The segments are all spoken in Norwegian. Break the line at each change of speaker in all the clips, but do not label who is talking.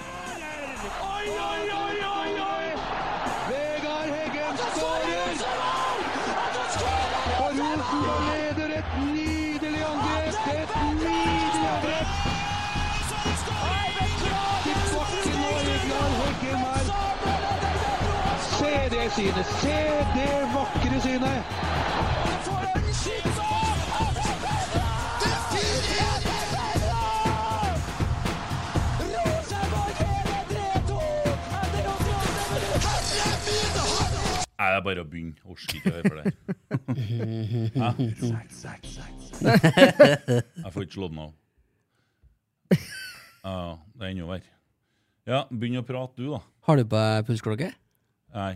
Oi, oi, oi, oi, oi! Vegard Heggen skårer! Og Rosenborg leder et nydelig angrep! Et nydelig angrep! Tilbake nå, Vegard Heggen her. Se det synet! Se det vakre synet!
Nei, det er bare å begynne. Jeg Orker ikke å høre på det. her. Jeg får ikke slått meg av. Ja, det er enda verre. Ja, begynn å prate, du, da.
Har du på deg pulsklokke?
Nei.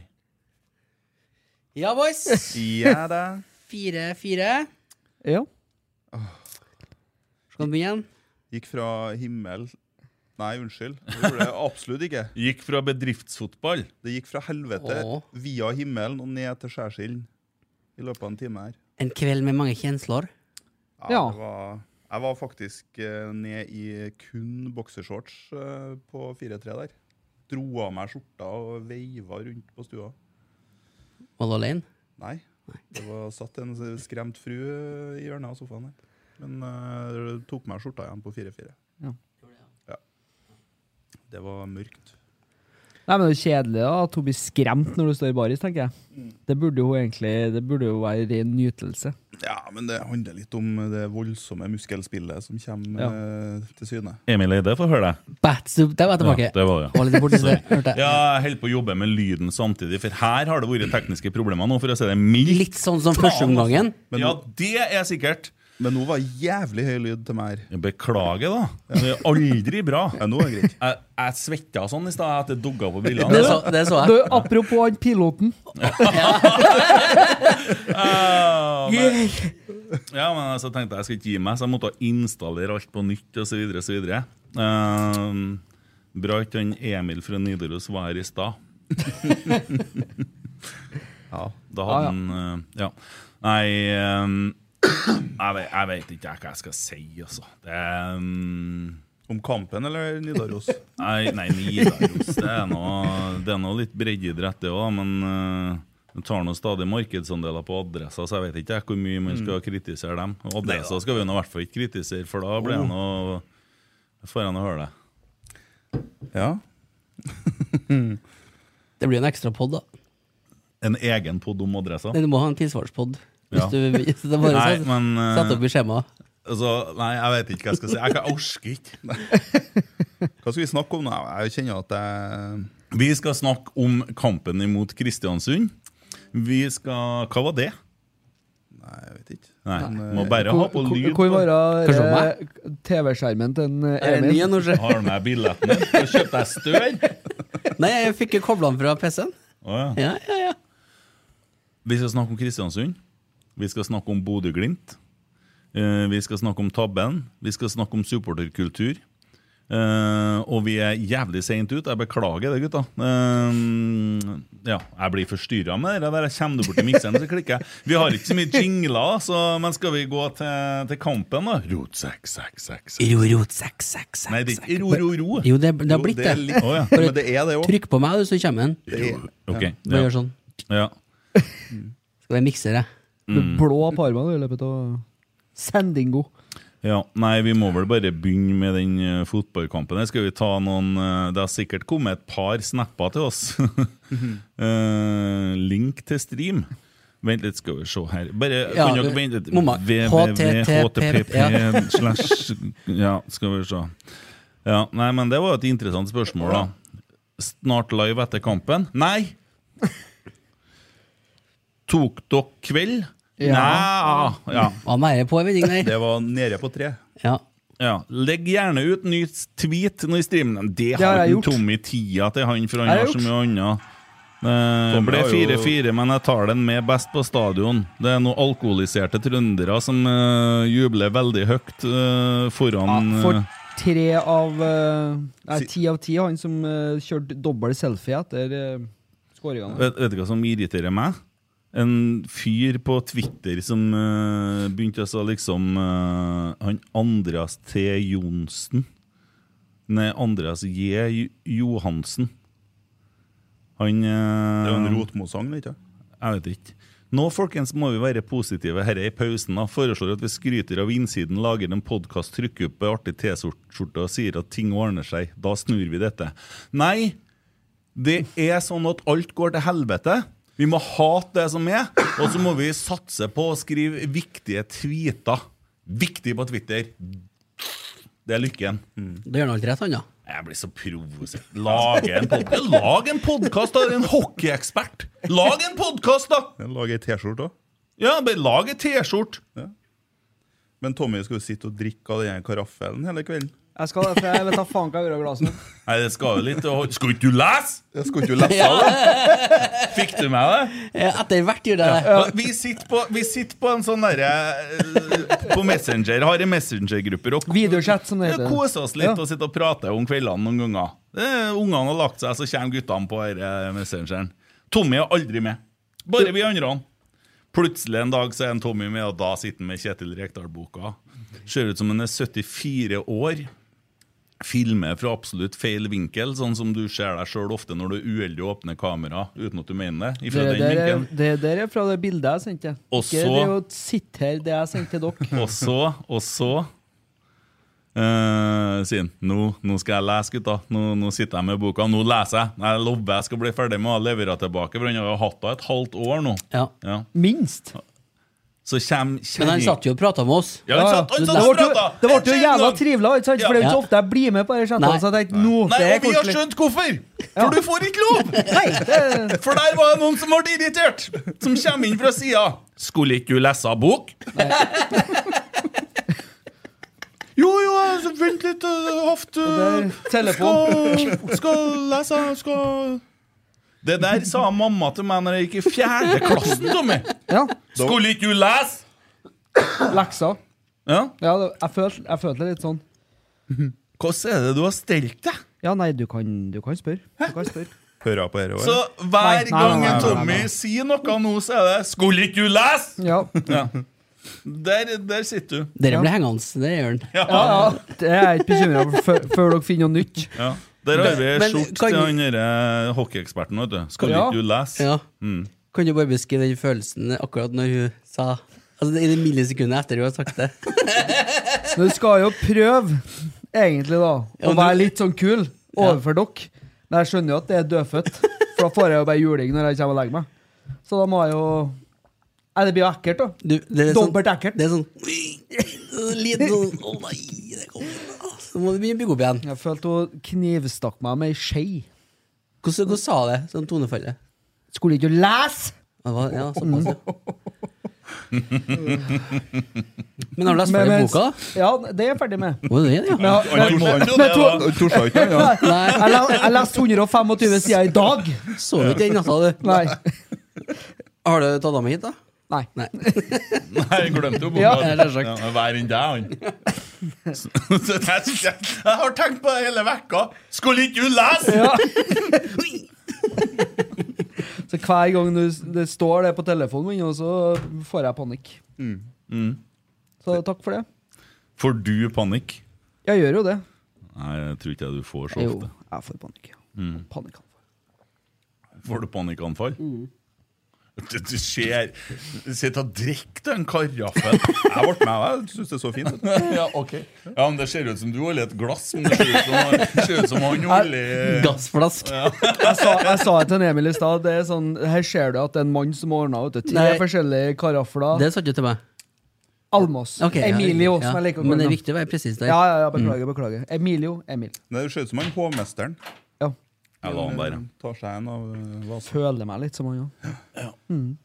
Ja, boys.
Ja da.
Fire, fire.
Ja.
Skal vi begynne igjen?
Gikk fra himmel Nei, unnskyld. Det gjorde jeg absolutt ikke.
Gikk fra bedriftsfotball.
Det gikk fra helvete
Åh.
via himmelen og ned til skjærsilden i løpet av en time her.
En kveld med mange kjensler.
Ja,
Ja.
Det var, jeg var faktisk eh, ned i kun boksershorts eh, på 4-3 der. Dro av meg skjorta og veiva rundt på stua.
Var du alene?
Nei, det var satt en skremt fru eh, i hjørnet av sofaen der. Men eh, tok meg skjorta igjen på 4-4.
Ja.
Ja. Det var mørkt.
Nei, men Det er jo kjedelig da, at hun blir skremt når du står i er baris, tenker jeg. Det burde jo egentlig Det burde jo være ren nytelse.
Ja, men det handler litt om det voldsomme muskelspillet som kommer eh, til syne.
Emil Eide får høre deg.
Bats, der var jeg tilbake.
Ja, det var det.
Var litt borti det, hørte jeg.
Ja, jeg holder på å jobbe med lyden samtidig, for her har det vært tekniske problemer nå, for å si det mildt.
Litt sånn som første omgangen.
Ja, det er sikkert.
Men nå var jævlig høy lyd til meg her.
Beklager, da. Det er aldri bra.
Ja, nå er det greit.
Jeg, jeg svetta sånn i stad at det dugga på Altså.
Det
brillene.
så, det så
Du,
jeg.
apropos han piloten.
Ah, men, ja, men så tenkte jeg jeg skal ikke gi meg, så jeg måtte installere alt på nytt osv. videre Um, bra ikke han Emil fra Nidaros var her i stad. ja, da
Ja,
hadde
ja.
han eh, Ja. Nei ehm, jeg, vet, jeg vet ikke jeg hva jeg skal si, altså. Det ehm,
Om kampen eller Nidaros?
Nei, nei Nidaros det er, noe, det er noe litt breddeidrett, det òg. Men eh, de tar nå stadig markedsandeler på adresser, så jeg vet ikke jeg hvor mye man
Mm.
skal kritisere dem. Og Adresser skal vi nå i hvert fall ikke kritisere, for da
Oh.
blir det noe får jeg nå høre det.
ja.
Det blir en ekstra pod, da.
En egen pod om adresser?
Nei, Du må ha en tilsvarspod. Hvis
Ja.
du hvis det bare
Nei,
sånn,
men eh,
Sett opp i skjemaet.
altså, Nei, jeg vet ikke hva jeg skal si. Jeg kan- jeg orker ikke.
Hva skal vi snakke om nå? Jeg kjenner at jeg
Vi skal snakke om kampen imot Kristiansund. Vi skal Hva var det?
Nei, jeg vet ikke.
Nei, Må bare ha på lyd.
Hvor
på-
var det
Kanskje om
eh, TV-skjermen til en, eh,
Er det
Emil?
ny nå, sjø?
Har du med billetten din? Så kjøpte jeg stør.
Nei, jeg fikk kobla den fra PC-en.
Å, ja.
Ja, ja, ja.
Vi skal snakke om Kristiansund. Vi skal snakke om Bodø-Glimt. Eh, Vi skal snakke om tabben. Vi skal snakke om supporterkultur. Eh, og vi er jævlig seint ut. Jeg beklager det, gutta. Eh, ja, jeg blir forstyrra med det der. Jeg kommer du bort til mikseren, så klikker jeg. Vi har ikke så mye jingler, så, men skal vi gå til, til kampen, da? Rot, sekk, sekk, sekk, sekk.
Ro, ro, sekk, sekk, sekk.
Nei, det er ikke ro, ro, ro.
Jo, det, det har blitt
det er
det.
litt-
Å, ja.
Bare
Men det er det òg.
Trykk på meg, du, så kommer den.
er
Ok,
Bare
ja.
gjør sånn.
ja.
Skal være mikser, jeg.
Du blå på armene i løpet av Sendingo.
Ja, nei, vi må vel bare begynne med den eh, fotballkampen. her. Skal vi ta noen eh, Det har sikkert kommet et par snapper til oss. Eh, link til stream. Vent litt, skal vi se her. Bare,
Ja,
kan dere
eh,
vente litt?
mamma,
HTTP
ja.
slash Ja, skal vi se. Ja, nei, men det var jo et interessant spørsmål, da. Snart live etter kampen? Nei! Tok dere kveld?
Ja.
Nei! Ja.
Var nære på, jeg vet ikke. Nei.
Det var nede på tre.
Ja.
Ja, Legg gjerne ut ny tweet når streamen Det
har
har
jeg
den
gjort.
Tommy tida til han, for han
Jeg har
har så
gjort.
mye annet. Eh, Det
Tommy
ble
har jo-
4-4, men jeg tar den med best på stadion. Det er noen alkoholiserte trøndere som eh, jubler veldig høyt eh,
Ja,
foran
for
eh,
tre av eh, Nei, ti av ti, han som eh, kjørte dobbel selfie etter uh, skåringene.
vet, vet du hva som irriterer meg? En fyr på Twitter som eh, begynte å sa liksom eh, Han Andreas T. Johnsen. Nei, Andreas J. Jo- Johansen. Han
Det var en
uh,
Rotmo-sang, vet du.
Jeg vet ikke. Nå folkens, må vi være positive. Her er i pausen. da. Foreslår at vi skryter av innsiden, lager en podkast, trykker opp ei artig T-skjorte og sier at ting ordner seg. Da snur vi dette. Nei, det er sånn at alt går til helvete. Vi må hate det som er, og så må vi satse på å skrive viktige tweeter. Viktig på Twitter. Det er lykken.
Det gjør han alt rett, han, ja.
Jeg blir så provosert. Lag en podkast, Lag en podkast, da! En hockeyekspert! Lag en podkast, da!
Lag ei T-skjorte òg.
Ja, bare lag ei T-skjorte.
Men Tommy skal jo sitte og drikke av den her karaffelen hele kvelden.
Jeg skal for jeg vet da faen hva jeg gjør av glasset.
Nei, det skal jo litt og- Skal ikke du lese?!
Jeg skulle ikke lese av det.
Fikk du med det?
Eh, Etter hvert gjør jeg det.
Ja, Vi sitter på, vi sitter på en sånn derre eh, På Messenger. Har en Messenger-grupper og
Videochat, som det
Ja,
heter.
koser oss litt
Ja.
og sitter og prater om kveldene noen ganger. Eh, Ungene har lagt seg, så kommer guttene på her, eh, Messengeren. Tommy er aldri med. Bare vi andre. Plutselig en dag så er en Tommy med, og da sitter han med Kjetil Rekdal-boka. Ser ut som han er 74 år. Filmer fra absolutt feil vinkel, sånn som du ser deg sjøl ofte når du er uheldig og åpner kamera uten at du mener det.
Det
Ifra den
der er,
vinkelen.
det der er fra det bildet jeg sendte.
Og
Ikke
så-
det å sitte her, det jeg sendte til dere.
Og så, og så eh, sier han nå, nå skal jeg lese, gutta. Nå, nå sitter jeg med boka. Nå leser jeg. Nei, Jeg lover jeg skal bli ferdig med å levere henne tilbake, for han har jo hatt henne et halvt år nå.
Ja.
Ja.
Minst.
Så kommer
Men han satt jo og prata med oss.
Ja, han satt, han
Det
satt og
ble jo,
pratet.
det ble jo
Jeg
jævla
kjenner han.
trivelig, ikke sant? for det er jo ikke
Ja.
ofte jeg blir med på disse chattene.
Nei.
Så jeg tenkte, nå,
Nei,
det er
og vi har
koselig.
skjønt hvorfor! For du får ikke lov!
Nei, det,
For der var det noen som ble irritert! Som kommer inn fra sida. Skulle ikke du lese av bok? Jo, jo, jeg- vent litt. eh, Haft eh,
Og der, telefon.
Skal, skal lese skal Det der sa mamma til meg når jeg gikk i fjerde klassen, Tommy.
ja,
Skulle ikke du lese?
lekser.
Ja.
Ja, det- jeg følte, jeg følte det litt sånn.
Hvordan er det du har stelt deg?
Ja, nei, du kan, du kan spørre. Du kan spørre.
Hører jeg på dette
Så
òg?
hver
Nei, nei,
gang
nei, nei,
Tommy
nei, nei.
sier noe nå, så er det 'Skulle ikke du lese?'
Ja,
Ja. Der, der sitter du.
Dere ble hengende, det gjør han.
ja, ja. Det er jeg ikke bekymra for før- før dere finner noe nytt.
Ja. Der har vi
men
skjort
kan-
til han derre hockeyeksperten, vet du. Skal
Ja.
ikke du lese?
Ja. Kan du bare beskrive den følelsen akkurat når hun sa Altså I det millisekundet etter hun har sagt det.
Men du skal jo prøve, egentlig, da,
Ja,
å
du-
være litt sånn kul overfor dere. Men jeg skjønner jo at det er dødfødt, for da får jeg jo bare juling når jeg kommer og legger meg. Så da må jeg jo Nei, det blir jo ekkelt, da.
Du, det er
Dobbelt ekkelt.
Det er sånn Ui, Litt sånn Å nei, det kommer Så må du begynne å bygge opp igjen.
Jeg følte hun knivstakk meg med ei skje.
Hvordan, hvordan sa det? Sånn tonefallet.
Skulle ikke lese!
Ja, det var- Ja, såpass, ja. Men har du lest
Men-
ferdig
men-
boka?
Ja, det er jeg ferdig med.
Var det det, ja?
Ja,
Han
jeg,
skjønte jo
men
det,
to-
da.
Torsdag ikke, ja.
Nei,
jeg, le- jeg leste 125 sider i dag.
sov ikke den natta, du.
Nei.
altså, Har du tatt av meg hit, da?
Nei.
Nei.
Nei, jeg glemte jo
Ja,
bomba.
det er sagt.
men Vær enn deg, han. Så jeg, synes jeg, jeg har tenkt på det hele vekka! Skulle ikke du lese?!
Så hver gang du, det står det på telefonen min, og så får jeg panikk. Så takk for det.
Får du panikk?
Jeg gjør jo det.
Nei, jeg tror ikke du får så
Jo,
ofte. Mm.
jeg får panikk. Panikk.
Får du panikkanfall? Du, du ser Sitt og drikk den karaffen.
Jeg ble med, jeg syns det er så fint. vet du.
ja, ok. Ja, men det ser ut som du holder et glass, men det ser ut som, ser ut som han holder
Gassflask.
Jeg sa, jeg sa det til en Emil i stad. Det er sånn, her ser du at det er en mann som har ordna ut tre
Nei.
forskjellige karafler.
Det sa du til meg.
Almås.
Ok, ja,
Emilio,
ja.
som jeg liker å
Men
kalle
det er
ham.
viktig å være presis der.
Ja, ja, ja, beklager, beklager. Emilio. Emil.
Nei, Det ser ut som han hovmesteren
Ja.
Jeg la han der.
Han tar seg en av eh, vasen.
Føler meg litt som han òg.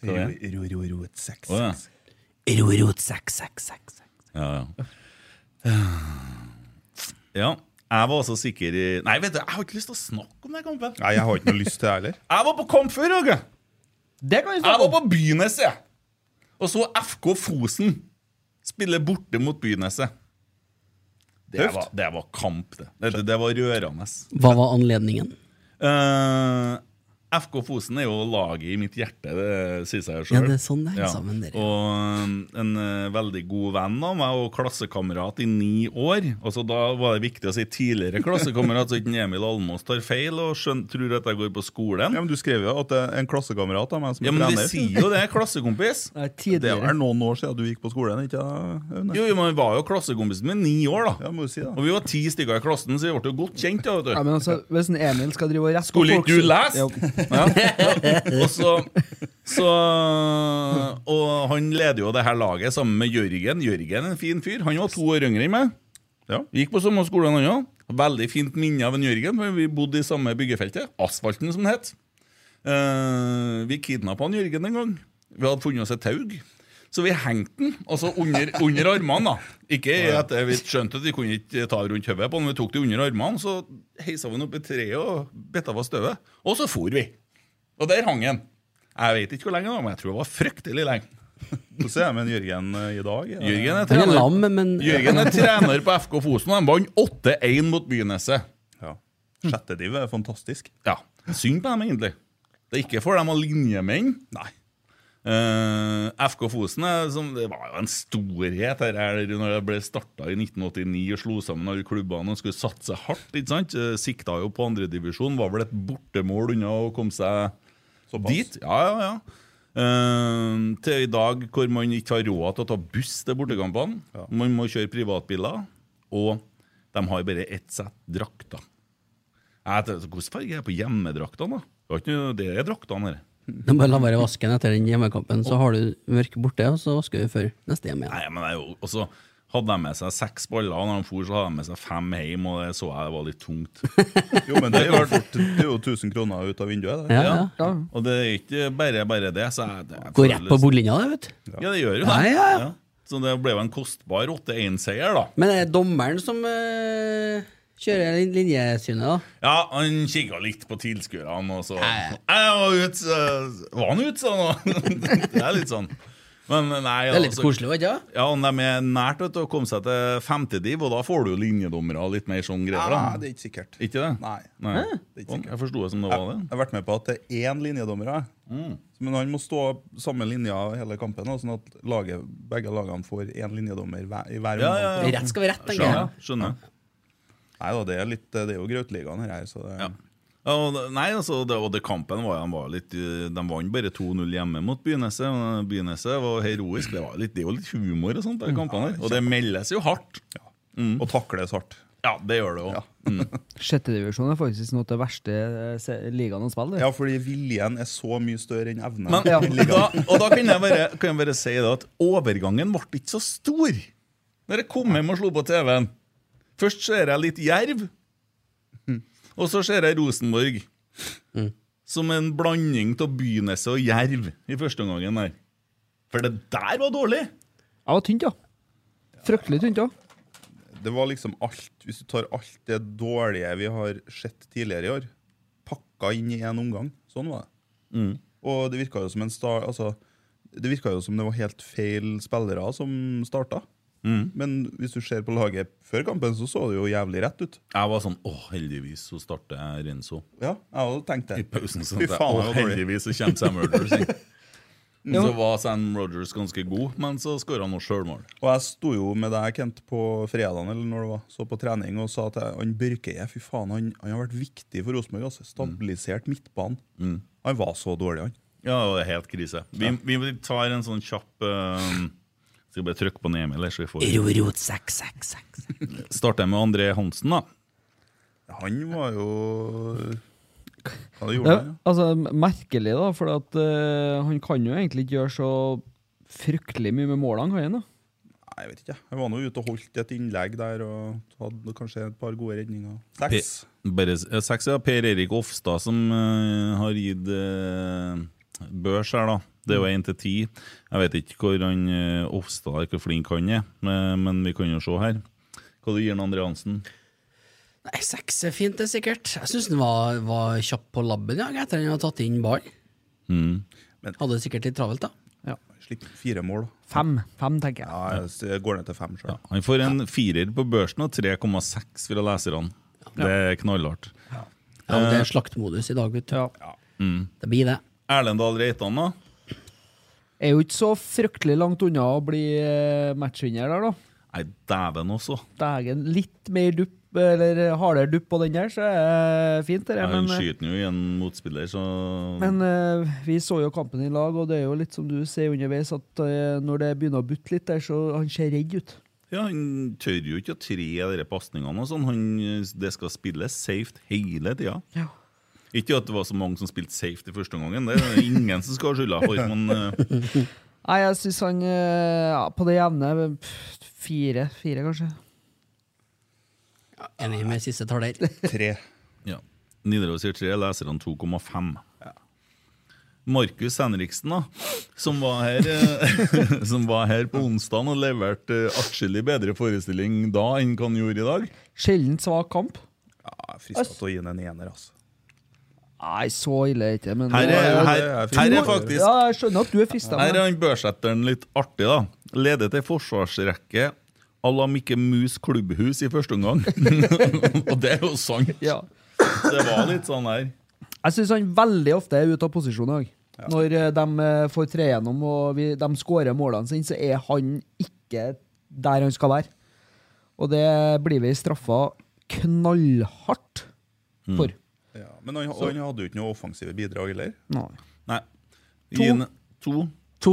Ro, ro, ro, ro, et seks,
Å, ja.
seks.
Rorot, seks, seks, seks.
Ja, ja. ja. Jeg var også sikker i Nei, vet du, jeg har ikke lyst til å snakke om den kampen.
Nei, jeg har ikke noe lyst til det heller.
Jeg var på kamp før, Åge.
Det kan vi
Jeg var
snakke om!
på Byneset. jeg. Og så FK Fosen spille borte mot Byneset. Det
Tøft.
var, det var kamp, det. Det, det var rørende.
Hva var anledningen?
Eh, FK Fosen er jo laget i mitt hjerte, det sier seg jo sjøl.
Ja, det er sånn det henger sammen, dere.
Og eh, en eh, veldig god venn av meg og klassekamerat i ni år. Og så Da var det viktig å si tidligere klassekamerat, så ikke Emil Almås tar feil og skjøn, tror at jeg går på skolen.
Ja, men Du skrev jo at det er en klassekamerat av meg som
Ja, men vi
trener.
sier jo det, klassekompis.
Nei,
det
tidligere.
er noen år siden du gikk på skolen, ikke da, Aune?
Jo, jo, men Vi var jo klassekompisen min i ni år,
Ja,
da.
må du si
Og
det.
vi var ti stykker i klassen, så vi ble jo godt kjent. da, vet du
Ja, men altså, Hvis en Emil skal drive og rette
Skulle
på folk,
ikke du
så-
lese?
Jo.
Ja. Og så, så Og han leder jo det her laget sammen med Jørgen. Jørgen er en fin fyr. Han var to år yngre enn meg.
Ja.
Gikk på samme skole han òg. Veldig fint minne av en Jørgen, for vi bodde i samme byggefeltet. Asfalten, som det het. Eh, vi kidnappa han Jørgen en gang. Vi hadde funnet oss et taug. Så vi hengte den altså under, under armene. da. Ikke i at Vi skjønte at vi kunne ikke ta rundt hodet på den, vi tok det under armene. Så heisa vi den opp i treet og bitta av oss støvet. Og så for vi. Og der hang den. Jeg vet ikke hvor lenge, det var, men jeg tror det var fryktelig lenge.
Så ser jeg med en Jørgen eh, i dag. ja.
Jørgen er
Han er
trener,
lam, men
Jørgen er trener på FK Fosen, og de vant 8-1 mot Byneset.
Ja. Sjette div er fantastisk.
Ja, Synd på dem, egentlig. Det er ikke for dem å linjemenn. Nei. Eh, FK Fosen er som, det var jo en storhet her, her når det ble starta i 1989 og slo sammen alle klubbene og skulle satse hardt. ikke sant? Eh, Sikta jo på andredivisjon, var vel et bortemål unna å komme seg
Såpass.
dit. Ja, ja, ja. Eh, til i dag hvor man ikke har råd til å ta buss til bortekampene. Man må kjøre privatbiler, og de har bare ett sett drakter. Jeg tenkte, Hvordan farge er det på hjemmedraktene? da? Det var ikke noe- Det er draktene her.
de bare lar være å vaske den etter den hjemmekampen. Så har du mørket borte, og så vasker du før neste hjem igjen.
Nei, men det er jo Og så hadde de med seg seks baller, og når de for, så hadde de med seg fem hjem, og det så jeg det var litt tungt.
Jo, men det er jo, fort, det er jo 1000 kroner ut av vinduet. Det.
Ja, ja.
Ja.
Og det er ikke bare bare det. Så jeg, jeg
Går
føler
rett på
liksom-
bordlinja, det, vet du.
Ja, det gjør jo det.
Ja, ja, ja.
Så det ble jo en kostbar 8-1-seier, da.
Men det er dommeren som eh, kjører lin- linjesynet, da.
Ja, han kikka litt på tilskuerne, og så Jeg var ut, eh, Var han ute, sa han? Det er litt sånn. Men nei,
Det er litt
altså-
koselig, var det ikke?
Ja, og de er nært vet du, å komme seg til femtediv, og da får du jo linjedommere og litt mer sånn greier.
Nei,
da
det er ikke sikkert.
Ikke det?
Nei.
Nei.
Det er ikke
Sånn,
sikkert.
Jeg forsto det som det
Jeg,
var
jeg
det.
har vært med på at det er én linjedommer her.
Mm.
Men han må stå samme linja hele kampen, da, sånn at laget, begge lagene får én linjedommer hver, i hver
Ja,
omgang.
ja, ja.
Rett skal være rett, tenker jeg.
Skjønner. skjønner.
Nei da, det er, litt, det er jo Grautligaen her, så det,
Ja. Ja, og det- nei, altså, det, og det kampen var, de var litt eh, De vant bare 2-0 hjemme mot Byneset. men Byneset var heroisk. Det, var litt, det er jo litt humor og sånt, de kampene der. Og det meldes jo hardt.
Og takles hardt.
Ja, det gjør det jo.
Sjettedivisjon er faktisk noe av det verste eh, se- ligaen å spille.
Ja, fordi viljen er så mye større enn evnen.
Men,
Ja.
da, og da kan jeg bare, kan jeg bare si det at overgangen ble ikke så stor Når jeg kom hjem og slo på TV-en. Først ser jeg litt jerv, og så ser jeg Rosenborg. Mm. Som en blanding av Byneset og Jerv i første omgangen. der. For det der var dårlig!
Jeg var tynt, ja. Fryktelig tynt òg.
Det var liksom alt Hvis du tar alt det dårlige vi har sett tidligere i år, pakka
pakka inn i én omgang. Sånn var det. Og det virka jo som en star, altså, det virka jo som det var helt feil spillere som starta. Men hvis du ser på laget før kampen, så så det jo jævlig rett ut.
Jeg var sånn Å, heldigvis så starter jeg Renzo.
Ja, jeg hadde tenkt det.
I pausen sånn
Fy
at jeg,
faen,
Å,
det var dårlig.
heldigvis så kommer Sam Rogers inn. Men
Jo.
Så var Sam Rogers ganske god, men så skåra han også sjølmål.
Og jeg sto jo med deg, Kent, på fredagen eller når det var, så på trening og sa til han Børkeie Fy faen, han, han har vært viktig for Rosenborg. Altså. Stabilisert midtbanen.
Mm.
Han var så dårlig, han.
Ja, det er helt krise. Vi, vi tar en sånn kjapp eh, Skal bare trykke på Emil, her, så vi får
Ro, ro, sekk, sekk, sekk. sekk.
Starter med André Hansen, da.
Han var jo Ja, det gjorde
Ja,
han, ja.
altså, m- merkelig, da, for at, eh, han kan jo egentlig ikke gjøre så fryktelig mye med målene, kan han? da?
Nei, jeg vet ikke. Han var nå ute og holdt et innlegg der og hadde kanskje et par gode redninger.
Pe-
Seks.
Bare s- eh, seks, ja. Per Erik Ofstad som eh, har gitt eh, børs her, da. Det er jo én til ti. Jeg vet ikke hvor han eh, Ofstad er, hvor flink han er, men, men vi kan jo se her. Hva du gir han André Hansen?
Nei, seks er fint, det er sikkert. Jeg syns den var, var kjapp på labben ja, etter at han hadde tatt inn ball.
Mm. Men-
Hadde det sikkert litt travelt, da.
Slipp fire mål.
Fem, fem, tenker jeg.
Ja, jeg s- jeg går ned til fem sjøl.
Han får en firer på børsen og 3,6 fra leserne. Det er knallhardt.
Ja, men
Eh.
det er slaktmodus i dag, vet du.
Mm.
Det blir det.
Erlend Dahl Reitan, da?
Er jo ikke så fryktelig langt unna å bli eh, matchvinner der, da.
Nei, dæven også.
Dægen, litt mer dupp, eller hardere dupp på den der, så er det fint, det
Ja,
der.
han
Men, eh,
skyter jo i en motspiller, så
men eh, vi så jo kampen i lag, og det er jo litt som du sier underveis, at eh, når det begynner å butte litt der, så han ser redd ut.
Ja, Han tør jo ikke å tre de pasningene. og sånn. Han- Det skal spilles safe hele tida.
Ja.
Ikke at det var så mange som spilte safe i første omgangen. Det er det ingen som skal ha skylda for. Men eh,
Nei, jeg syns han eh, ja, på det jevne pff, Fire, fire kanskje.
Enig med siste taler.
Tre.
ja. Nidaros sier 3, leserne 2,5. Markus Henriksen, da, som var her, eh, som var her på onsdag og leverte eh, atskillig bedre forestilling da enn hva han gjorde i dag.
Sjelden svak kamp.
Ja, jeg er frista til å gi den en ener, altså.
Nei, så ille er det ikke, men
Her er,
Ja,
her,
det er fint.
her er faktisk
Ja, jeg skjønner at du er frista.
Her er han børsetteren litt artig, da. Leder til forsvarsrekke à la Mikke Mus klubbhus i første omgang. og det er jo sant.
Ja.
Det var litt sånn her.
Jeg syns han veldig ofte er ute av posisjon i dag. Når eh, de eh, får tre gjennom og vi, de skårer målene sine, så er han ikke der han skal være. Og det blir vi straffa knallhardt
Mm.
for.
Ja, men han, og han hadde jo ikke noe offensive bidrag heller.
Nei.
Nei. Gi en- to.
To.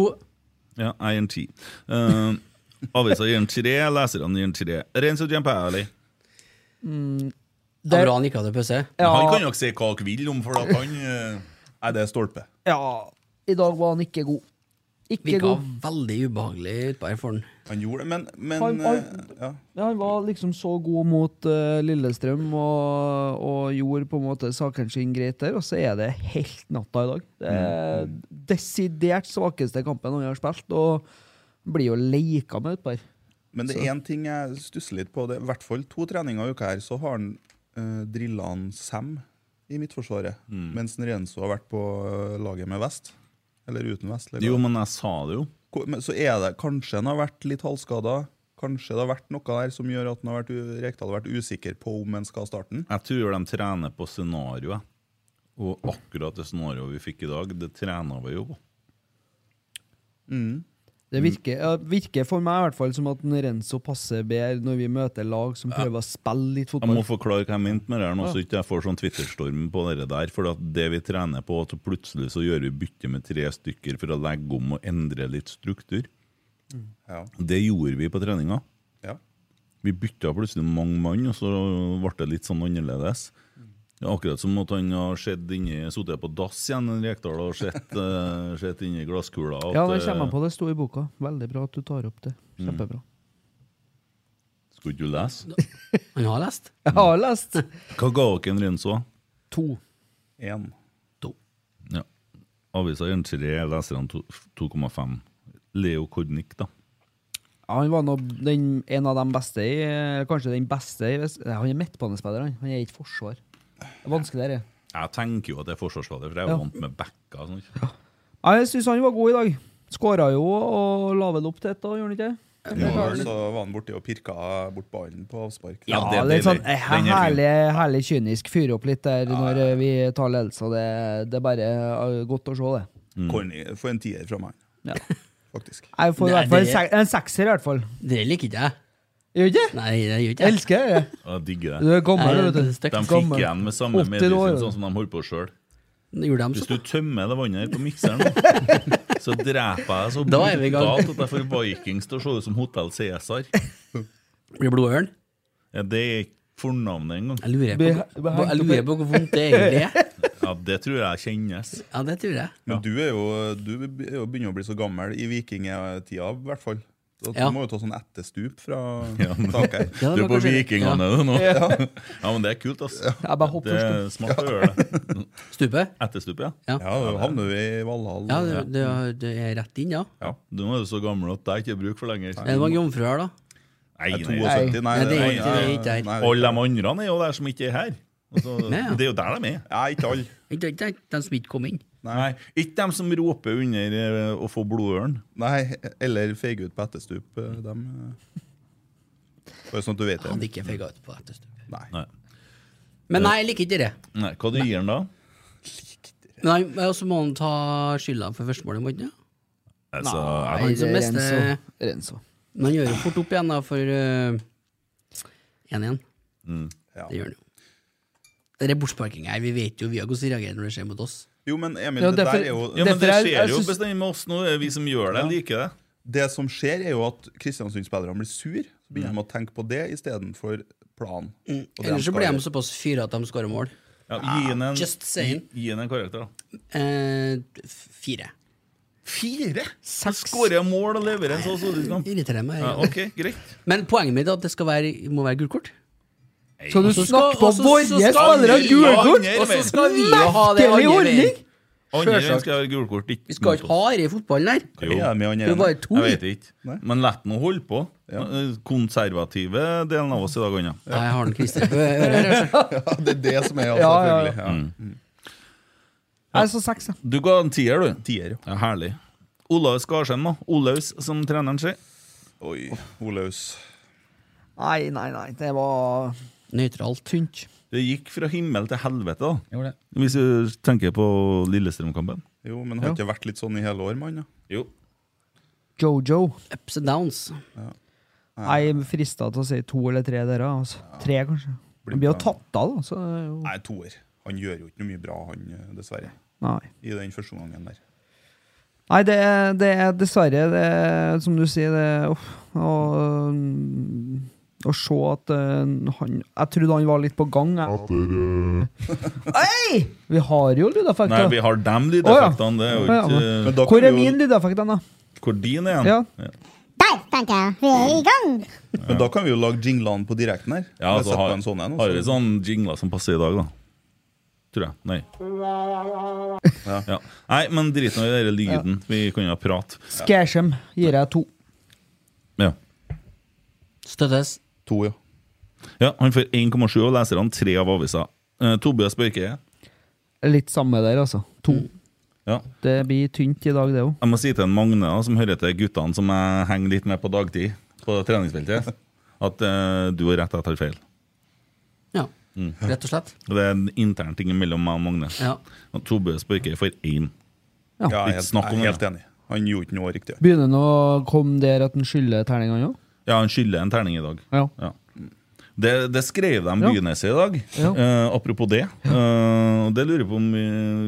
Ja, jeg gir en ti. Uh, Avisa gir en tre, leserne gir en tre. Renzo Giampelli.
Det
Der-
er bra han ikke hadde pause.
Ja,
Han kan jo ikke si hva han vil om, for at han eh,
Nei, det er stolpe.
ja, i dag var han ikke god. Ikke
Virka
god.
veldig ubehagelig utpå her for han.
Han gjorde det, men, men
Han- han-
eh, ja.
Ja, han var liksom så god mot eh, Lillestrøm og, og gjorde på en måte sakene sine greit der, og så er det helt natta i dag. Det er
Mm.
desidert svakeste kampen han har spilt, og blir jo leika med utpå her.
Men det er én ting jeg stusser litt på. Det er I hvert fall to treninger i uka her, så har han eh, drilla han Sam i Midtforsvaret.
Mm.
Mens Renzo har vært på eh, laget med vest. Eller uten vest. Eller.
Jo,
hva.
men jeg sa det jo.
Ko- men, så er det kanskje han har vært litt halvskada. Kanskje det har vært noe der som gjør at han har vært, u- Rekdal har vært usikker på om han skal starte den.
Jeg tror de trener på scenarioet. Og akkurat det scenarioet vi fikk i dag, det trener vi jo på.
Det virker, ja, virker for meg i hvert fall som at Renzo passer bedre når vi møter lag som prøver å spille litt
Jeg må
fotball.
forklare hva jeg mente med det her nå, så ikke jeg får sånn Twitter-storm på det der. For at det vi trener på, at plutselig så gjør vi bytte med tre stykker for å legge om og endre litt struktur.
Mm.
Ja.
Det gjorde vi på treninga.
Ja.
Vi bytta plutselig mange mann, og så ble det litt sånn annerledes. Det er Akkurat som at han har sett inni, sittet på dass igjen, en Rekdal, og sett, eh, sett inni glasskula. at,
Ja, det
eh,
kommer jeg på. Det sto i boka. Veldig bra at du tar opp det. Kjempebra.
eh, Skulle ikke du lese?
Han har lest.
Jeg har lest!
Hva ga dere en Renzo?
To.
Én.
Ja. Avisa gir en tre, leserne to- 2,5. Leo Kornic, da.
Ja, han var nå den, en av de beste i eh, Kanskje den beste i Vest- Nei, Han er midtbanespiller, han. Han er ikke forsvar. Det er vanskelig, det.
Jeg tenker jo at det er forsvarsskader, for jeg er
Ja.
vant med backa. Sånn. Ja.
Nei, Jeg syns han var god i dag. Skåra jo og la vel opp til ett, da, gjorde han ikke det?
Ja, og så var han borti og pirka bort ballen på avspark.
Ja,
Ja,
det er
litt sånn
deilig.
eh,
Den er fin.
herlig, herlig kynisk. Fyre opp litt der når eh, vi tar ledelse. Det, det er bare eh, godt å se, det.
Corny. Få en tier fra meg,
Ja.
faktisk.
Jeg får i
Nei,
hvert fall en,
det-
sek en sekser, i hvert fall.
Det liker ikke jeg.
Gjør ikke det?
Nei, det gjør
Jeg
ikke jeg.
elsker det.
Jeg digger
Du
det.
er gammel,
Nei,
vet
det
du.
er stygt.
De fikk
gammel.
igjen med samme
80
medisin
år.
sånn som de holdt på sjøl.
Gjorde de
Hvis du
sånn?
tømmer det vannet her på mikseren, nå, så dreper jeg så
Da er vi i gang.
brutalt at jeg får Vikings til å se ut som Hotell Cæsar.
Blir det blodørn?
Ja, det er ikke fornavnet engang.
Jeg lurer på,
Blir- blir hengt
jeg lurer på hvor vondt det egentlig er.
Ja, det tror jeg kjennes.
Ja, det tror jeg.
Men du er jo, du er jo begynner å bli så gammel i vikingtida, i hvert fall. Så Du
Ja.
må jo ta sånn etterstup fra
Ja, men-
taket her.
Ja, det
Du er
var
på
kanskje-
vikingene
ja.
du nå. Ja, men det er kult, ass.
Jeg bare hopper
Det
først.
er smart å gjøre det.
Stupet?
Etterstup, ja.
Ja, da havner vi i Valhall.
Ja, det, det, det er rett inn, ja.
ja. Du nå er du så gammel at det er ikke bruk for lenger.
Er det mange jomfruer her, da?
Nei,
Nei, 72,
nei.
nei,
Nei, det er
nei, nei,
ikke- det er ikke her.
nei, det er
Alle de andre er jo der som ikke er her. Altså,
Nei, ja.
Det er jo der de er.
Nei, ikke alle.
Ikke ikke- ikke de som ikke kom inn.
Nei, Ikke dem som roper under eh, å få blodørn.
Nei, eller feige ut på etterstup. eh, Dem. eh. Bare sånn at du vet
Jeg hadde
det.
ikke feiga ut på etterstupet.
Nei.
Nei.
Men nei, jeg liker ikke det.
Nei, Hva du gir han da?
Men han- men også må han ta skylda for førstemålet, må han ikke? det?
Altså,
Han som
det er
mister-
Renzo.
Men han gjør det fort opp igjen, da, for eh, 1-1.
Mm.
Ja.
Det gjør han jo. Det er bortsparking her. Vi vet jo vi har hvordan de reagerer når det skjer mot oss.
Jo, men Emil,
Ja,
det der
derfor-
er jo
ja, men
Derfor
Det
er- jeg
skjer jo
synes-
bestandig med oss nå. Det er vi som gjør det. Jeg liker det.
Det som skjer, er jo at Kristiansund-spillerne blir sur. Så begynner de å tenke på det istedenfor planen. Og det
Ellers så
skal
blir de
gjøre.
såpass fyra at de skårer mål.
Ja, gi han en,
Just saying.
gi- gi han en karakter, da.
Eh, f- fire.
Fire? Skårer jeg mål og leverer en så solid kamp?
Irriterer meg.
Ja, ok, greit.
Men poenget mitt er at det skal være, må være gult kort.
Skal du
så
snakke
skal-
på
og så- så
våre
skal
spillere
vi-
gule kort?!
Andre
Og så
veien.
skal vi jo ha det
Merkelig
andre
holdning!
veien.
Andre
Selvsagt.
skal ha gult kort.
Vi skal ikke ha det i fotballen her.
Hva er det med han
Det er
ene?
bare to.
Jeg vet ikke. Men la nå holde på. Konservative delen av oss i dag, Anna.
Nei, jeg har den Christer på øret. her, altså.
Ja, det er det som er, ja,
Ja, ja, ja.
selvfølgelig. Ja.
Jeg er så seks, jeg.
Du ga en tier, du.
Tier,
Ja, herlig. Olaus Skarsheim, da. Olaus, som treneren sier.
Oi, Olaus.
Nei, nei, nei. Det var
Nøytralt.
tynt.
Det gikk fra himmel til helvete, da.
Gjorde det.
Hvis du tenker på Lillestrøm-kampen.
Jo, men har ikke vært litt sånn i hele år, mann? Ja.
Jo.
Jojo.
Ups and downs.
Jeg er frista til å si to eller tre der. Altså. Tre, kanskje. Det blir jo tatt av, da. Så det er jo-
Nei, toer. Han gjør jo ikke noe mye bra, han, eh, dessverre.
nei.
I den første omgangen der.
Nei, det er, det er dessverre det er, Som du sier, det er uff, og, mm, Å se at eh, han Jeg trodde han var litt på gang. Jeg. Hei! Vi har jo
Nei, vi
lydeffekter.
har dem lydeffektene. Det er jo
Ja,
ikke
men-
Men da
Hvor
kan
er
du jo-
min lydeffekt, da?
Hvor din er
Ja.
igjen? Ja.
Der, tenkte jeg. Vi er i gang.
Men da kan vi jo lage jinglene på direkten her.
Ja,
Jeg
altså,
setter
har,
på en sånn en, og
har
så-
vi sånn jingler som passer i dag, da? Tror jeg. Nei. Ja. Nei, men drit nå i den lyden. Vi kan jo prate.
Skæsjem gir jeg to.
Ja.
Støttes.
To, ja.
ja han får 1,7 og leserne tre av avisa. Eh, Tobias Børke.
Litt samme der, altså. To.
Mm.
Ja.
Det blir tynt i dag, det òg.
Jeg må si til en Magne, da, som hører til guttene som jeg henger litt med på dagtid, på treningsfeltet, at eh, du har rett, jeg tar feil.
Ja.
Mm.
Rett og slett.
Det er en intern ting mellom meg og Magne.
Ja.
Og Tobias Børke får én.
ja jeg, er
Ikke
helt-
snakk om
jeg er
det.
helt enig. Han gjorde ikke noe riktig.
Begynner nå å komme der at han skylder terningene òg?
Ja, han skylder en terning i dag.
Ja.
Ja. Det, det skrev de
Ja.
Byneset i dag.
Ja.
Eh, apropos det. Eh, og det lurer jeg på om vi,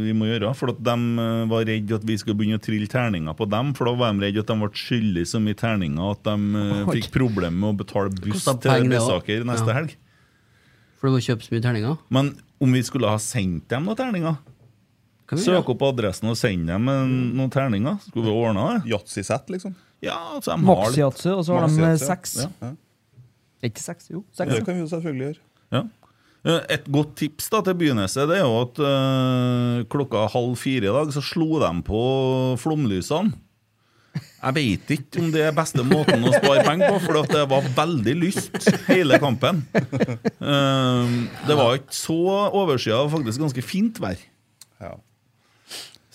vi må gjøre. For at de eh, var redd at vi skulle begynne å trille terninger på dem. For da var de redd at de ble skyldig så mye terninger at de eh,
Oi.
fikk problemer med å betale buss
Kostet
til
penger, det også.
Bessaker neste
Ja.
helg.
For du må kjøpe så mye terninger.
Men om vi skulle ha sendt dem noen terninger?
Kan vi
Søke
gjøre?
opp adressen og sende dem eh, noen terninger? Skulle vi ordna det?
Yatzy-sett, liksom.
Ja, altså, de har litt-
Maxyatsu, og så har de
Maxi-yatzy,
seks.
ja. Ja.
Ikke seks, jo. Seks.
Det kan vi jo selvfølgelig gjøre.
Ja. Eh, Et godt tips da til Byneset det er jo at eh, klokka halv fire i dag så slo de på flomlysene. Jeg vet ikke om det er beste måten å spare penger på, for at det var veldig lyst hele kampen. Ehm, det var ikke så overskya, det var faktisk ganske fint vær.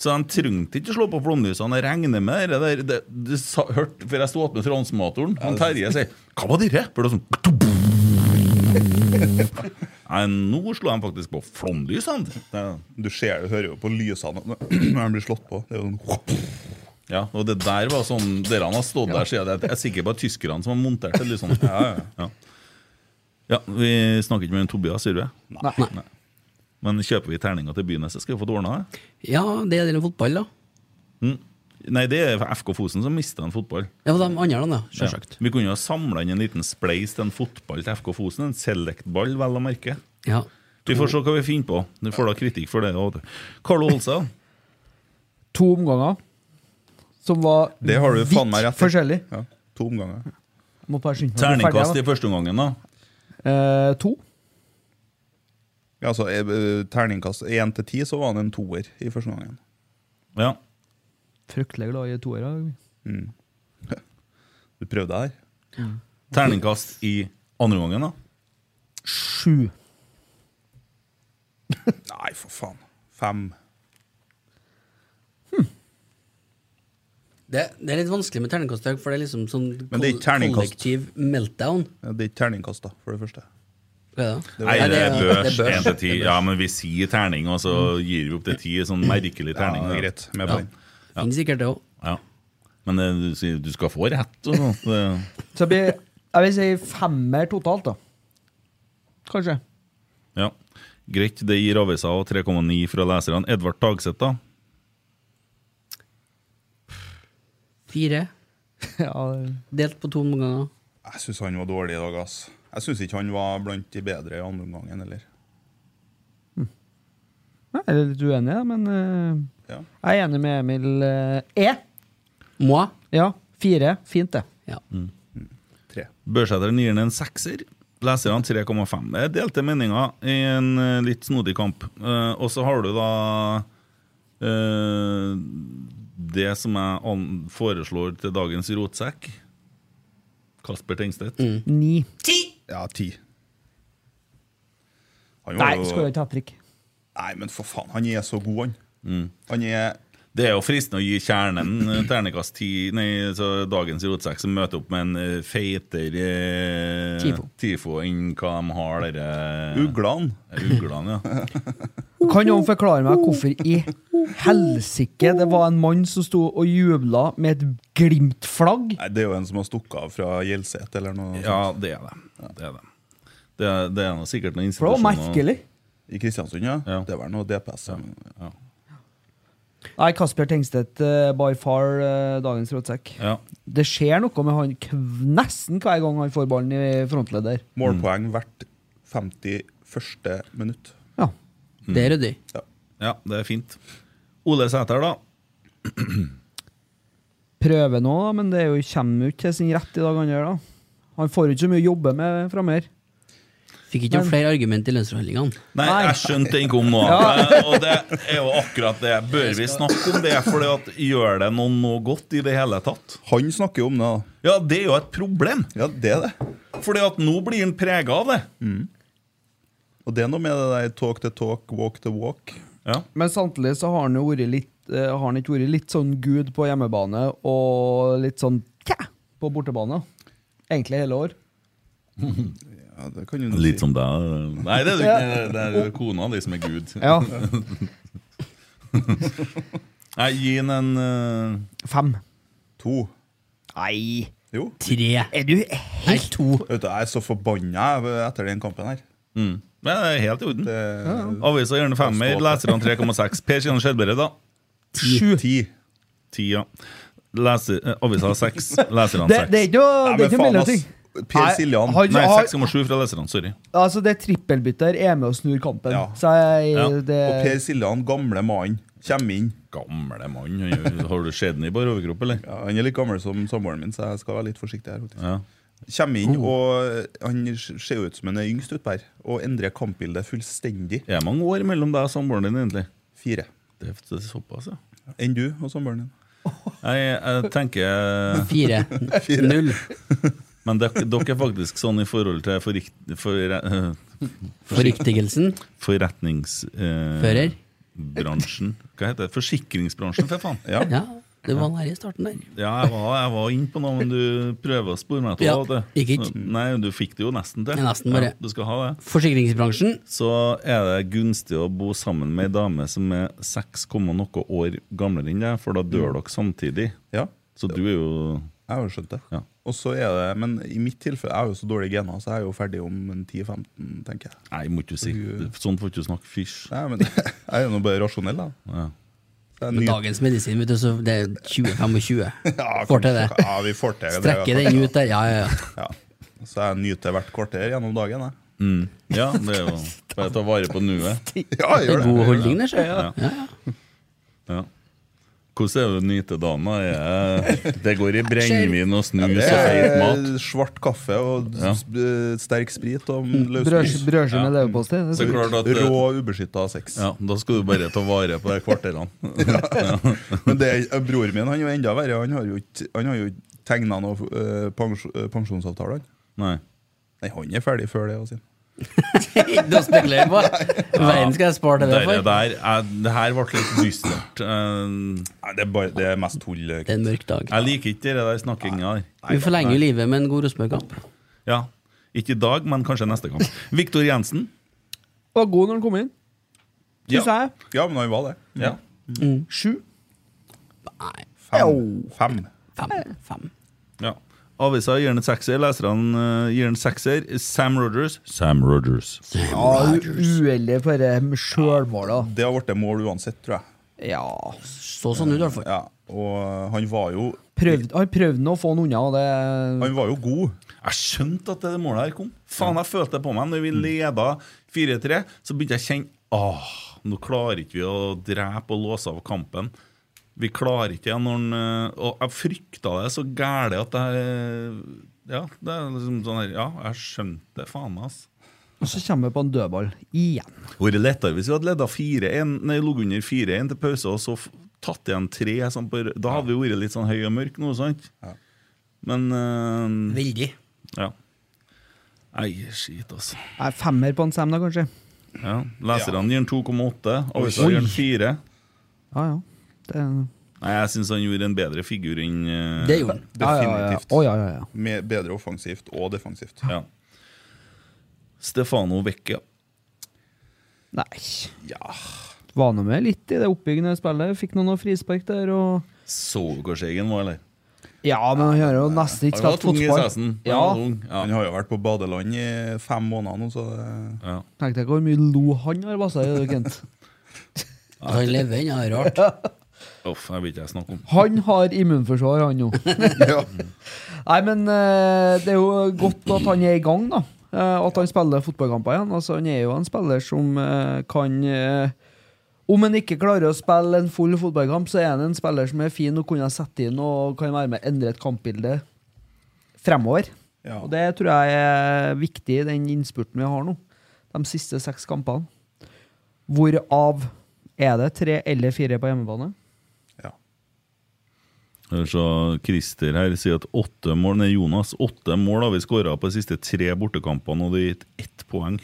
Så de trengte ikke å slå på flomlysene. Jeg regner med det der. Det, det sa, hørte, for jeg sto attmed transmotoren, og Terje sier 'Hva var det?' For det var sånn Nei, nå slo de faktisk på flomlysene.
Du ser, du hører jo på lysene når de blir slått på. Det er jo sånn
Ja, og det der var sånn Dere har stått der siden det- Jeg er sikker på at tyskerne som har montert det. Liksom. Ja, ja. ja, Vi snakker ikke med Tobias, gjør vi?
Nei.
Men kjøper vi terninga til Byneset, skal vi få det ordna?
Ja, det er det med fotball, da.
Mm. Nei, det er FK Fosen som mista en fotball.
Ja,
Mm.
de andre, da. Selvsagt.
Ja. Vi kunne jo ha samla inn en liten spleis til en fotball til FK Fosen. En select-ball, vel å merke.
Ja.
Vi får se hva vi finner på. Du får da kritikk for det. og- Carlo Olsa.
To omganger som var
Det har du faen meg rett i.
forskjellig.
To omganger.
Må bare skynde meg. Ferdig,
Terningkast i
jeg,
første omgangen, da.
da. Eh, to.
Ja, altså, eh, eh, terningkast 1 til 10, så var han en toer i første gangen.
Ja.
Fryktelig glad i toere.
Mm. Du prøvde her.
Terningkast i andre omgangen, da.
Sju.
Nei, for faen. Fem.
Det, det er litt vanskelig med terningkast, Haug, for det er liksom sånn
Men det er ikke
kol-
terningkast.
kollektiv meltdown.
Ja, det er ikke terningkast, da, for det første.
Hva er det?
Det var-
Nei,
Nei,
det er
det er
børs.
børs.
En til ti. Ja, men vi sier terning, og så gir vi opp til ti. Sånn merkelig terning.
Ja,
da.
greit. Med på den.
Finnes sikkert det òg.
Ja. Men eh, du, sier du skal få rett og sånt. Det-
Så det blir, jeg vil si femmer totalt, da. Kanskje.
Ja. Greit, det gir avisa og 3,9 fra leserne. Edvard Tagseth, da?
Fire.
Ja,
Delt på to omganger.
Jeg syns han var dårlig i dag, ass. Jeg syns ikke han var blant de bedre i andre omgangen, eller?
Hm. jeg er litt uenig, da, men eh,
Ja.
jeg er enig med Emil eh, E.
Moi.
Ja, fire. Fint, det.
Ja.
Mm. Tre.
Børsæteren gir den en sekser. Leserne 3,5. Det er delte meninger i en eh, litt snodig kamp. Eh, og så har du da eh, det som jeg an- foreslår til dagens rotsekk. Kasper Tengstedt.
Ni.
Ja, ti. Han var
Nei,
jo-
skåra ikke hat trick.
Nei, men for faen, han er så god, han. Han er
Mm. Det er jo fristende å gi kjernen eh, ternekast 10 Nei, så dagens rotsekk som møter opp med en eh, feitere eh,
Tifo.
tifo enn hva de har der eh,
Uglene.
Uglene, ja.
Kan noen forklare meg hvorfor i helsike det var en mann som sto og jubla med et Glimt-flagg?
Nei, det er jo en som har stukket av fra Gjelset eller noe
Ja,
sånt.
det er det. Det er det. Det er, det er noe sikkert noen
For det var
institusjoner
merkelig.
I Kristiansund, ja.
Ja.
Det var noe DPS. Ja.
Nei, Kasper Tengstedt, eh, by far eh, dagens rådsekk.
Ja.
Det skjer noe med han kv nesten hver gang han får ballen i frontleder.
Målpoeng hvert 51. minutt.
Ja.
Det er ryddig.
Ja.
ja, det er fint. Ole Sæter, da.
Prøver nå, da, men det er jo, kommer jo ikke til sin rett i dag. Han gjør da. Han får jo ikke så mye å jobbe med framover.
Fikk ikke noen flere argument i lønnsforhandlingene.
Nei,
Nei.
jeg skjønte ikke om noe. Eh, Og det er jo akkurat det. Bør vi snakke om det? For gjør det noen noe godt i det hele tatt?
Han snakker jo om det, da.
Ja, det er jo et problem.
Ja, det er det. Mm.
Fordi at nå blir han prega av det.
Og det er noe med det der talk to talk, walk to walk.
Ja.
Men samtidig så har han jo vært litt eh, Har han ikke vært litt sånn gud på hjemmebane og litt sånn tja på bortebane. Egentlig hele år.
Ja, det kan du
Litt som deg. Nei, det er, det ikke. det er jo kona di som er Gud.
Ja,
Nei, gi han en eh,
Fem.
To.
Nei,
Jo.
Tre.
er du
Nei, to.
Vet du, jeg er så forbanna jeg etter den kampen her.
mm. Nei, det er helt i orden.
Det er
Avisa gjerne femmer, leserne 3,6. Per Kjenner Skjelbred, da.
sju. Ti.
Ti, ja. Leser, eh, avisa har seks, leserne
Det, det er
seks.
ikke noe
Nei,
det
men
er ikke noe
faen,
mellomting.
ass. Per
Nei,
Siljan.
han-
Nei,
har-
6,7 fra leserne. Sorry.
Altså, det trippelbytter er med og snur kampen.
Ja.
Så jeg,
Ja,
det,
Og Per Siljan, gamle mannen, kommer inn.
Gamle mann. Har du sett den i bare overkropp, eller?
Ja, han er litt gammel som samboeren min, så jeg skal være litt forsiktig her. faktisk.
Ja.
Kommer inn, og han ser jo ut som han er yngst utpå her, og endrer kampbildet fullstendig.
Det er mange år mellom deg og samboeren din, egentlig.
Fire.
Det er, det er såpass, ja.
Enn du og samboeren din.
Jeg, jeg tenker
Fire. Fire. Null.
Men dere, dere er faktisk sånn i forhold til forrikt, for, eh,
Forriktigelsen?
Forretnings... eh,
Fører?
Bransjen. Hva heter det? Forsikringsbransjen, for faen. Ja,
Ja, det var nær i starten der.
ja jeg, var, jeg var inne på noe, men du prøver å spore meg til
Ja,
det.
gikk ikke.
Så- Nei, du fikk det jo nesten til.
Ja, nesten bare.
Ja, du skal ha det.
Forsikringsbransjen?
Så er det gunstig å bo sammen med ei dame som er seks komma noe år gamlere enn deg, for da dør dere samtidig.
Ja.
Så du er jo
Jeg har jo skjønt det.
Ja.
Og så er det, Men i mitt tilfelle, jeg har jo så dårlige gener, så jeg er jo ferdig om en 10-15, tenker jeg.
Nei, må ikke si Sånn får ikke du snakke fysj.
Nei, men Jeg er jo nå bare rasjonell, da.
Ja.
Så jeg
Med
nyt-
dagens medisin, vet du, så det er 20-25.
Ja,
Får til det.
kanskje- Ja, vi får til det.
Strekker den ut der, ja, ja, ja.
Ja. Så jeg nyter hvert kvarter gjennom dagen. Jeg.
Mm. Ja, det er jo bare ta vare på nuet.
Ja, jeg
Det er
gjør det.
god holdning, det ser jeg.
Ja. Ja. Hvordan er det å nyte dagen? da? Er- Det går i brennevin og snus og
Det
feit mat.
eh,
er svart kaffe og
Ja.
s- eh, sterk sprit og
Brødskive
løsbrus.
Ja.
med leverpostei. det
Så
skal-
klart at eh,
Rå, ubeskytta sex.
ja, Da skal du bare ta vare på de kvarterene.
Men det, er- eh, broren min han er jo enda verre. Han har jo, ikke- han har jo tegna noen eh, pens, eh, pensjonsavtaler. han.
Nei.
Nei, han er ferdig før det. altså. Også.
Du spekulerer på Verden skal jeg spare til det
Dere
for.
der, er- det her ble litt dystert. Eh,
Nei, det, er bare, det er mest tull. eh,
Det er en mørk dag.
Jeg liker ikke det der snakkinga der.
Vi forlenger jo livet med en god Rosenborg-kamp.
Ja. Ikke i dag, men kanskje neste kamp. Viktor Jensen.
Var god når han kom inn. Syns
Ja.
jeg.
Ja, men han var det.
Ja.
Sju.
Nei,
Fem. Fem.
fem. fem.
Ja. Avisa gir den en sekser, leserne eh, gir den en sekser. Sam Rogers. Sam Rogers.
Ja, uheldig for eh, det med sjølmålet.
Det har blitt mål uansett, tror jeg.
Ja.
Så sånn ut, i hvert fall.
Ja. Og han var jo
Prøvd, han prøvde nå å få han unna, og det
Han var jo god.
Jeg skjønte at det målet her kom. Faen, jeg følte det på meg. Når vi leda 4-3, så begynte jeg å kjenne Åh, nå klarer ikke vi å drepe og låse av kampen. Vi klarer ikke igjen når den eh, Og jeg frykta det så gæli at jeg eh, Ja, det er liksom sånn her Ja, jeg skjønte det, faen meg, altså.
Og så kommer vi på en dødball. Igjen.
Vært lettere hvis vi hadde leda 4-1, nei, ligget under 4-1 til pause og så f- tatt igjen tre. Sånn på, r- da hadde vi vært litt sånn høy og mørk nå, sant? Men eh,
Veldig.
Ja. Nei, skit, altså.
Nei, Femmer på en Sam, da, kanskje.
Ja. Leserne gir den 2,8, avisa
Oi.
gir den 4.
Ja, ja. Det,
Nei, jeg syns han gjorde en bedre figur enn eh,
Det gjorde han.
ja, ja, ja.
Definitivt.
Å, ja, ja, ja.
Med bedre offensivt og defensivt.
Ja. Stefano Vecchia.
Nei. Var nå med litt i det oppbyggende spillet. Fikk noen noe frispark der, og
Så du hvor skjegg han var, eller?
Ja, men han har jo nesten ikke
Han var
spilt
tung i
fotball.
sveisen.
Ja.
Han var tung, Ja.
Han har jo vært på badeland i fem måneder nå, så eh, det-
Ja.
Tenk deg hvor mye lo han har vassa i, Kent.
At han lever ennå, er rart.
Uff, jeg vil ikke jeg snakke om.
Han har immunforsvar, han nå. Nei, men eh, det er jo godt at han er i gang, da. Eh, at han spiller fotballkamper igjen. Altså, han er jo en spiller som eh, kan eh, Om han ikke klarer å spille en full fotballkamp, så er han en spiller som er fin å kunne sette inn og kan være med å endre et kampbilde fremover.
Ja.
Og det tror jeg er viktig i den innspurten vi har nå. De siste seks kampene. Hvorav er det tre eller fire på hjemmebane?
ja.
Eller Så Christer her sier at åtte mål Nei, Jonas, åtte mål har vi skåra på de siste tre bortekampene, og det er gitt ett poeng.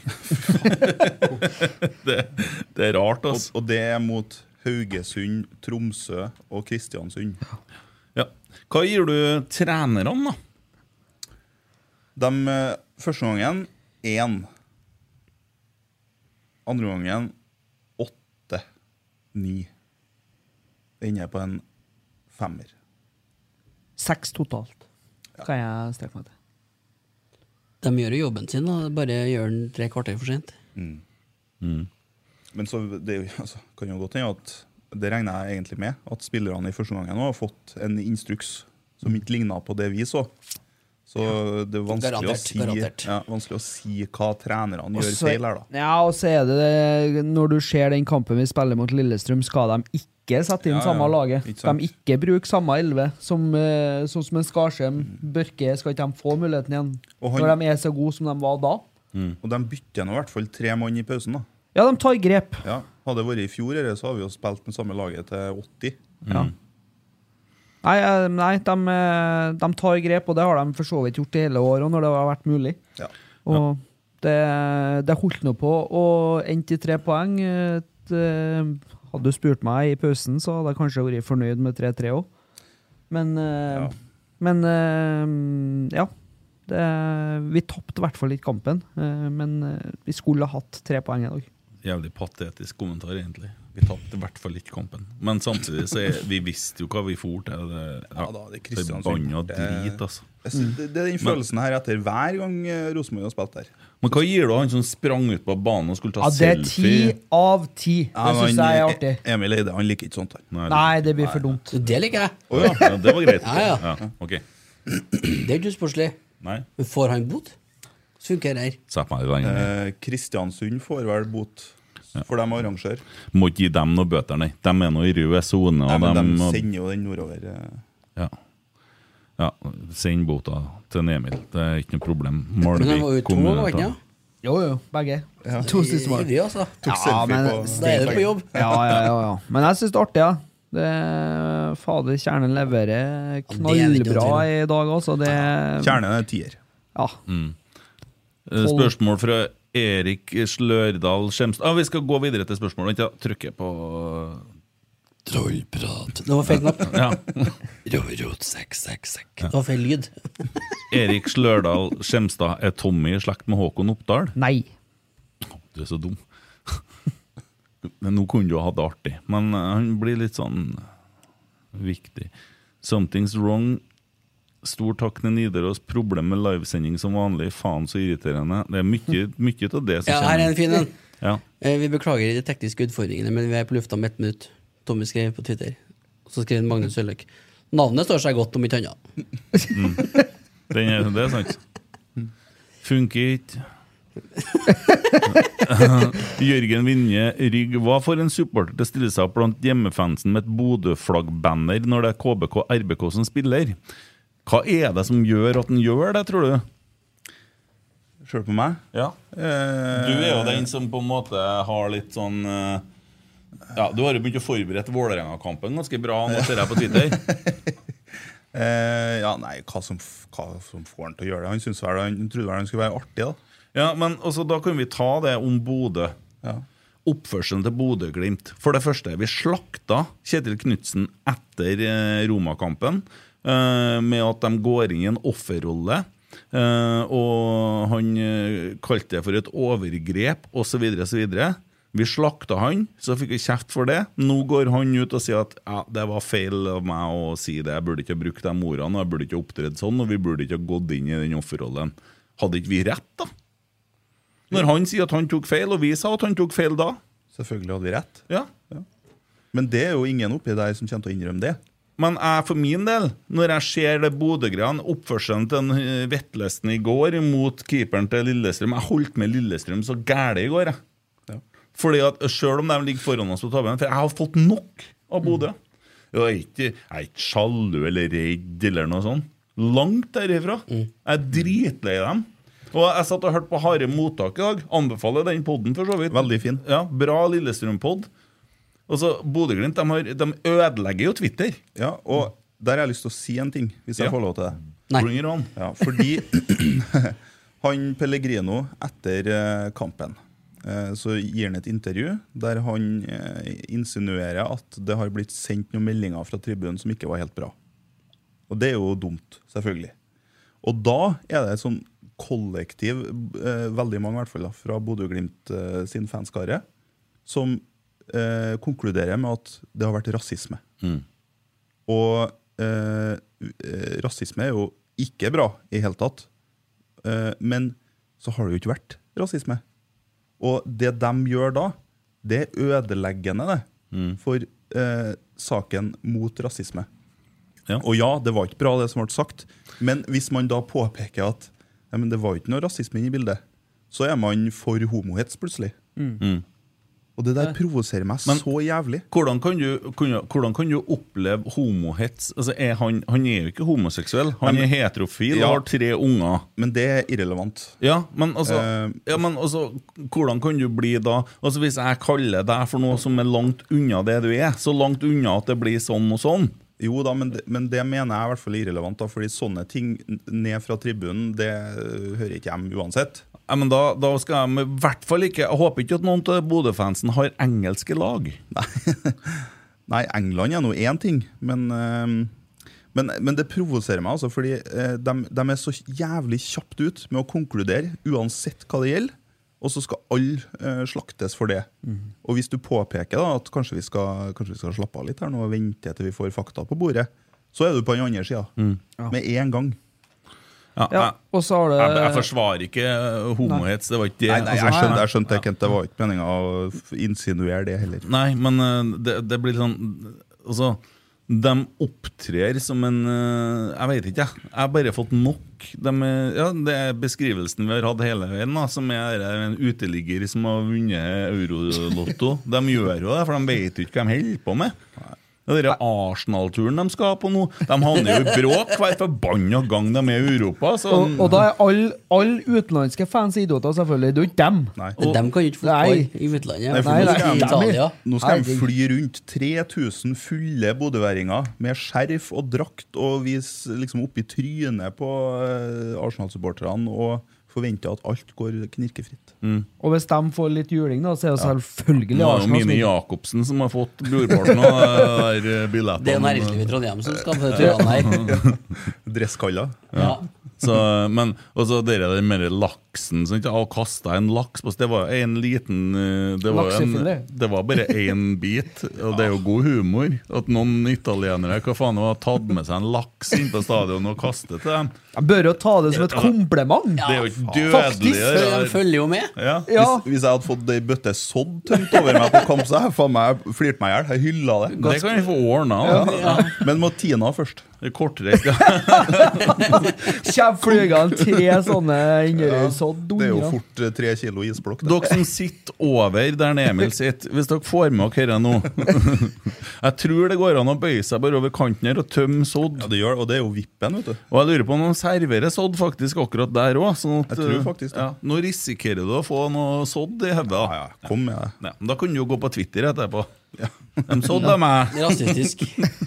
det, det er rart,
Og,
altså.
og det er mot Haugesund, Tromsø og Kristiansund.
Ja. Hva gir du trenerne, da?
De eh, første gangen én. Andre gangen åtte. Ni. Det ender jeg på en femmer.
Seks totalt, kan jeg strekke meg til.
De gjør jo jobben sin, og bare gjør den tre kvarter for sent.
Men så det er jo, altså, kan jo godt hende at det regner jeg egentlig med, at spillerne i første gangen nå har fått en instruks som ikke ligna på det vi så. Så det er vanskelig,
Garantert,
å,
garantert.
si, ja, vanskelig å si hva trenerne gjør
så-
feil her, da.
Ja, og så er det det Når du ser den kampen vi spiller mot Lillestrøm, skal de ikke sette inn
Ja, ja,
samme laget.
ikke sant.
de ikke bruke samme elleve, som, eh, sånn som en Skarsheim, Børke Skal ikke de få muligheten igjen,
Og han- Mm.
når de er så gode som de var da?
Og de bytter nå i hvert fall tre mann i pausen, da.
Ja, de tar grep.
Ja, hadde det vært i fjor, eller, så hadde vi jo spilt med samme laget til 80.
Ja. Nei, eh, nei de, eh, de tar grep, og det har de for så vidt gjort i hele året når det har vært mulig.
Ja.
Og det, det holdt nå på og endte i tre poeng. Et, eh, hadde du spurt meg i pausen, så hadde jeg kanskje vært fornøyd med 3-3 òg. Men, eh, men eh, ja. Det, vi tapte i hvert fall ikke kampen, eh, men eh, vi skulle ha hatt tre poeng i dag.
Jævlig patetisk kommentar, egentlig. Vi tapte i hvert fall ikke kampen. Men samtidig så er, vi visste jo hva vi for til. Det, ja,
da, det er Kristiansund.
Forbanna
Det-
drit, altså.
Jeg
Mm.
synes Det, det er den følelsen her etter hver gang eh, Rosenborg har spilt der.
Men hva gir du han som sprang ut på banen og skulle ta
Ja, det er ti
selfie?
av ti. Det
men han-
syns jeg er artig.
Emil Eide han liker ikke sånt. her
Nei, det blir for dumt.
Det liker jeg.
Å ja. ja, det var greit.
Ja, ja.
ok.
Det er ikke sportslig.
Nei,
Men får han bot, så funker det her.
sett meg i veien.
Eh, Kristiansund får vel bot for dem arrangør.
Må ikke gi dem noe bøter, nei. De er nå i rød sone.
Nei,
og
men
dem-
de
og-
sender jo den nordover. eh.
Ja. ja. Send bota til en Emil. Det er ikke noe problem.
Men han var jo
Malvik
to, var
kommune.
han ikke?
tar-
ja?
Jo, jo, begge. To siste mål.
Ivrig, altså.
Tok
Ja,
selfie
men-
på
Da er det på jobb.
Ja, ja, ja, ja. Men jeg syns det er artig, ja. Det, fader, Kjernen leverer knallbra i dag, altså. Det
Kjernen er tier.
Ja.
Eh, Spørsmål fra Erik Slørdal Skjemstad. Ah, vi skal gå videre til spørsmål. Vent, ja. Trykker på
Trollprat. Det var feil knapp.
ja.
Rorot, sekk, sekk, sekk. Det var feil lyd.
Erik Slørdal Skjemstad. Er Tommy i slekt med Håkon Oppdal?
Nei.
Du er så dum. Men nå kunne du ha hatt det artig. Men eh, han blir litt sånn viktig. Something's wrong. Stor takk til Nidaros. Problem med livesending som vanlig. Faen så irriterende. Det er mye, mye av det som
Ja, her er en fin en.
Ja.
Eh, Vi beklager de tekniske utfordringene, men vi er på lufta om ett minutt. Tommy skrev på Twitter. Og så skrev Magnus Søløk. Navnet står seg godt, om ikke annet.
Den er, det er sant. Funker ikke. Jørgen Vinje Rygg, hva får en supporter til å stille seg opp blant hjemmefansen med et Bodø-flaggbanner når det er KBK RBK som spiller? Hva er det som gjør at den gjør det, tror du?
Sjøl på meg. Eh,
Ja. Du er jo den som på en måte har litt sånn eh, Ja, du har jo begynt å forberede Vålerenga-kampen ganske bra, nå ser jeg på Twitter.
Eh, ja, nei, hva som, f- hva som får han til å gjøre det? Han, synes vel, han trodde vel han skulle være artig, da.
Ja, men også, Da kan vi ta det om Bodø.
Ja.
oppførselen til Bodø-Glimt. For det første, vi slakta Kjetil Knutsen etter eh, Roma-kampen eh, med at de går inn i en offerrolle. eh, og han eh, kalte det for et overgrep, osv., osv. Vi slakta han, så fikk vi kjeft for det. Nå går han ut og sier at ja, det var feil av meg å si det, jeg burde ikke ha brukt de ordene, og jeg burde ikke ha opptredd sånn, og vi burde ikke ha gått inn i den offerrollen. Hadde ikke vi rett, da? Når han sier at han tok feil, og vi sa at han tok feil da.
Selvfølgelig hadde vi rett.
Ja.
Men det er jo ingen oppi der som kommer til å innrømme det.
Men jeg for min del, når jeg ser det Bodø-greiene, oppførselen til den, eh, Vetlesen i går mot keeperen til Lillestrøm Jeg holdt med Lillestrøm så gæle i går, jeg.
Ja.
Fordi at Sjøl om de ligger foran oss på tabellen, for jeg har fått nok av Bodø.
Mm.
Jeg er ikke, jeg er ikke sjalu eller redd eller noe sånt. Langt derifra.
Mm.
Jeg er dritlei dem. Og jeg satt og hørte på Harde Mottak i dag. Anbefaler den poden, for så vidt.
Veldig fin.
Ja, Bra Lillestrøm-pod. Og så Bodø-Glimt de, har- de ødelegger jo Twitter.
Ja, og der har jeg lyst til å si en ting, hvis jeg
Ja.
får lov til det.
Nei.
Bring it on.
Ja, fordi han Pellegrino, etter eh, kampen, eh, så gir han et intervju der han eh, insinuerer at det har blitt sendt noen meldinger fra tribunen som ikke var helt bra. Og det er jo dumt, selvfølgelig. Og da er det et sånn kollektiv, eh, veldig mange i hvert fall, da, fra Bodø-Glimt eh, sin fanskare, som eh, konkluderer med at det har vært rasisme. Og eh, eh, rasisme er jo ikke bra i hele tatt. Eh, men så har det jo ikke vært rasisme. Og det de gjør da, det er ødeleggende det, for eh, saken mot rasisme.
Ja.
Og ja, det var ikke bra, det som ble sagt, men hvis man da påpeker at ja, men det var jo ikke noe rasisme inne i bildet, så er man for homohets plutselig. Og det der provoserer meg så jævlig.
Hvordan kan, du, kunne- hvordan kan du oppleve homohets? Altså er han, han er jo ikke homoseksuell. Han er heterofil
Ja.
og har tre unger.
Men det er irrelevant.
Ja, men altså,
Eh.
ja, men altså Hvordan kan du bli da Altså Hvis jeg kaller deg for noe som er langt unna det du er, så langt unna at det blir sånn og sånn,
Jo da, men det, men det mener jeg er i hvert fall er irrelevant, da, fordi sånne ting n- ned fra tribunen Det øh, hører ikke hjem uansett.
Ja, men da, da skal de i hvert fall ikke Jeg håper ikke at noen av Bodø-fansen har engelske lag.
Nei, England er nå én ting, men, eh, men, men det provoserer meg, altså, fordi eh, de, de er så jævlig kjapt ut med å konkludere, uansett hva det gjelder. Og så skal alle eh, slaktes for det.
Mhm.
Og hvis du påpeker da, at kanskje vi, skal, kanskje vi skal slappe av litt her nå og vente til vi får fakta på bordet, så er du på den andre sida.
Mm.
Med én gang.
Ja,
Ja, og så har du
Jeg, jeg forsvarer ikke eh, homohets, det var ikke det.
Nei, nei, jeg
Altså,
skjønte, jeg skjønte ikke at det var ikke meninga å f- insinuere det heller.
Nei, men eh, det, det blir sånn Altså, de opptrer som en eh, Jeg vet ikke, jeg. Jeg har bare fått nok. De, er- ja, det er beskrivelsen vi har hatt hele veien, da, som er eh, en uteligger som har vunnet Eurolotto. De gjør jo det, for de vet jo ikke hva de holder på med. Det er Arsenal-turen de skal på nå. De havner jo i bråk hver forbanna gang de er i Europa. Så,
Og, og da er alle all utenlandske fans idioter, selvfølgelig. Det er jo ikke dem.
Nei.
Men dem kan jo ikke fotball
Nei.
i utlandet.
Nei, for
Nei,
nå,
nei,
skal
I
nei.
Italia.
de, nå skal de
Herregud.
fly rundt 3000 fulle bodøværinger med skjerf og drakt og vise liksom opp i trynet på eh, Arsenal-supporterne og forvente at alt går knirkefritt.
Og hvis de får litt juling, da, så er det selvfølgelig
Nå er jo
Arsenal. som
Mine
vinner.
Jacobsen som har fått brorparten av eh, der, eh, billettene.
Det er næringslivet i Trondheim som skal på de turene her.
Dresskaller.
Ja.
Så, men og så dere der mer laksen sånn, sant? Å kaste en laks på Det var en liten eh, Det var, en,
Laksefilet.
det var bare én bit, og det er jo god humor. At noen italienere hva faen, har tatt med seg en laks inn på stadion og kastet til dem.
De bør jo ta det som et kompliment.
Det er jo ikke
Faktisk,
dødelig. det
For de
der.
følger jo med.
Ja.
Ja,
Hvis, hvis jeg hadde fått ei bøtte sodd tømt over meg på kamp, så hadde jeg faen meg flirt meg i hjel. Jeg hylla det.
Det kan vi få ordna.
Ja. Men må Tina først.
Det er Kortreist.
Kommer flygende tre sånne innrøysodd
Det er jo
unger.
fort eh, tre kilo isblokk. det.
Dere som sitter over der Emil sitter, hvis dere får med dere dette nå Jeg tror det går an å bøye seg bare over kanten her og tømme sodd.
Ja, det gjør, og det er jo vippen, vet du.
Og jeg lurer på om de serverer sodd faktisk akkurat der òg. Sånn at,
Jeg tror faktisk det.
ja, nå risikerer du å få noe sodd i hodet.
Ja, ja, kom med det.
Nei, men Da kan du jo gå på Twitter etterpå. De sådde meg!
Rasistisk.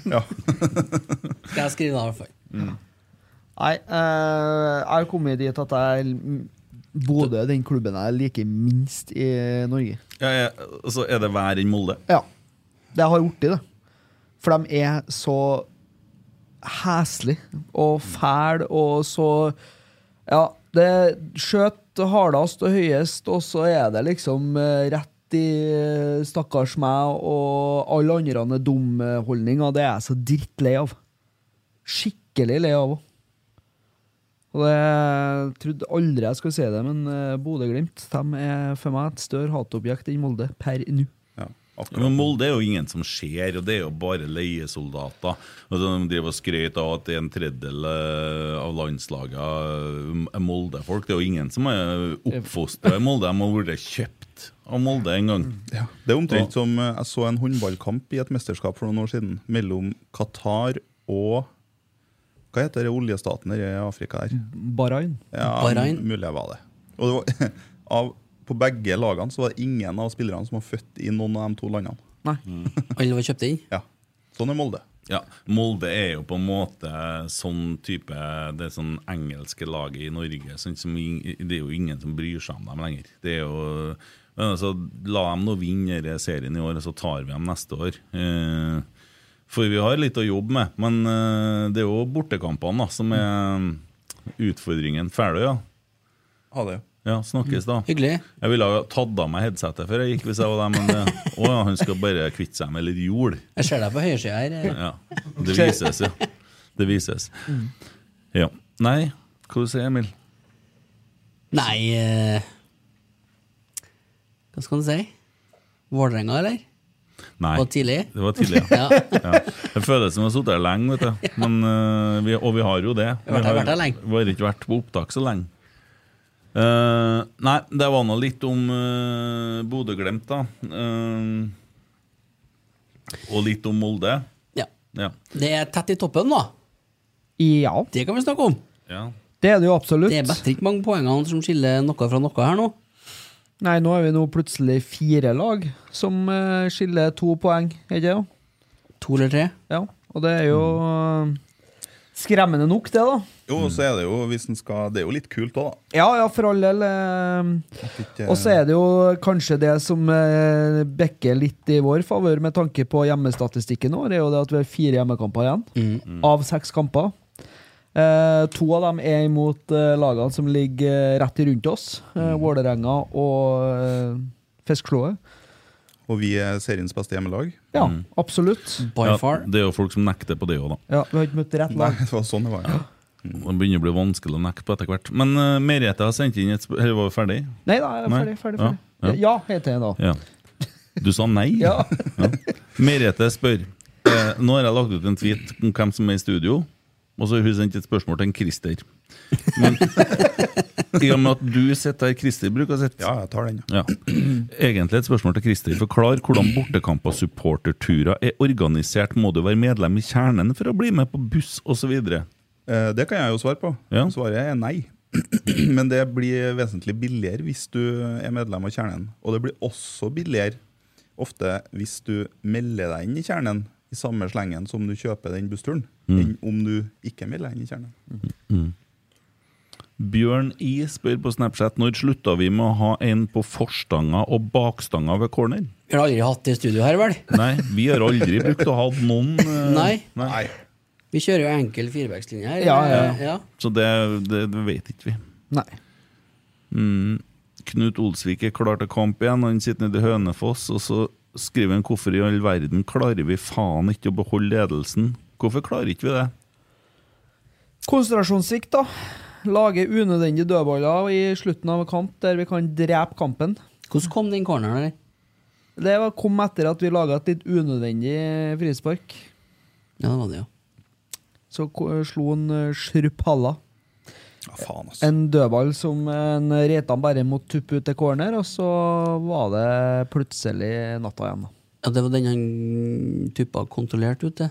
Ja.
Skal jeg skrive det, i hvert fall.
Nei, eh, jeg har kommet dit at jeg Bodø er den klubben jeg liker minst i Norge.
Ja, ja, så er det hver enn Molde.
Ja. Det har gjort i det. For de er så heslige og fæle og så Ja, det er skjøt hardest og høyest, og så er det liksom eh, rett i eh, stakkars meg og alle andre dum-holdninga. Det er jeg så drittlei av. Skikkelig lei av òg. Og det, jeg trodde aldri jeg skulle si det, men eh, Bodø-Glimt de er for meg et større hatobjekt enn Molde per nå.
Ja, akkurat.
Men Molde er jo ingen som ser, og det er jo bare leiesoldater. Og så De driver og skryter av at en tredjedel eh, av landslagene er Molde-folk. Det er jo ingen som er oppfostra i Molde. De har vært kjøpt av Molde en gang.
Det er omtrent som eh, jeg så en håndballkamp i et mesterskap for noen år siden mellom Qatar og Hva heter det oljestaten der i Afrika her?
Bahrain.
Ja,
Bahrain?
m- Mulig jeg var det. Og det var, av, på begge lagene så var det ingen av spillerne som var født i noen av de to landene.
Nei.
Alle var kjøpt inn.
Ja, Sånn er Molde.
Ja, Molde er jo på en måte sånn type Det sånn engelske laget i Norge. Sånn som, ing- det er jo ingen som bryr seg om dem lenger. Det er jo men altså, La dem nå vinne denne serien i år, og så tar vi dem neste år. Eh, for vi har litt å jobbe med. Men eh, det er jo bortekampene da, som er utfordringen. Ferdig, ja.
Ja, det.
Ja, snakkes da.
Hyggelig.
Jeg ville ha tatt av meg headsetet før jeg gikk, hvis jeg var der, men eh, å ja, han skal bare kvitte seg med litt jord.
Jeg ser deg på høyresida her.
Ja, det vises, ja. Det vises. Ja. Nei, hva du sier Emil?
Nei eh, Hva skal en si? Vålerenga, eller?
Nei.
Var tidlig?
Det var tidlig, ja.
Ja.
ja. Det føles som vi har sittet her lenge, vet du. Men, eh, vi, og vi har jo det.
Vi har vært her- vært her lenge.
Vi har ikke vært på opptak så lenge. Eh, nei, det var nå litt om uh, Bodø-Glimt, da. Eh, og litt om Molde.
ja.
Ja.
Det er tett i toppen, da.
Ja,
Det kan vi snakke om.
ja.
det er det jo absolutt.
Det er bedre ikke mange poengene som skiller noe fra noe her nå.
Nei, nå er vi nå plutselig fire lag som eh, skiller to poeng, er det ikke det?
To eller tre.
Ja. Og det er jo Mm. skremmende nok, det, da.
Jo, og så er det jo hvis en skal Det er jo litt kult òg, da.
Ja, ja, for all del. eh,
Ikke-
Og så er det jo kanskje det som eh, bekker litt i vår favør med tanke på hjemmestatistikken vår, er jo det at vi har fire hjemmekamper igjen av seks kamper. Eh, to av dem er imot eh, lagene som ligger eh, rett i rundt oss. Eh, Vålerenga og eh, Fiskeslået.
Og vi er seriens beste hjemmelag.
Ja, absolutt.
By
Ja,
far.
det er jo folk som nekter på det òg, da.
Ja, vi har ikke møtt rett
Nei,
lag.
det var sånn det var. Ja.
Det begynner å bli vanskelig å nekte på etter hvert. Men eh, Merete har sendt inn et spørsmål Eller var vi ferdig?
Nei da, jeg er
Nei.
ferdig. ferdig,
Ja,
ferdig.
ja.
Ja, ja heter jeg da.
Ja. Du sa nei?
Ja.
Merete spør eh, Nå har jeg lagt ut en tweet om hvem som er i studio, og så har hun sendt et spørsmål til en Christer. Men i og med at du sitter her Christer bruker å sitte
ja, jeg tar den. ja.
Ja. Egentlig et spørsmål til Christer. Forklar hvordan bortekamp- og supporterturer er organisert. Må du være medlem i kjernen for å bli med på buss osv.?
Eh, Det kan jeg jo svare på.
Ja.
Svaret er nei. Men det blir vesentlig billigere hvis du er medlem av kjernen. Og det blir også billigere ofte hvis du melder deg inn i kjernen i samme slengen som du kjøper den bussturen,
Mm.
enn om du ikke melder deg inn i kjernen.
Bjørn I spør på Snapchat når slutta vi med å ha en på forstanga og bakstanga ved corner?
Vi har aldri hatt det i studio her, vel?
Nei, vi har aldri brukt å ha noen eh,
Nei.
Nei.
Vi kjører jo enkel firebackslinje her.
Ja, ja,
ja.
Så det, det, det vet ikke vi.
Nei.
Knut Olsvik er klar til kamp igjen, og han sitter nede i Hønefoss. Og så skriver han hvorfor i all verden klarer vi faen ikke å beholde ledelsen? Hvorfor klarer ikke vi det?
Konsentrasjonssvikt, da. Lage unødvendige dødballer i slutten av kamp der vi kan drepe kampen.
Hvordan kom den corneren der?
Det var- kom etter at vi laga et litt unødvendig frispark.
Ja, det var det, ja.
Så ko- slo han eh, Shrup Halla.
Ja, faen, altså.
En dødball som en Reitan bare måtte tuppe ut til corner, og så var det plutselig natta igjen. da.
Ja, Det var den han tuppa kontrollert ut, det.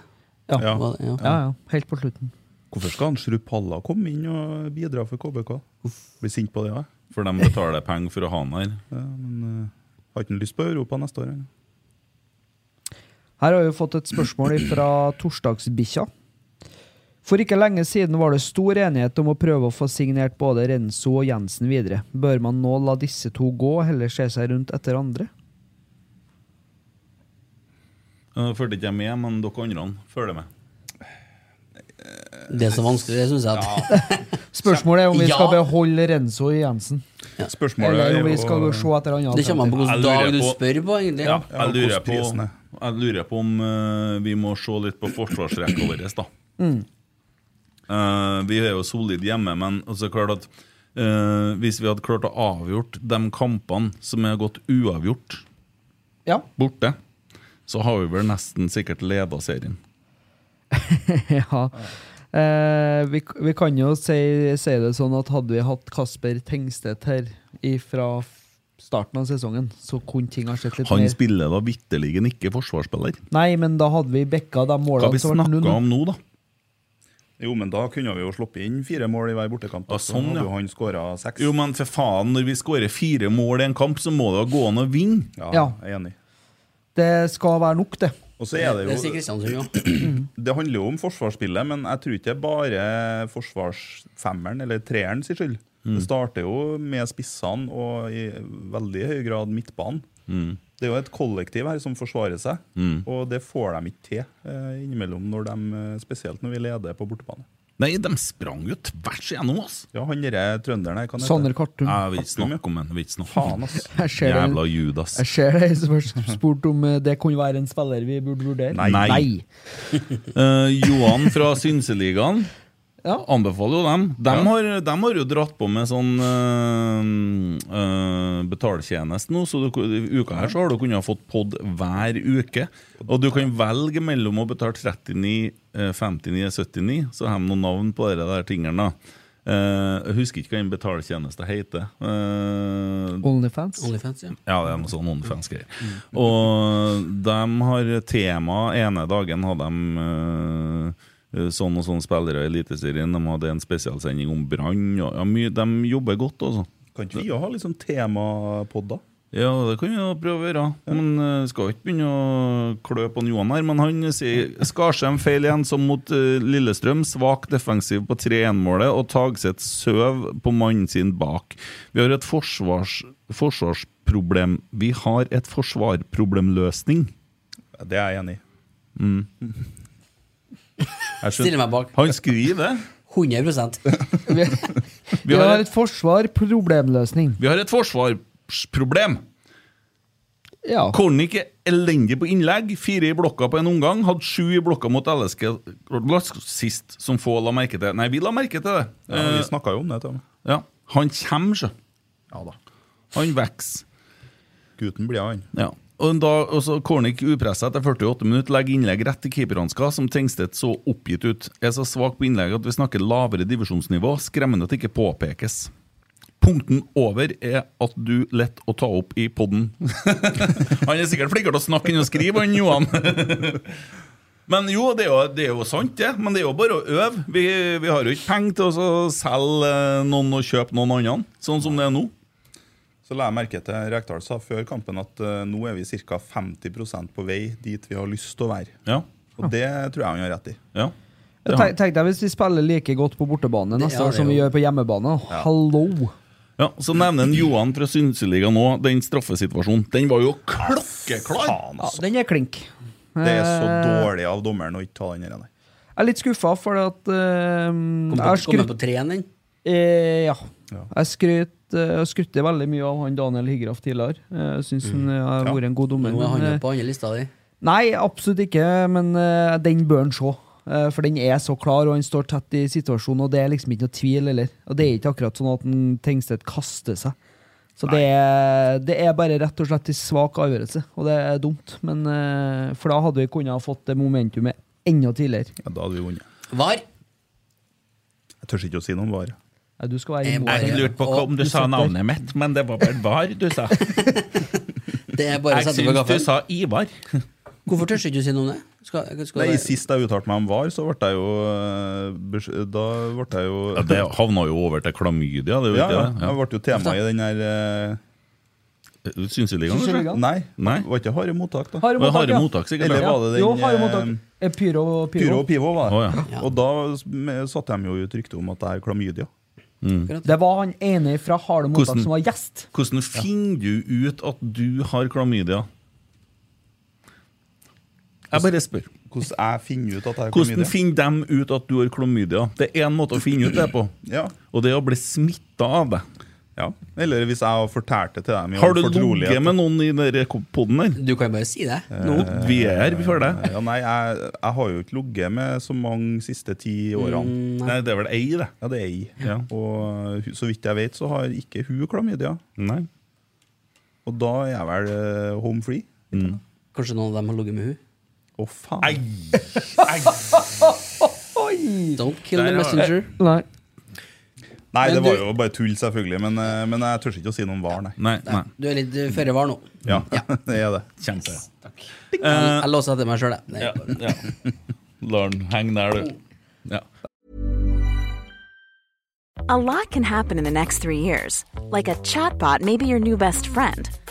Ja.
Ja.
Var det- ja.
Ja, ja. Helt på slutten.
Hvorfor skal han Shrupalla komme inn og bidra for KBK? Blir sint på det, ja.
For de betaler penger for å ha han her.
ja men eh, har ikke han lyst på Europa neste år? ja.
Her har vi fått et spørsmål fra Torsdagsbikkja. For ikke lenge siden var det stor enighet om å prøve å få signert både Renzo og Jensen videre. Bør man nå la disse to gå, og heller se seg rundt etter andre?
Nå Fulgte Eh, ikke jeg med, men dere andre følger med.
Det er så vanskelig, det syns jeg. At,
Spørsmålet er om vi
Ja.
skal beholde Renzo og Jensen.
Spørsmålet
Eller
er
om vi skal
jo
se etter andre.
det kommer an på
Jeg lurer
hvilken dag du
på-
spør på, egentlig.
Ja, jeg,
og
lurer
hvordan
på,
prisen er.
jeg lurer på om eh, vi må se litt på forsvarsrekka vår, da. Eh, vi er jo solid hjemme, men altså, klart at eh, hvis vi hadde klart å avgjort de kampene som har gått uavgjort
Ja.
borte, så har vi vel nesten sikkert leda serien.
ja. Eh, vi, vi kan jo si, si det sånn at hadde vi hatt Kasper Tengstedt her fra starten av sesongen, så kunne ting ha sett litt
Han
mer
spiller da vitterlig ikke forsvarsspiller.
Nei, men da hadde vi bekka de
Hva har
målene
vi
som ble
snakka
null.
om nå, da?
Jo, men da kunne vi jo sluppet inn fire mål i hver bortekamp.
Ja,
så
sånn,
hadde
ja.
jo han skåra seks.
Jo, men for faen, når vi skårer fire mål i en kamp, så må det jo gå an å vinne.
ja,
Ja.
Jeg er enig.
Det skal være nok, det.
Og så er det
Det sier
jo
Kristiansund òg.
Det handler jo om forsvarsspillet, men jeg tror ikke det er bare forsvarsfemmeren eller treeren sin skyld. Det starter jo med spissene og i veldig høy grad midtbanen. Det er jo et kollektiv her som forsvarer seg, og det får de ikke til eh, innimellom, når de, eh, spesielt når vi leder på bortebane.
Nei, de sprang jo tvers igjennom oss!
Ja, han derre trønderen her, hva heter
Sander
han?
Kartum.
Jeg vil ikke snakke om den. Jeg vil ikke snakke om
Faen,
den.
altså.
Jeg ser det-
Jævla Judas.
Jeg ser det som har spurt om eh, det kunne være en spiller vi burde vurdere.
Nei. Eh, Johan fra Synseligaen
Ja.
anbefaler jo dem. De, har, dem har jo dratt på med sånn uh, betaltjeneste nå, så du, i uka her så har du kunnet ha fått pod hver uke. Og du kan velge mellom å betale 39, eh, 59, 79, så har de noen navn på de der tingene. da. Eh, jeg husker ikke hva den betaltjenesten heter. Eh,
Onlyfans.
Onlyfans, ja.
ja, det er noe sånn OnlyFans-greier. Og de har tema Ene dagen hadde de eh, sånn og sånn spillere i Eliteserien. De hadde en spesialsending om Brann. og- Ja, mye- de jobber godt, altså.
Kan ikke vi jo ha litt sånn temapodder?
Ja, det kan vi jo prøve å gjøre. Men eh, skal ikke begynne å klø på en Johan her. Men han sier Skarsheim feil igjen, som mot eh, Lillestrøm. Svak defensiv på 3-1-målet, og Tagseth søv på mannen sin bak. Vi har et forsvars, forsvarsproblem. Vi har et forsvarproblemløsning.
Det er jeg enig i.
Mm. Jeg skjønner-
Stiller meg bak.
Han skriver det.
100
Vi har et forsvar, problemløsning.
Vi har et forsvarsproblem.
Ja.
Kornik er elendig på innlegg. Fire i blokka på en omgang. Hadde sju i blokka mot LSK sist, som få la merke til. Nei, vi la merke til det.
Ja, vi snakka jo om det. Tom.
Eh, ja. Han kommer, sjø. Han vokser.
Gutten blir han.
Ja. Og da, og så Kornik upressa etter 48 minutter legger innlegg rett til keeperhanska, som Tengstedt så oppgitt ut. Er så svak på innlegg at vi snakker lavere divisjonsnivå. Skremmende at det ikke påpekes. Punkten over er at du lett å ta opp i podden. han er sikkert flinkere til å snakke enn å skrive, han Johan. Men jo det, er jo, det er jo sant, det. Men det er jo bare å øve. Vi, vi har jo ikke penger til å så selge eh, noen og kjøpe noen andre, sånn som det er nå.
Så la jeg merke til Rekdal sa før kampen at eh, nå er vi ca. 50 på vei dit vi har lyst til å være.
Ja.
Og det tror jeg han har rett i.
Ja.
Jeg tenk, tenk deg hvis vi spiller like godt på bortebane
Det-
neste
ja,
år
det
som vi
jo.
gjør på hjemmebane.
Ja.
Hallo!
Ja, Så nevner en Johan fra Synseligaen nå den straffesituasjonen. Den var jo klokkeklar!
Ja, den er klink.
Det er så
Eh,
dårlig av dommeren å ikke ta den her. nei.
Jeg er litt skuffa, for at eh,
Kom
jeg har
på, kom
skrytt-
på treen, den.
Eh, ja.
Ja.
Jeg skrøt eh, skrytte veldig mye av han Daniel Hygraff tidligere. Jeg syns
Mm.
han eh, har
Ja.
vært en god dommer.
Nå er han
men, eh,
jo på andre lista di.
Nei, absolutt ikke, men eh, den bør han se. Eh, for den er så klar, og han står tett i situasjonen, og det er liksom ikke noe tvil heller. Og det er ikke akkurat sånn at en Tengstedt kaster seg. Så det er, det er bare rett og slett en svak avgjørelse, og det er dumt. Men, eh, for da hadde vi kunnet ha fått det momentumet enda tidligere.
Ja, da hadde vi vunnet.
Var.
Jeg tør ikke å si noe om var.
Ja, du skal være imot
Jeg
det.
lurte på
Og
om du sa
satt der.
navnet mitt, men det var vel VAR du sa.
Det er bare å
Jeg
sette på
syns du
gaffelen.
sa Ivar.
Hvorfor tør ikke du si noe om det? Skal, skal
Nei, Sist jeg uttalte meg om var, så ble jeg jo eh, bes- Da ble jeg jo
Ja, det havna jo over til klamydia. det er jo
Ja,
ikke
ja.
det?
Jeg ble jo tema i den her eh,
Ja. Synseligaen, kanskje?
Synseligaen.
Nei,
Nei.
det var ikke harde mottak, da.
Harde mottak,
Harde
ja.
mottak, sikkert.
Eller
Ja.
var det den
Jo, harde
eh,
mottak. Eh, Pyro og pyro.
Pyro og Pivo, var det.
Å, ja.
Ja.
Og da s- me- satte de jo ut rykte om at det er klamydia.
Mm.
Det var han ene fra Harde mottak
Hvordan-
som var gjest.
Hvordan finner du ut at du har klamydia? Jeg bare spør.
Hvordan jeg finner ut at det er
Hvordan
klamydia?
finner dem ut at du har klamydia? Det er én måte å finne ut det på,
Ja.
og det er å bli smitta av det.
ja. Eller hvis jeg har fortalt det til dem i all
Har du
fortrolighet.
ligget med noen i den poden her?
Du kan bare si det.
Nå, vi er her, vi føler det.
Ja, Eh, nei, jeg, jeg har jo ikke ligget med så mange siste ti årene.
Nei, det er vel ei, det.
Ja, det er jeg.
Ja.
Og hu- så vidt jeg vet, så har ikke hun klamydia.
Nei.
Og da er jeg vel eh, home free.
Kanskje noen av dem har ligget med hun
Å, faen.
Don't kill
Der
the
har jeg-
messenger.
Nei.
Nei,
Men
det var
du-
jo bare tull, selvfølgelig. Men, eh, men jeg tør ikke å si noe om var, nei.
Nei, nei.
Du er litt eh, føre var nå.
Ja,
Mm.
det er det.
Kjempe.
Jeg, jeg låser etter meg sjøl, jeg. Nei,
Eh, Ja, ja. La den henge der, du. Ja.
A lot can happen in the next three years. Like a chatbot may be your new best friend.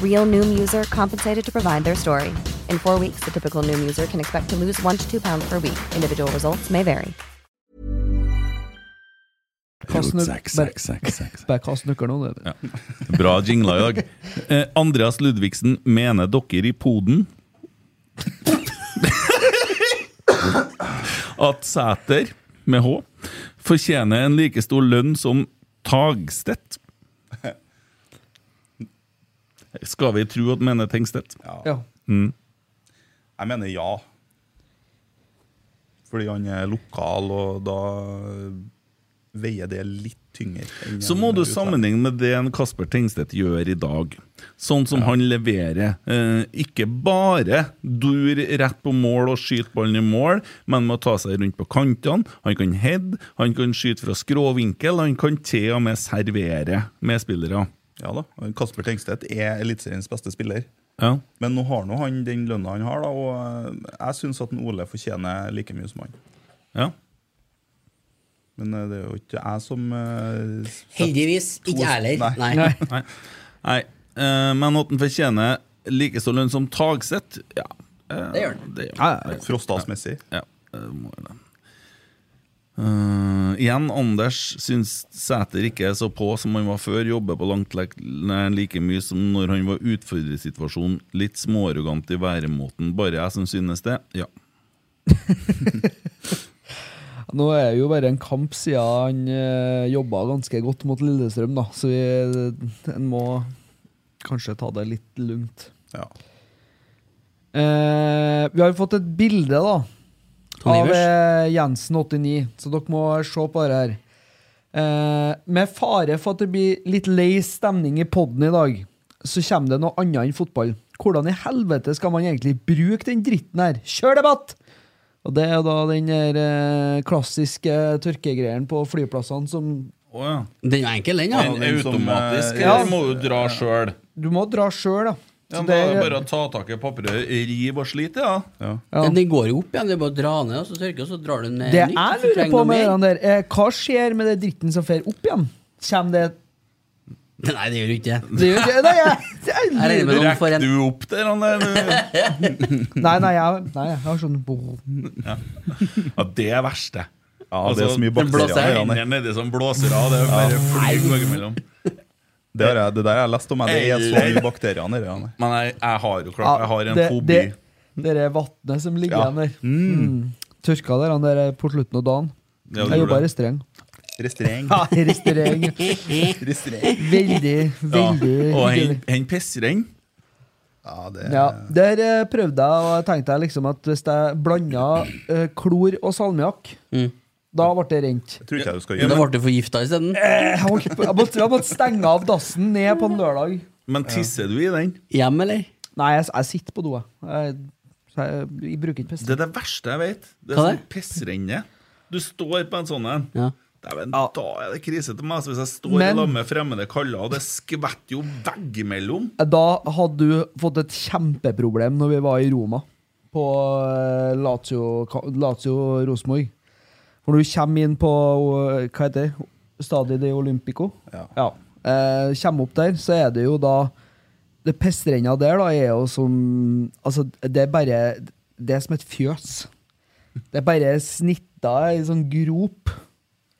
Real Noom user compensated to provide their story. In four weeks, the typical Noom user can expect to lose one to two pounds per week. Individual results may vary.
Kast nøk-
Sex,
bare-
sex, sex, sex.
Bare kast nøkkelen nå, det.
Bra jingler i dag. Eh, Andreas Ludvigsen, mener dere i poden at Sæter, med H, fortjener en like stor lønn som Tagstedt? Skal vi tro at mener Tengstedt?
Ja.
Mm.
Jeg mener ja. Fordi han er lokal, og da veier det litt tyngre. enn
Så må
en
du
utlending.
sammenligne med det en Kasper Tengstedt gjør i dag. Sånn som han leverer. Eh, ikke bare dur rett på mål og skyte ballen i mål, men med å ta seg rundt på kantene. Han kan head, han kan skyte fra skråvinkel, han kan til og med servere medspillere.
Ja da. Kasper Tengstedt er Eliteseriens beste spiller.
Ja.
Men nå har nå han den lønna han har, da, og eh, jeg syns at en Ole fortjener like mye som han.
Ja.
Men eh, det er jo ikke jeg som eh, setter
Heldigvis
to-
ikke jeg heller.
Nei.
Nei.
Nei. Nei. Eh, men at han fortjener like stor lønn som Tagseth, ja. eh,
Det gjør han.
det
Frostdalsmessig.
Ja. ja. Eh, må jo det. Eh, igjen, Anders syns Sæter ikke er så på som han var før. Jobber på langt lek- nei, like mye som når han var utfordrersituasjonen. Litt småarrogant i væremåten. Bare jeg som synes det. Ja.
Nå er det jo bare en kamp siden han øh, jobba ganske godt mot Lillestrøm, da. Så vi, en må kanskje ta det litt lugnt.
Ja.
Eh, vi har jo fått et bilde, da.
Tom
av
Ivers?
eh, Jensen89, så dere må se på det her. Eh, med fare for at det blir litt lei stemning i poden i dag, så kommer det noe annet enn fotball. Hvordan i helvete skal man egentlig bruke den dritten her? Kjør debatt! Og det er jo da den der eh, klassiske tørkegreien på flyplassene som
Å ja.
Den er jo enkel, den.
Den
ja.
er automatisk.
Ja.
Den må du dra sjøl.
Du må dra sjøl, da.
Ja,
Så
da er det
det-
bare å ta tak i papiret, riv og slite, ja.
Ja.
Den, den går jo opp igjen. Det er bare å dra ned, og så tørker, og så drar du den ned.
Det jeg
nytt, så
lurer
trenger
på
du
med
mer.
den der, eh, hva skjer med det dritten som fer opp igjen? Kjem det
Nei, det gjør du ikke.
Det gjør ikke Nei, jeg, jeg,
Jeg regner med noen får
Rekker
en
du opp der, han der? du?
nei, nei, jeg, nei, jeg har sånn
Ja, det er verst, det. Altså,
Ja, det er så mye
den blåser.
bakterier.
Hendene nedi som blåser av. Det er bare flyr mellom.
Det, har jeg- det der jeg har lest om, jeg. det er så
Eller-
mye bakterier nedi. Ja, nei.
Men jeg, jeg har jo klart Jeg har en
det,
fobi.
det, det er vannet som ligger
Ja.
igjen der. Mm. Tørka der, han der på slutten av dagen.
Ja,
jeg
du
jobba i
gjorde det.
restaurant.
Restaurant.
Ja, i restaurant.
Restaurant.
Veldig,
Ja.
veldig
Og
hyggelig.
hen- hen pisser den.
Ja, det
Ja, Der eh, prøvde jeg, og tenkte jeg liksom at hvis jeg blanda eh, klor og salmiakk,
Mm.
da ble det rent.
tror ikke jeg du skal
Da
gjøre.
ble du forgifta isteden.
Jeg, holdt på, jeg, måtte, jeg måtte stenge av dassen ned på en lørdag.
Men tisser du i den?
Hjem, eller?
Nei, jeg, jeg sitter på do, jeg. Jeg, så jeg, jeg bruker ikke
Det
pest.
er det verste jeg vet. Det er
Hva er
sånn pissrenne. Du står på en sånn en.
Ja.
Dæven, Da er det krise til meg. Altså, hvis jeg står i
Men-
lag med fremmede kaller, og det skvetter jo veggimellom.
Da hadde du fått et kjempeproblem når vi var i Roma, på eh, Lazio, ka- Lazio Rosenborg. For når du kommer inn på eh, hva heter det? Stadio de Olympico.
Ja.
Eh, kommer opp der, så er det jo da Det pestrenna der da er jo som Altså, det er bare Det er som et fjøs. Det er bare snitta i sånn grop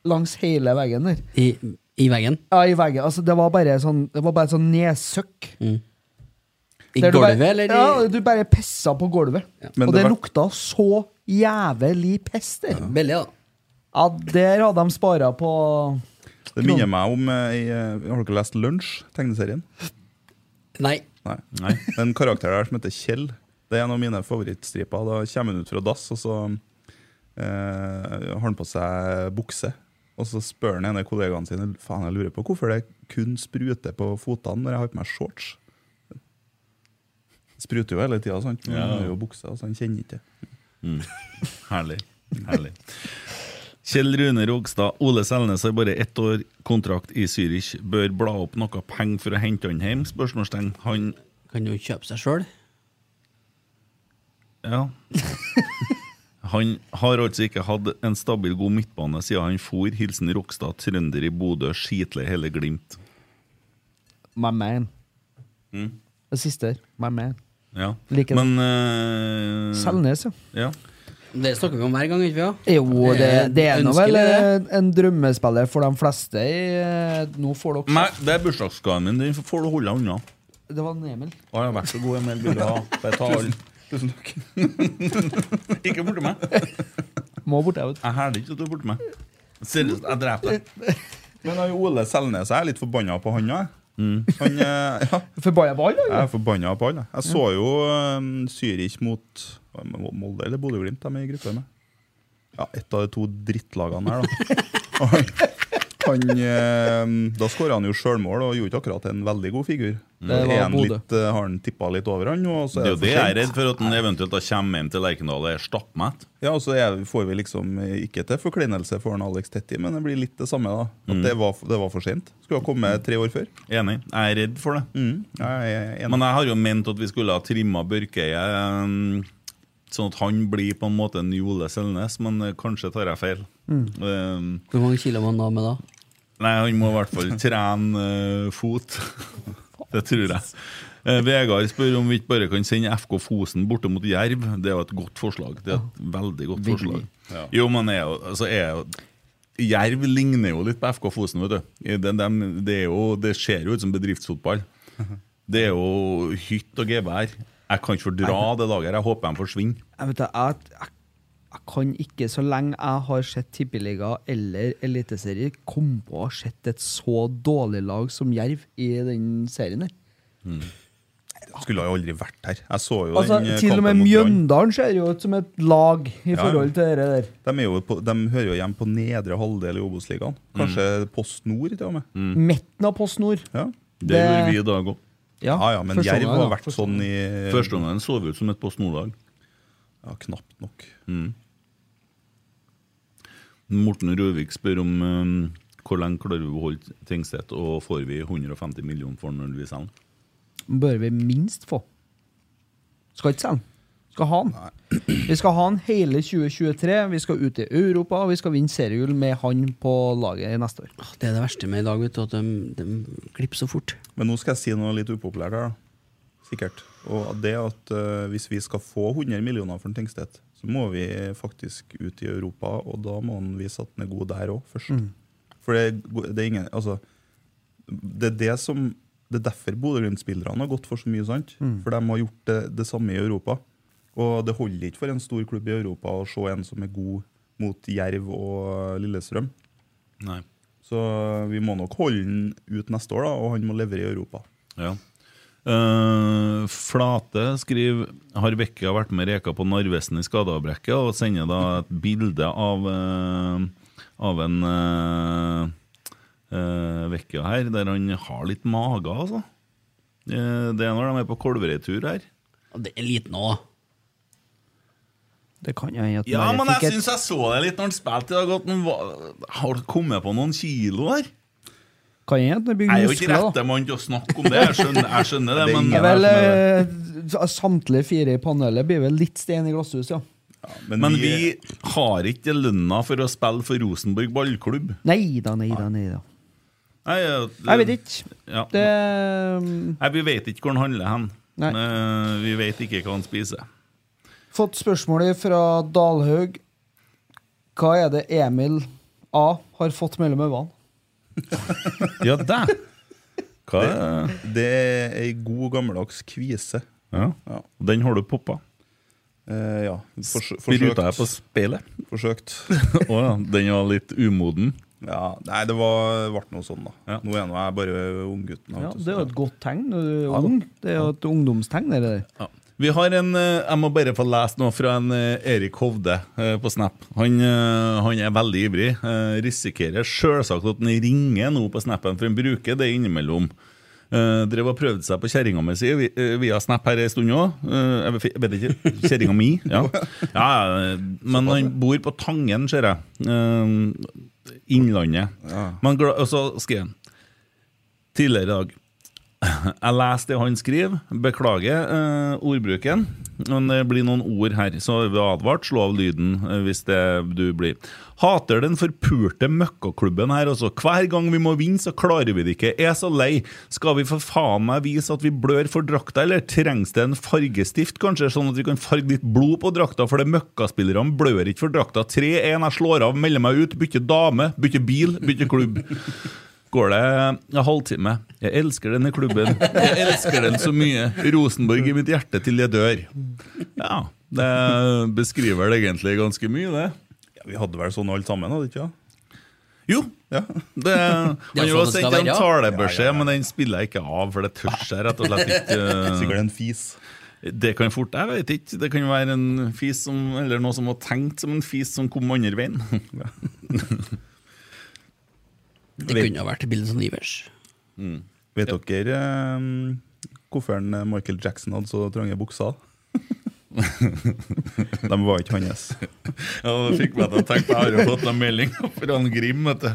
langs hele veggen der.
I, I veggen.
Ja, i veggen. Altså, det var bare sånn Det var bare sånn nedsøkk.
I
Der du
gulvet,
bare,
eller? Mm. i-
Ja, du bare pissa på gulvet.
Men
Og
det
det,
var-
lukta så jævlig pest der. Ja.
Billig, da.
der hadde de spara på
Det minner meg om eh, i, eh, Har dere lest Lunsj, tegneserien?
Nei.
Nei. Det er en karakter der som heter Kjell. Det er en av mine favorittstriper. Da kommer han ut fra dass, og så eh, har han på seg bukse. Og så spør han en av kollegaene sine Faen, jeg lurer på hvorfor det kun spruter på fotene når jeg har på meg shorts. Det Spruter jo hele tida, sant? Men han har jo bukse, så han kjenner ikke det.
Mm. Herlig. Herlig. Kjell Rune Rogstad. Ole Selnes har bare ett år kontrakt i Zürich. Bør bla opp noe penger for å hente han hjem? Spørsmålstegn. Han
Kan jo kjøpe seg sjøl.
Ja. Han har altså ikke hatt en stabil god midtbane siden han for. Hilsen Rokstad, trønder i Bodø, skitle hele Glimt.
My man.
Mm.
Det siste. My man.
Ja.
Liker det.
Men
Mm.
eh,
Selnes, ja.
ja.
Det snakker vi om hver gang, ikke vi?
Jo, det, det er nå vel
ønskelig, det.
eh, en drømmespiller for de fleste. I, eh, nå får dere
Nei, det er bursdagsgaven min. Den får du holde unna.
Det var Emil.
Å, ja, vær så god, Emil. Vil du ha? Bare ta all.
Tusen takk.
Ikke borti meg.
Må borti meg.
Jeg hæler ikke at du er borti meg. Seriøst, jeg dreper deg.
Men han Ole Selnes jeg er litt forbanna på han òg.
Mm.
Han, eh, ja.
Forbanna på han?
Jeg er forbanna på han. jeg. Jeg så jo um, Zürich mot eh, Molde eller Bodø-Glimt, de er i gruppe med. Ja, ett av de to drittlagene her, da. Og han, han, eh, da skåra han jo sjølmål og gjorde ikke akkurat en veldig god figur.
Det
Og
var
en
Bodø.
litt, eh, har han tippa litt over han, og så
Det
er
er jo
det
det jeg er
for
redd
sent.
for, at han eventuelt da kommer hjem til Lerkendal og er stappmett.
Ja, og så er, får vi liksom ikke til forkleinelse for han Alex Tetti, men det blir litt det samme, da. At
Mm.
det, var, det var for sent. Skulle ha kommet tre år før.
Enig. Jeg er redd for det.
Mm, Jeg er enig.
Men jeg har jo ment at vi skulle ha trimma Børkeie, eh, sånn at han blir på en måte en Jole Selnes, men eh, kanskje tar jeg feil.
Mm.
Eh,
Hvor mange kilo var han da med da?
Nei, han må i hvert fall trene eh, fot. Det tror jeg. Eh, Vegard spør om vi ikke bare kan sende FK Fosen borte mot Jerv. Det er jo et godt forslag. Det er et veldig godt
Virkelig.
forslag.
Ja.
Jo, men er jo, altså er jo Jerv ligner jo litt på FK Fosen, vet du. I den- dem- det, er jo, det ser jo ut som bedriftsfotball. Det er jo hytt og gevær. Jeg kan ikke fordra det laget her. Jeg håper de forsvinner.
Jeg, vet, det, jeg, jeg, jeg kan ikke, så lenge jeg har sett Tippeliga eller Eliteserie, komme på å ha sett et så dårlig lag som Jerv i den serien der.
Skulle jo aldri vært her. Jeg så jo
Altså,
den eh,
til og med
kampen mot Brann.
Mjøndalen ser jo ut som et lag i
Ja, ja.
forhold til det der.
De, er jo på, de hører jo hjemme på nedre halvdel i Obos-ligaen. Kanskje Post Nord, til og med.
Midten av Post Nord.
Ja.
Mm. Det gjorde vi i dag òg.
Ja, ja, men
første
Jerv
omgang,
har
da.
vært sånn i
Første omgang så vi ut som et Post Nord-lag.
Ja, knapt nok.
Mm. Morten Røvik spør om um, hvor lenge klarer vi å holde Tingstedt, og får vi 150 millioner for når vi selger den?
Bør vi minst få. Skal ikke selge den. Skal ha den. Vi skal ha den hele 2023. Vi skal ut i Europa, og vi skal vinne seriegull med han på laget neste år.
Det er det verste med i dag, vet du, at de, de klipper så fort.
Men nå skal jeg si noe litt upopulært her, da. Sikkert. Og det at eh, hvis vi skal få 100 millioner for en Tingstedt, så må vi faktisk ut i Europa, og da må han vise at han er god der òg, først.
Mm.
For det, det er ingen Altså, det er det som Det er derfor Bodø-Glimt-spillerne har gått for så mye, sant?
Mm.
For de har gjort det, det samme i Europa. Og det holder ikke for en stor klubb i Europa å se en som er god mot Jerv og Lillestrøm.
Nei.
Så vi må nok holde han ut neste år, da, og han må levere i Europa.
Ja. Eh, Flate skriver Har Vekka vært med reka på Narvesen i skadeavbrekket og sender da et bilde av eh, Av en eh, eh, Vekka her der han har litt mage, altså. Eh, det er når de er på Kolvereitur her.
Det er liten òg.
Det kan jo hende at
Ja,
Jerv
men
fikk
jeg
et-
syns jeg så det litt når han spilte i dag. At han var, har kommet på noen kilo der.
Kan hende at han bygger
Jeg er jo ikke
muskler, da.
rette mann til å snakke om det. Jeg skjønner, jeg skjønner det, men
Det er vel, eh, samtlige fire i panelet blir vel litt stein i glasshuset, ja.
men, vi, har ikke lønna for å spille for Rosenborg ballklubb.
Nei da, nei da, nei da.
Nei, eh,
Jeg vet ikke.
Ja.
Det eh,
Nei, vi vet ikke hvor han handler hen.
Nei.
Eh, Vi vet ikke hva han spiser.
Fått spørsmål fra Dalhaug. Hva er det Emil A har fått mellom øynene?
Ja, dæ! Hva er det?
Det, det er ei god, gammeldags kvise.
Ja. Den har du poppa.
Eh, ja. Fors- forsøkt.
Spruta jeg på speilet?
Forsøkt.
Å ja. Den var litt umoden?
Ja, nei, det var, ble noe sånn, da.
Ja.
Nå er nå jeg bare unggutten.
Ja,
vet du,
det er jo
så-
et godt tegn. når Du er ung. Det er jo et ungdomstegn. Det der.
Ja. Vi har en, eh, Jeg må bare få lese noe fra en eh, Erik Hovde eh, på Snap. Han, eh, han er veldig ivrig. eh, Risikerer selvsagt at han ringer nå på Snapen, for han bruker det innimellom. Eh, Drev og prøvde seg på kjerringa mi si vi- eh, via Snap her en stund òg. Jeg vet- jeg vet ikke. Kjerringa mi? Ja. ja. eh, Men han bor på Tangen, ser jeg. Eh, Innlandet. Men gla- og så skrev han Tidligere i dag Jeg leser det han skriver. Beklager eh, ordbruken, men det blir noen ord her. Så vi har advart, slå av lyden eh, hvis det du blir. Hater den forpurte møkkaklubben her, altså. Hver gang vi må vinne, så klarer vi det ikke. Er så lei. Skal vi for faen meg vise at vi blør for drakta, eller trengs det en fargestift, kanskje, sånn at vi kan farge litt blod på drakta, for det møkkaspillerne blør ikke for drakta. 3-1, jeg slår av, melder meg ut, bytter dame, bytter bil, bytter klubb går det en halvtime. Jeg elsker denne klubben. Jeg elsker den så mye. Rosenborg i mitt hjerte til jeg dør. Ja, det beskriver det egentlig ganske mye, det.
Ja, vi hadde vel sånn alle sammen, hadde ikke det?
Jo.
Ja.
Det,
Det
han
er sånn det
gjorde også
skal
sendt en
være, ja.
talebeskjed,
Ja, ja, ja.
men den spiller jeg ikke av, for det tør jeg rett og slett ikke.
Sikkert en fis.
Det kan fort, jeg vet ikke. Det kan være en fis som, eller noe som var tenkt som en fis som kom andre veien.
Det kunne ha vært Bilson Ivers.
Vet dere eh, hvorfor han, eh, Michael Jackson hadde så trange bukser? De var ikke hans.
Ja, det fikk meg til å tenke på Jeg har jo fått en melding fra han Grim vet du.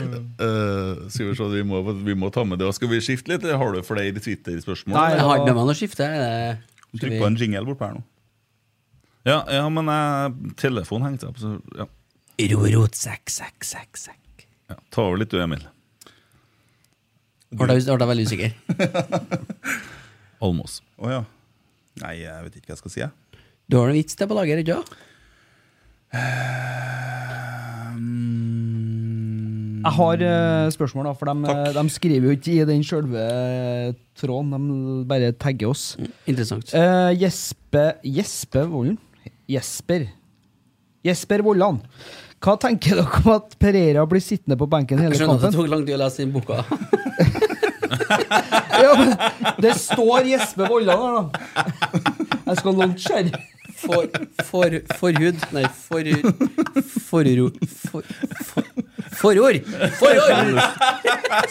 Mm.
Eh, skal vi, se, vi, må, vi må ta med det Og Skal vi skifte litt? eller Har du flere Twitter-spørsmål?
jeg har ikke med meg noe skifte. jeg. Det-
Trykk på en jingle bort her nå.
Ja, ja men eh, telefonen hengte opp så, ja.
Rorot, sekk, sekk, sekk, sekk.
Ja, Ta over litt du, Emil
Ble jeg veldig usikker.
Almås
Å ja. Nei, jeg vet ikke hva jeg skal si. jeg.
Du har en vits til på lager, ikke sant?
Jeg har eh, spørsmål, da, for de, de skriver jo ikke i den sjølve eh, tråden. De bare tagger oss.
Interessant.
Eh, Jespe, Jespe Vollen? Jesper. Jesper Vollan. Hva tenker dere om at Pereira blir sittende på benken hele
Jeg skjønner at det
kampen?
tok lang tid å lese den boka.
Ja, men det står Jesper Vollan her, da. Jeg skal låne skjerm.
For, for, forhud Nei, for... Forro... For, for, forord! Forord!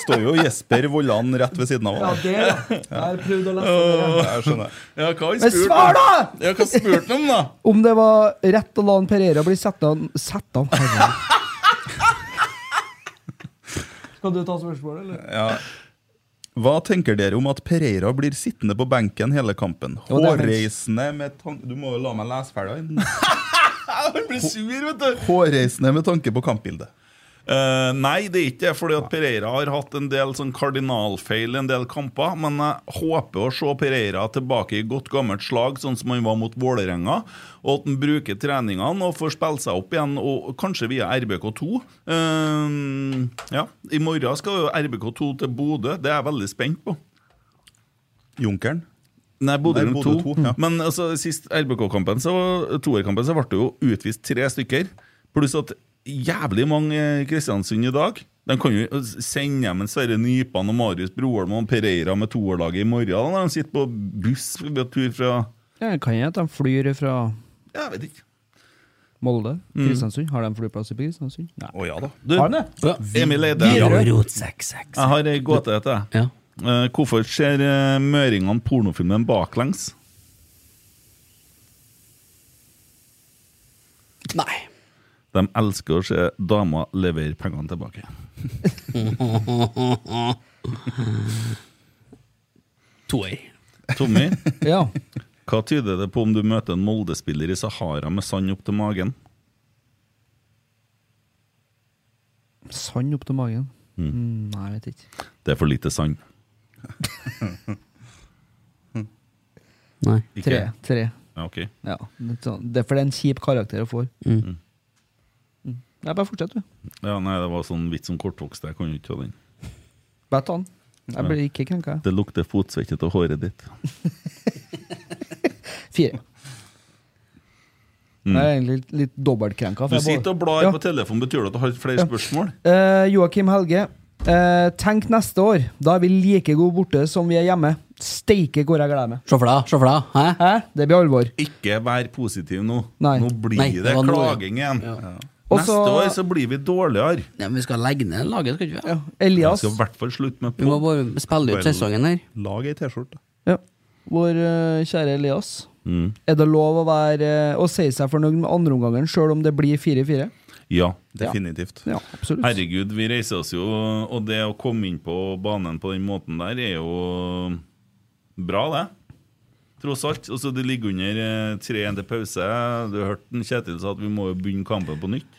Står jo Jesper Vollan rett ved siden av.
Ja, det, da. Jeg har prøvd å lese Sånn det.
Jeg skjønner.
Ja, hva har
Men
spurt
svar
om? Ja, hva spurte han om da?
Om det var rett å la en Pereira bli sett av Sett av Herregud. Skal du ta spørsmålet, eller?
Ja. Hva tenker dere om at Pereira blir sittende på benken hele kampen?
Jo, det er
Hårreisende med tan- Du må jo la meg lese ferdig. den.
Han blir sur, vet du
Hårreisende med tanke på kampbildet.
Eh, nei, det er ikke det, fordi at Pereira har hatt en del sånn kardinalfeil i en del kamper. Men jeg håper å se Pereira tilbake i godt gammelt slag, sånn som han var mot Vålerenga. Og at han bruker treningene og får spille seg opp igjen, og kanskje via RBK2. Eh, ja, I morgen skal jo RBK2 til Bodø. Det er jeg veldig spent på.
Junkeren.
Nei, Bodø
Nei,
Glimt
Bodø
2.
to, ja.
Men altså, sist RBK-kampen, så toerkampen, så ble det jo utvist tre stykker. Pluss at jævlig mange eh, Kristiansund i dag De kan jo sende hjem en Sverre Nypan og Marius Broholm og Pereira med toerlaget i morgen når de sitter på buss på tur fra
Ja, det kan hende at de flyr fra
Jeg vet ikke.
Molde.
Mm.
Kristiansund. Har de flyplass i Kristiansund? Nei.
Å ja da.
Du,
Har de det?
Emil Eide.
Forord, sekk, sekk.
Jeg har ei gåte til deg.
Ja.
Eh, Hvorfor ser eh, møringene pornofilmen baklengs?
Nei.
De elsker å se damer levere pengene tilbake.
Toer.
Tommy,
Ja.
hva tyder det på om du møter en Molde-spiller i Sahara med sand opp til magen?
Sand opp til magen. Mm, nei, jeg vet ikke.
Det er for lite sand.
Nei.
Ikke?
Tre. Tre.
Ja, ok.
Ja. litt sånn. Det er for det er en kjip karakter å få.
Mm.
Mm. Nei, bare fortsett, du.
Ja, nei, det var sånn vits om kortvokste. Jeg kan jo ikke ta den.
Bare ta den. Jeg blir ikke krenka. jeg.
Det lukter fotsvette av håret ditt.
Fire.
Mm.
Jeg er egentlig litt, litt dobbeltkrenka. for
Du
jeg bare-
sitter og blar
Ja.
på telefonen. Betyr det at du har flere
Ja.
spørsmål?
Eh, Joakim Helge. Eh, tenk neste år. Da er vi like gode borte som vi er hjemme. Steike hvor jeg gleder meg.
Se for deg, se for deg. Hæ?
Hæ? Det blir alvor.
Ikke vær positiv nå.
Nei.
Nå blir
Nei, det
det,
var nå, ja.
klaging igjen.
Og
Neste
så-
år så blir vi dårligere.
Nei, men vi skal legge ned laget, skal vi ikke?
Ja.
det?
Jeg
Elias,
skal i hvert fall slutte med
Vi må
på.
bare spille ut sesongen her.
Lag ei T-skjorte.
ja. vår eh, kjære Elias.
Mm.
Er det lov å, være, eh, å si seg fornøyd med andreomgangen sjøl om det blir 4-4?
Ja, definitivt.
Ja, absolutt.
Herregud, vi reiser oss jo, og det å komme inn på banen på den måten der er jo bra, det. Tross alt. Og så det ligger under eh, 3-1 til pause. Du hørte den Kjetil sa at vi må jo begynne kampen på nytt.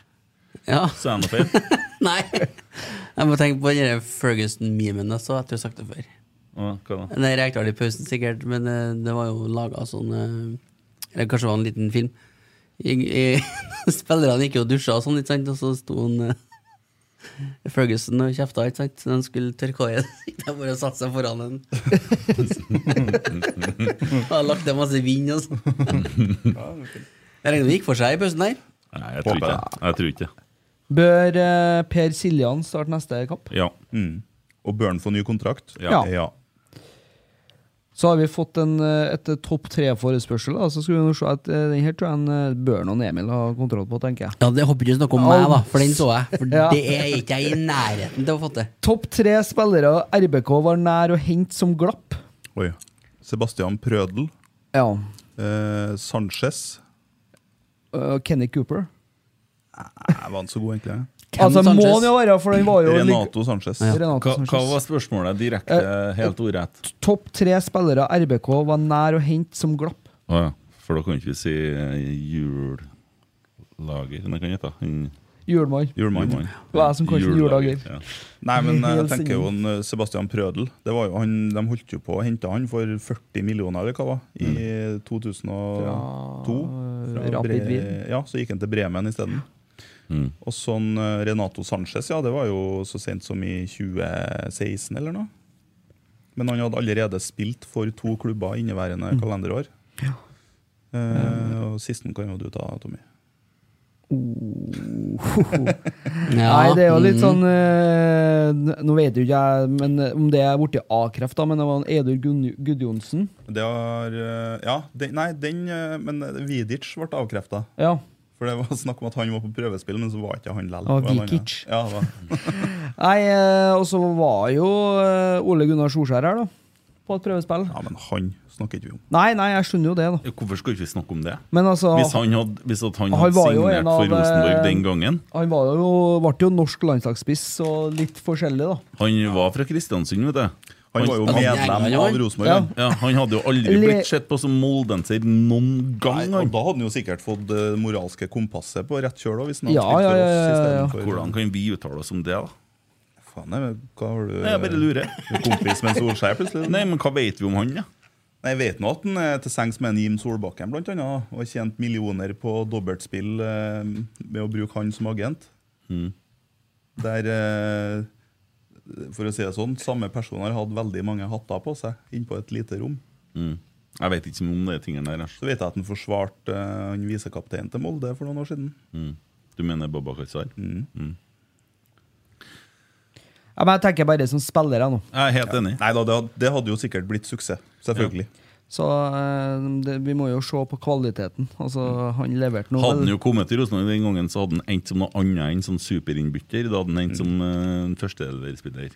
Ja.
Sa jeg noe feil?
Nei. Jeg må tenke på den der Ferguson-memen jeg så. Jeg tror jeg har sagt det før.
Å, hva da?
Nei, jeg klarte i pausen sikkert, men eh, det var jo laga sånn eh, Eller kanskje det var en liten film. I, i, spillerne gikk jo og dusja og sånn, ikke sant, og så sto han eh, Ferguson og kjefta, ikke sant, så han skulle tørke håret. Så gikk de bare og satte seg foran han. Og han lagt det masse vind og sånn. Jeg regner med det gikk for seg i pausen der.
Nei, jeg tror ikke det. Jeg tror ikke det.
Bør eh, Per Siljan starte neste kamp?
Ja.
Og bør han få ny kontrakt?
Mm. Ja. Så har vi fått en, eh, et topp tre-forespørsel. da, Så skal vi nå se at eh, den her tror jeg en, eh, Børn og Emil har kontroll på, tenker jeg.
Ja, Det håper ikke snakke om meg, da, for den så jeg. For det er ikke jeg i nærheten til å få til.
Topp tre spillere RBK var nær å hente som glapp.
Oi. Sebastian Prødel.
Ja.
Eh, Sanchez.
Eh, Kenny Cooper.
Nei, var han så god, egentlig?
altså, må han jo være, for den var jo
Renato Sanchez.
Renato
Hva,
Sanchez.
hva var spørsmålet direkte,
Eh,
helt ordrett?
Topp tre spillere RBK var nær å hente som glapp.
Å ja. For da kan ikke vi si eh, jullager Nei, kan jeg hete Han-
Julemann.
Julemann.
Det var jeg som kalte den
Juledager,
juledager.
ja.
Nei, men jeg
Helt
tenker jo en eh, Sebastian Prødel. Det var jo han, de holdt jo på å hente han for 40 millioner eller hva det var, i
Mm.
2002.
eh,
Fra
Rapid
Bre-
Wien.
Ja, Så gikk han til Bremen isteden.
Mm.
Og sånn eh, Renato Sanchez, ja, det var jo så sent som i 2016 eller noe. Men han hadde allerede spilt for to klubber inneværende
Mm.
kalenderår. Eh, og sisten kan jo du ta, Tommy.
Nei, det er jo
Mm.
litt sånn eh, n- Nå vet jo ikke jeg men, eh, om det er borti A-kreft, da, men det var en Edur Gun- Gudjonsen.
Det har eh, Ja, den, nei, den eh, Men Vidic ble avkrefta.
Ja.
For det var snakk om at han var på prøvespill, men så var ikke han likevel.
Ah,
Det var en annen.
Vikic.
Ja, det var.
Nei, eh, og så var jo eh, Ole Gunnar Solskjær her, da. På et prøvespill.
ja, men han snakker ikke vi om.
Nei, nei, jeg skjønner jo det, da.
Ja, Hvorfor skulle vi ikke snakke om det?
Men altså-
hvis han hadde, hvis at han
Han
hadde
var jo en
signert for
av, eh,
Rosenborg den gangen
Han var jo, ble jo norsk landslagsspiss, og litt forskjellig, da.
Han var fra Kristiansund, vet du.
Han var jo medlem av Rosenborg.
Ja.
han.
han hadde jo aldri
Le-
blitt sett på som moldenser noen gang.
Nei, og da hadde han jo sikkert fått det moralske kompasset på rett kjøl. da, Hvis han hadde
Ja,
spilt for oss
ja, ja, ja, ja.
istedenfor-
Hvordan kan vi uttale oss om det, da?
Faen, nei, men hva har du
Nei, jeg bare lurer.
Du er Kompis med en Solskjær, plutselig?
Nei, men hva vet vi om han, da?
Nei, Jeg vet nå at han er til sengs med en Jim Solbakken, blant annet. Og har tjent millioner på dobbeltspill eh, med å bruke han som agent.
Mm.
Der, eh, for å si det sånn, samme person har hatt veldig mange hatter på seg innpå et lite rom.
Mm. Jeg vet ikke så mye om de tingene der. altså.
Så vet jeg at han forsvarte eh, han visekapteinen til Molde for noen år siden.
Mm. Du mener Baba Katzar? Mm.
Ja, men jeg tenker bare som spiller, jeg nå.
Jeg er helt enig.
Nei da, det hadde, det hadde jo sikkert blitt suksess. Selvfølgelig.
Så eh, det, vi må jo se på kvaliteten. Altså, han leverte noe
Mm. Hadde han
vel-
jo kommet til Rosenborg den gangen, så hadde han endt som noe annet enn sånn superinnbytter. Da hadde han endt som eh, en førsteelverspiller.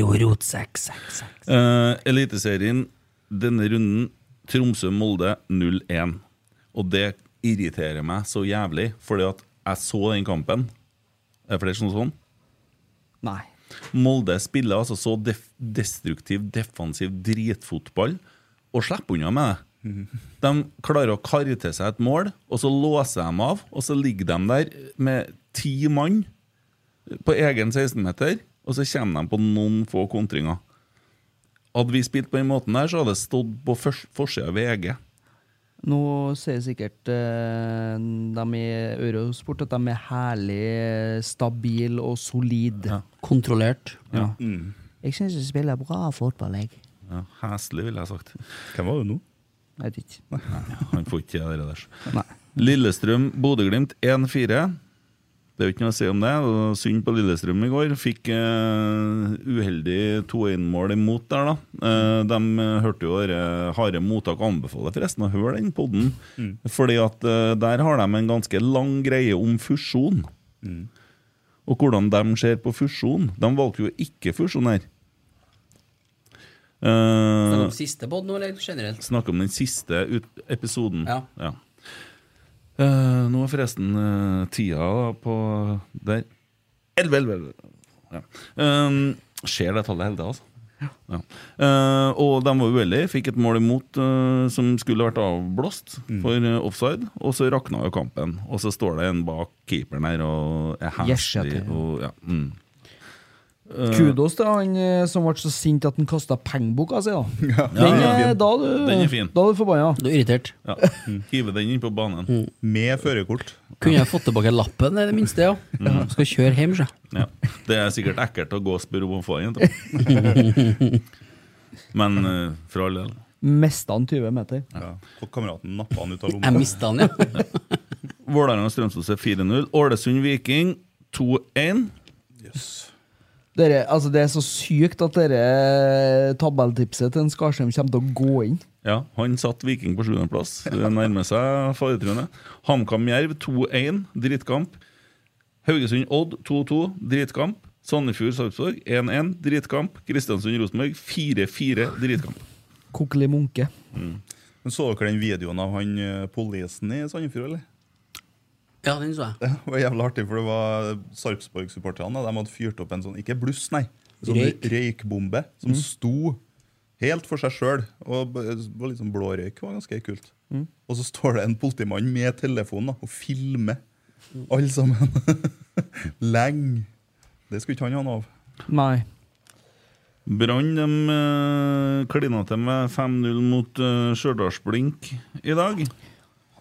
Ro, rot, sex, sex, sex.
Eh, Eliteserien denne runden Tromsø-Molde 0-1. Og det irriterer meg så jævlig, fordi at jeg så den kampen. Er det flere som så den?
Nei.
Molde spiller altså så def destruktiv, defensiv dritfotball og slipper unna med det. De klarer å karre til seg et mål, og så låser de av. Og så ligger de der med ti mann på egen 16-meter, og så kommer de på noen få kontringer. Hadde vi spilt på den måten der, så hadde det stått på først- forsida av VG.
Nå sier sikkert eh, de i Eurosport at de er herlig stabile og solide.
Kontrollert.
Ja.
Mm.
Jeg syns de spiller bra fotball, jeg.
Ja, Heslig, ville jeg sagt.
Hvem var det nå?
Jeg vet ikke.
Nei, han får ikke til det der. Lillestrøm, Bodø-Glimt 1-4. Det er jo ikke noe å si om det. det var synd på Lillestrøm i går. Fikk eh, uheldig 2-1-mål imot der, da. Eh, de eh, hørte jo dere harde mottak. Anbefaler forresten å høre den podden.
Mm.
Fordi at eh, der har de en ganske lang greie om fusjon. Og hvordan de ser på fusjon. De valgte jo ikke fusjon her.
Snakker
Uh,
om siste podd nå, eller generelt?
Snakke om den siste ut episoden.
Ja.
Eh, nå er forresten eh, tida da på der 11, 11, 11. Ja. Ehm, ser det tallet hele tida, altså. Ja. Eh, og de var uheldige. Fikk et mål imot eh, som skulle vært avblåst
Mm.
for eh, offside. Og så rakna jo kampen. Og så står det en bak keeperen her og er
Yes,
handsy.
ja, det-
og, ja, mm. Eh,
Kudos til han eh, som ble så sint at han kasta pengeboka si, da. Den,
ja,
eh,
fin.
da du,
Den er fin.
Da er du forbanna.
Du er irritert.
Ja. Hive den inn på banen.
Mm.
Med førerkort.
Kunne jeg fått tilbake lappen, det er det minste, ja.
Mm.
Skal kjøre hjem, sjø.
Ja. Det er sikkert ekkelt å gå og spørre om å få en jente. Men eh, for all del.
Mista han 20 meter.
Ja. Og kameraten nappa han ut av lomma.
Jeg mista den, ja.
Vålerenga Strømsgodset 4-0. Ålesund Viking 2-1.
Dere, altså, det er så sykt at dere eh, tabelltipset til en Skarsheim kommer til å gå inn.
Ja, han satt Viking på sjuendeplass. Det nærmer seg faretruende. HamKam Jerv 2-1, drittkamp. Haugesund Odd 2-2, drittkamp. Sandefjord Sarpsborg 1-1, drittkamp. Kristiansund Rosenborg 4-4, drittkamp.
Kokelig munke.
Men Så dere den videoen av han eh, polisen i Sandefjord, eller?
Ja, den så jeg.
Det var jævlig artig, for det var Sarpsborg-supporterne. De hadde fyrt opp en sånn, ikke bluss, nei, en sånn
Røyk.
røykbombe som
Mm.
sto helt for seg sjøl. Og b- var litt sånn blå røyk var ganske kult.
Mm.
Og så står det en politimann med telefonen da, og filmer alle sammen. Lenge. Det skulle ikke han ha noe av.
Nei.
Brann de, eh, klina til med 5-0 mot eh, Stjørdals-Blink i dag.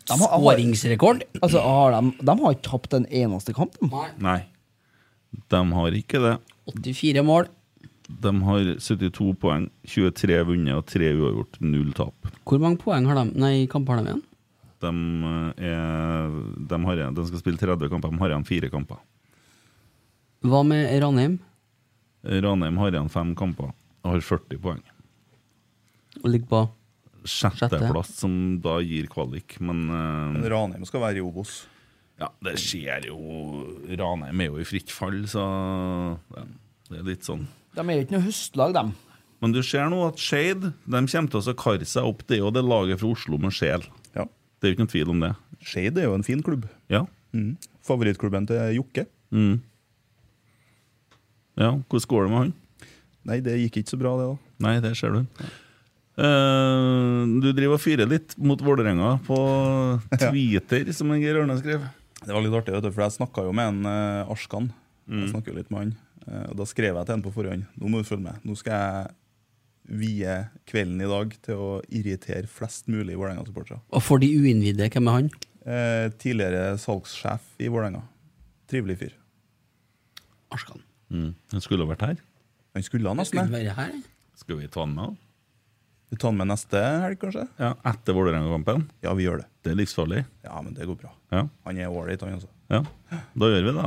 De har-
Skåringsrekord.
Altså, har de, de har ikke tapt en eneste kamp, de.
Nei, de har ikke det.
84 mål.
De har 72 poeng, 23 vunnet og 3 uavgjort. Null tap.
Hvor mange poeng har de? Nei, kamper har de igjen?
De, eh, er, de, har, igjen- de skal spille 30 kamper, de har igjen fire kamper.
Hva med Ranheim?
Ranheim har igjen fem kamper og har 40 poeng.
Og ligger på
Sjetteplass, som da gir kvalik, men eh,
Men Ranheim skal være i Obos.
Ja, det skjer jo Ranheim er jo i fritt fall, så ja, det er litt sånn.
De er jo ikke noe høstlag, de.
Men du ser nå at Shade de kommer til å karre seg opp. Det er jo det laget fra Oslo med sjel. Det er jo ikke noen tvil om det.
Shade er jo en fin klubb.
Ja.
Mm. Favorittklubben til Jokke.
Mm. Ja, hvordan går det med han?
Nei, det gikk ikke så bra, det, da.
Nei, det ser du. Eh, du driver og fyrer litt mot Vålerenga på Twitter, som en Geir Ørne skrev.
Det var litt artig, vet du, for jeg snakka jo med en eh, Arskan.
Mm.
Jeg snakket jo litt med han. eh, og da skrev jeg til han på forhånd. Nå må du følge med. Nå skal jeg vie kvelden i dag til å irritere flest mulig Vålerenga-supportere.
Og for de uinnvidde, hvem er han?
Eh, tidligere salgssjef i Vålerenga. Trivelig fyr.
Mm. Han skulle ha vært her.
Han skulle ha nesten det.
Være her?
Skal vi ta han med?
Vi tar han med neste helg, kanskje?
Ja, Etter Vålerenga-kampen?
Ja, vi gjør det.
Det er livsfarlig.
Ja, men det går bra.
Ja.
Han er ålreit, han, altså.
ja. Da gjør vi det. da.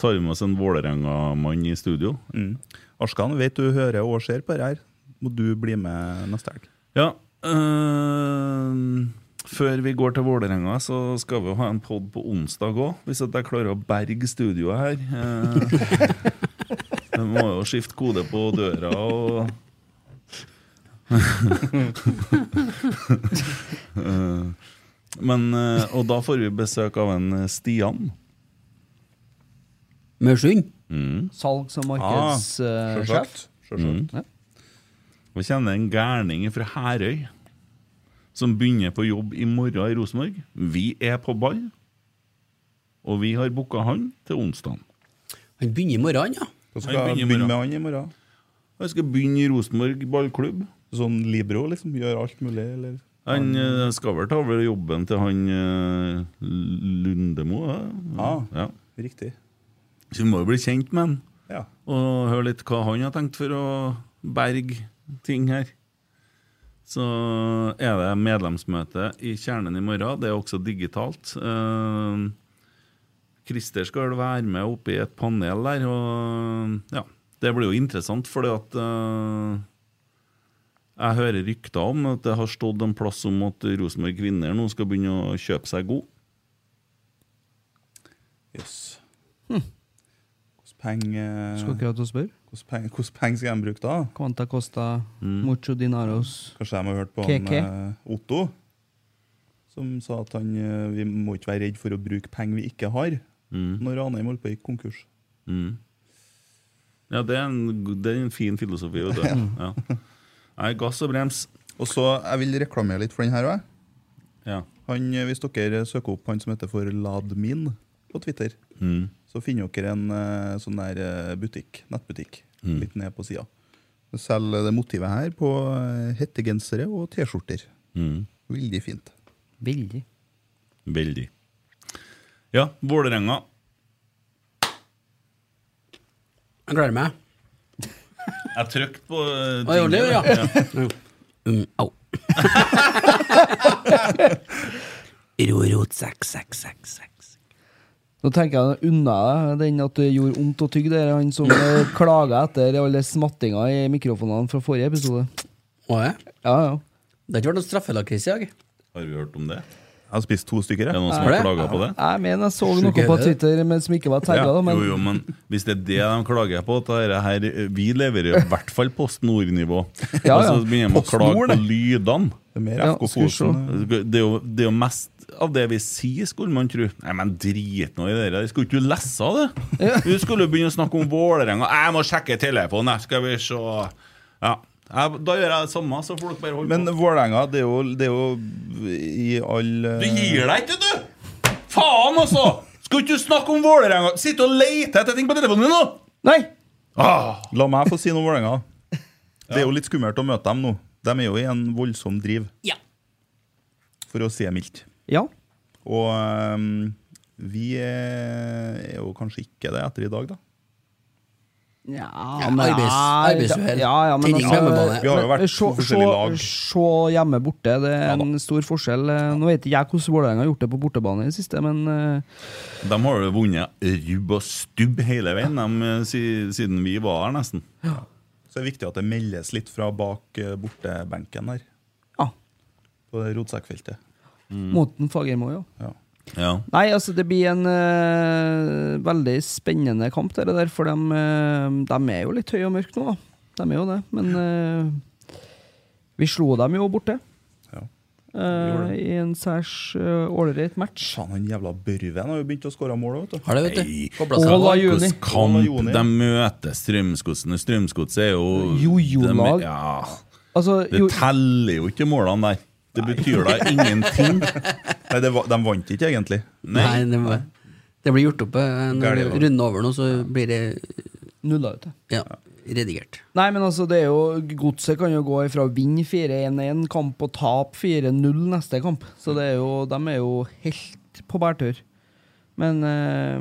Tar vi med oss en Vålerenga-mann i studio.
Mm. Arskan, vet du hører og ser på dette her. Må du bli med neste helg?
Ja. øhm, før vi går til Vålerenga, så skal vi jo ha en pod på onsdag òg. Hvis at jeg klarer å berge studioet her. Eh, Jeg må jo skifte kode på døra og Eh, Men, eh, Og da får vi besøk av en eh, Stian.
Maursund?
Mm.
Salgs- og eh,
Ah,
markedssjef.
selvsagt. Selvsagt.
Mm. Og kjenner en gærning fra Herøy som begynner på jobb i morgen i Rosenborg. Vi er på ball, og vi har booka han til onsdag.
Han begynner i morgen, ja.
Da skal jeg begynne med han i morgen.
Han skal begynne i Rosenborg ballklubb.
Sånn Libro, liksom? Gjør alt mulig, eller?
Han eh, skal vel ta over jobben til han eh, Lundemo? Ja.
Ja.
ja.
Riktig.
Så vi må jo bli kjent med han,
Ja.
og høre litt hva han har tenkt for å berge ting her. Så er det medlemsmøte i Kjernen i morgen. Det er også digitalt. Eh, Christer skal vel være med oppe i et panel der, og ja, det blir jo interessant, fordi at eh, jeg hører rykter om at det har stått en plass om at Rosenborg kvinner nå skal begynne å kjøpe seg god.
Jøss. Hvordan penger
Hm. Skal ikke ha til å spørre.
Hvordan penger peng skal de bruke da?
Quanta
Mm.
Costa, Mucho Dinaros
Kanskje de har hørt på
KK.
han, eh, Otto? som sa at han, eh, vi må ikke være redd for å bruke penger vi ikke har, når Ranheim holdt på å gikk konkurs.
Mm. Ja, det er, en, go- det er en fin filosofi. Vet du. Ja. Nei, gass og brems.
Og så, Jeg vil reklamere litt for den her òg.
Ja.
eh, Hvis dere søker opp han som heter for Ladmin på Twitter,
Mm.
så finner dere en eh, sånn der eh, butikk, nettbutikk
Mm.
litt ned på sida. Selger det motivet her på eh, hettegensere og T-skjorter.
Mm.
Veldig fint.
Veldig.
Veldig. Ja, Vålerenga.
Jeg gleder meg.
Jeg trykte på eh,
Å, gjorde du, ja.
Ja.
Mm, au. Rorot 6666.
Nå tenker jeg deg unna deg den at det gjorde vondt å tygge. Det er han som eh, klager etter alle smattinga i mikrofonene fra forrige episode.
Å ja?
Ja, ja.
Det har ikke vært noen straffelakris i dag?
Har vi hørt om det?
Jeg har spist to stykker.
Er det noen som har
Er det?
klaga på det?
Jeg mener jeg så
Sjuk
noe
er
på
det.
Twitter men som ikke var tagga, da. Men
Jo, jo, men hvis det er det de klager på at dette her, Vi leverer i hvert fall Post Nord-nivå.
Ja,
Og så
ja.
begynner de å
Post
klage
Nord,
på
det.
lydene.
Det er mer
Ja,
FK
skal vi
Fosen.
Det er, jo, det er jo mest av det vi sier, skulle man tro. Nei, men drit nå i det der. Jeg Skulle ikke du lese av det? Du skulle jo begynne å snakke om Vålerenga. Jeg må sjekke telefonen, her skal vi se. Ja. Jeg, da gjør jeg det samme, så folk bare holder
Men
på.
Vålerenga, det, er jo- det er jo i all eh,
Du gir deg ikke, du! Faen, altså! Skulle ikke du snakke om Vålerenga? Sitte og lete etter ting på telefonen din nå!
Nei!
Ah.
La meg få si noe om Vålerenga. Det er jo litt skummelt å møte dem nå. De er jo i en voldsom driv,
Ja.
for å si det mildt.
Ja.
Og ehm, vi er er jo kanskje ikke det etter i dag, da.
Ja,
arbeids- arbeidsuhell.
Ja, ja, men altså,
Tenning på hjemmebane.
Vi har jo vært
men
to forskjellige lag.
Se hjemme borte, det er en stor forskjell. Eh, Nå vet ikke jeg hvordan Vålerenga har gjort det på bortebane i det siste, men eh,
De har jo vunnet rubb og stubb hele veien dem, eh, si- siden vi var her, nesten.
Så det er viktig at det meldes litt fra bak eh, bortebenken her,
ja.
på det rotsekkfeltet. Mm.
Måten Fagermo, ja.
Ja.
Ja.
Nei, altså det blir en eh, veldig spennende kamp, det der, for de, er jo litt høye og mørke nå. da. De er jo det, men eh, vi slo dem jo borte
Ja.
eh, i en særs eh, ålreit match.
Faen, han jævla Børven har jo begynt å skåre mål òg, vet du.
Har det, vet du.
Nei.
Kobla
altså,
seg
Ola
på.
Juni.
Hvordan kamp
Ola Juni.
de møter Strømsgodset? Strømsgodset er jo
Jojo-lag.
de- Ja,
Altså,
det
jo,
teller jo ikke målene der. Det betyr da ingenting.
Nei, det var, de vant ikke, egentlig.
Nei, det, må- det blir gjort opp. eh, Når
Gærlig, da.
runden er over nå, så blir det
nulla ut. det.
ja, redigert.
Nei, men altså, det er jo Godset kan jo gå ifra å vinne 4-1-1 kamp og tape 4-0 neste kamp. Så det er jo, de er jo helt på bærtur. Men eh,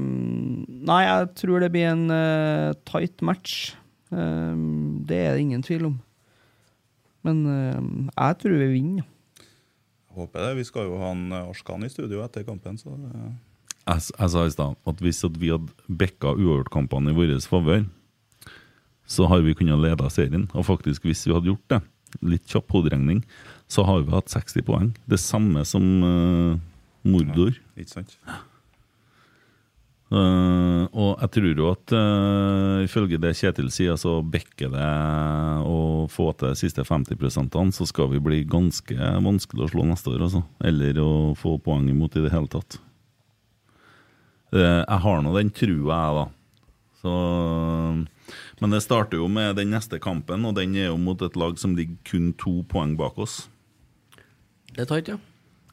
Nei, jeg tror det blir en eh, tight match. Eh, det er det ingen tvil om. Men eh, jeg tror vi vinner.
Jeg håper det. Vi skal jo ha en eh, Arskan i studio etter kampen, så det
Jeg, s- jeg sa i stad at hvis at vi hadde bikka uavgjortkampene i vår favør, så har vi kunnet lede serien. Og faktisk, hvis vi hadde gjort det, litt kjapp hoderegning, så har vi hatt 60 poeng. Det samme som eh, Mordor.
Ikke sant?
Eh, og jeg tror jo at eh, ifølge det Kjetil sier, så bekker det å få til de siste 50 så skal vi bli ganske vanskelig å slå neste år, altså. Eller å få poeng imot i det hele tatt. Eh, jeg har nå den trua, jeg, da. Så, men det starter jo med den neste kampen, og den er jo mot et lag som ligger kun to poeng bak oss.
Det er tight, ja.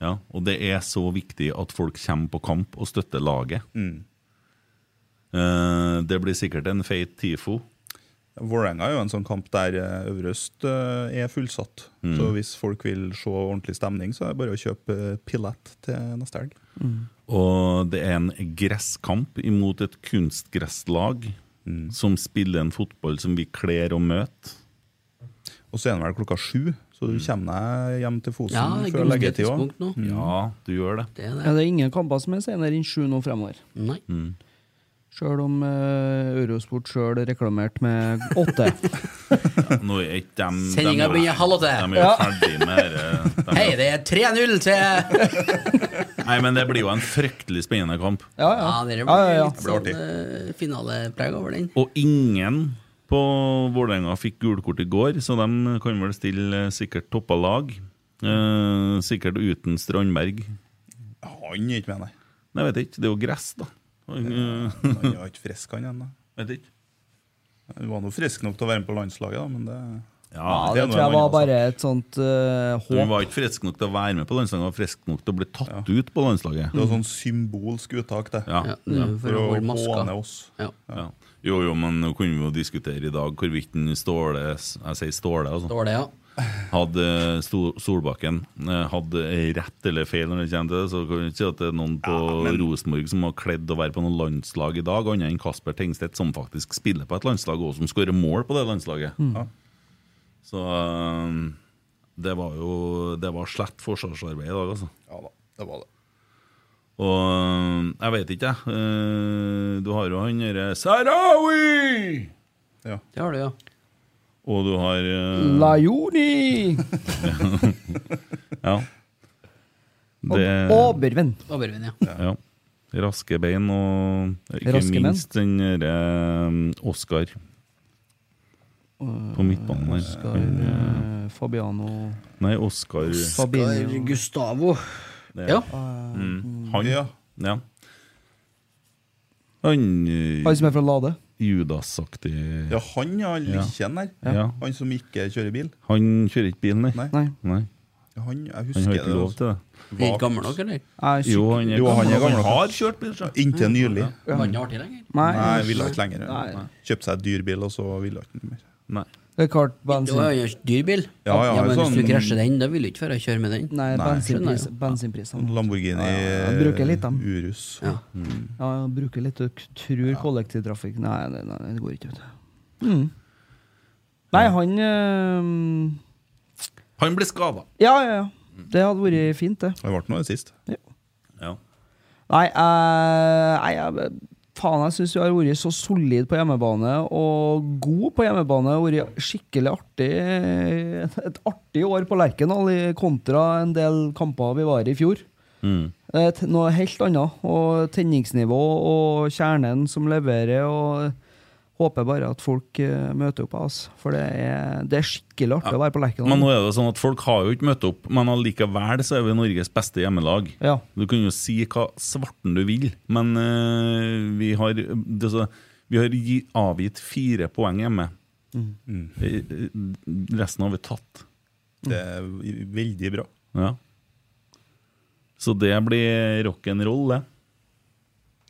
Ja, og det er så viktig at folk kommer på kamp og støtter laget. Eh, det blir sikkert en feit TIFO.
Vålerenga er jo en sånn kamp der eh, Øvre Øst eh, er fullsatt.
Mm.
Så hvis folk vil se ordentlig stemning, så er det bare å kjøpe eh, pillett til neste helg.
Og det er en gresskamp imot et kunstgresslag
Mm.
som spiller en fotball som vi kler å møte.
Og så er den vel klokka sju, så
Mm.
du kommer deg hjem til Fosen
Ja, det er
før
gunstig
leggetida. Mm.
tidspunkt nå.
Ja, du gjør det.
Det er det.
Ja, det er ingen kamper som er senere enn sju nå fremover.
Nei.
Sjøl om eh, Eurosport sjøl reklamerte med åtte.
Nå er ikke dem Mm, dem
Sendinga
er jo-
begynner halv åtte.
dem er jo ferdig med det. Dem er-
Hei, det er 3-0 til
Nei, men det blir jo en fryktelig spennende kamp.
Ja, ja.
Ja, det blir
Ja, ja, ja.
litt sånn eh, finalepreg over den.
Og ingen på Vålerenga fikk gult kort i går, så de kan vel stille eh, sikkert toppa lag. Eh, sikkert uten Strandberg.
Han er ikke med, nei.
Nei, jeg vet ikke. Det er jo gress, da. Han, eh,
Han er ikke frisk, han ennå.
Vet ikke.
Han var nå frisk nok til å være med på landslaget, da, men det
Ja,
det
det
er noe
tror jeg
en
var
annen
bare et sånt eh,
Han
håp.
var ikke frisk nok til å være med på landslaget, han var frisk nok til å bli tatt ut på landslaget.
Det var sånn symbolsk uttak, det. Mm.
Ja. Ja, det er for
For å
å holde maska.
håne oss.
Ja. Jo, jo, men nå kunne vi jo diskutere i dag hvorvidt den Ståle Jeg sier Ståle, altså.
Ståle, ja.
Hadde Sto- Solbakken eh, hadde rett eller feil når det kommer til det, så kan vi ikke si at det er noen på Rosenborg som har kledd å være på noe landslag i dag, annet enn Kasper Tengstedt, som faktisk spiller på et landslag, og som skårer mål på det landslaget.
Mm. Ja.
Så eh, det var jo Det var slett forsvarsarbeid i dag, altså.
Ja da, det var det.
Og eh, jeg vet ikke, jeg. Eh, Du har jo han derre Sarawi!
Ja.
Det har du, ja.
Og du har
Mm.
eh,
Lajoni!
Ja. Det-
Oberven.
Oberven, ja.
ja. Raske bein, og ikke
Raske menn.
minst den derre um, Oscar på midtbanen her.
Oscar,
Han,
eh, Fabiano
eh, Nei, Oscar
Fabinho.
Gustavo.
Det-
Ja.
Mm. Han,
Ja.
ja. Han eh,
Han som er fra Lade.
Judas-aktig
Ja, han ja, Likkjen der.
Ja. Ja.
Han som ikke kjører bil.
Han kjører ikke bil, nei.
Nei.
Nei.
Han, jeg
Han
husker
har ikke lov til det.
Er ikke gammel nok, eller?
Jeg er
Jo, han er
Jo, han er
gammel.
gammel.
Han har kjørt bil, så.
Inntil nylig.
Var han ikke artig lenger?
Nei.
Nei, ville ikke lenger.
Nei.
Kjøpte seg dyrbil, og så ville han ikke mer.
Nei.
Det er klart
Det var
bensin.
jo en dyr bil.
Ja, ja,
men
sånn-
Hvis du krasjer den, da vil du ikke føre og kjøre med den.
Nei,
Nei,
bensinpris,
skjønner jeg.
bensinprisene.
Lamborghini
han bruker litt, han.
Urus.
Ja.
Ja, jeg bruker litt og tror kollektivtrafikk Nei, det, nei, det går ikke ut. Mm. Nei, han eh,
Han ble skada.
Ja, ja, ja. Det hadde vært fint, det.
Det ble noe sist.
Ja.
Nei, eh, nei jeg, faen, jeg syns vi har vært så solid på hjemmebane og god på hjemmebane. Vært skikkelig artig. Et artig år på Lerkendal i- kontra en del kamper vi var i i fjor.
Mm.
Eh, t- Noe helt annet. Og tenningsnivå og kjernen som leverer. og Håper bare at folk eh, møter opp av oss, for det er, det er skikkelig artig å være på
Men nå
Lerkendal.
er det sånn at folk har jo ikke møtt opp, men allikevel så er vi Norges beste hjemmelag.
Ja.
Du kan jo si hva svarten du vil, men eh, vi har, det, er så, vi har gi, avgitt fire poeng hjemme.
Mm.
Eh, Resten har vi tatt.
Mm. Det er veldig bra.
Ja. Så det blir rock'n'roll, det.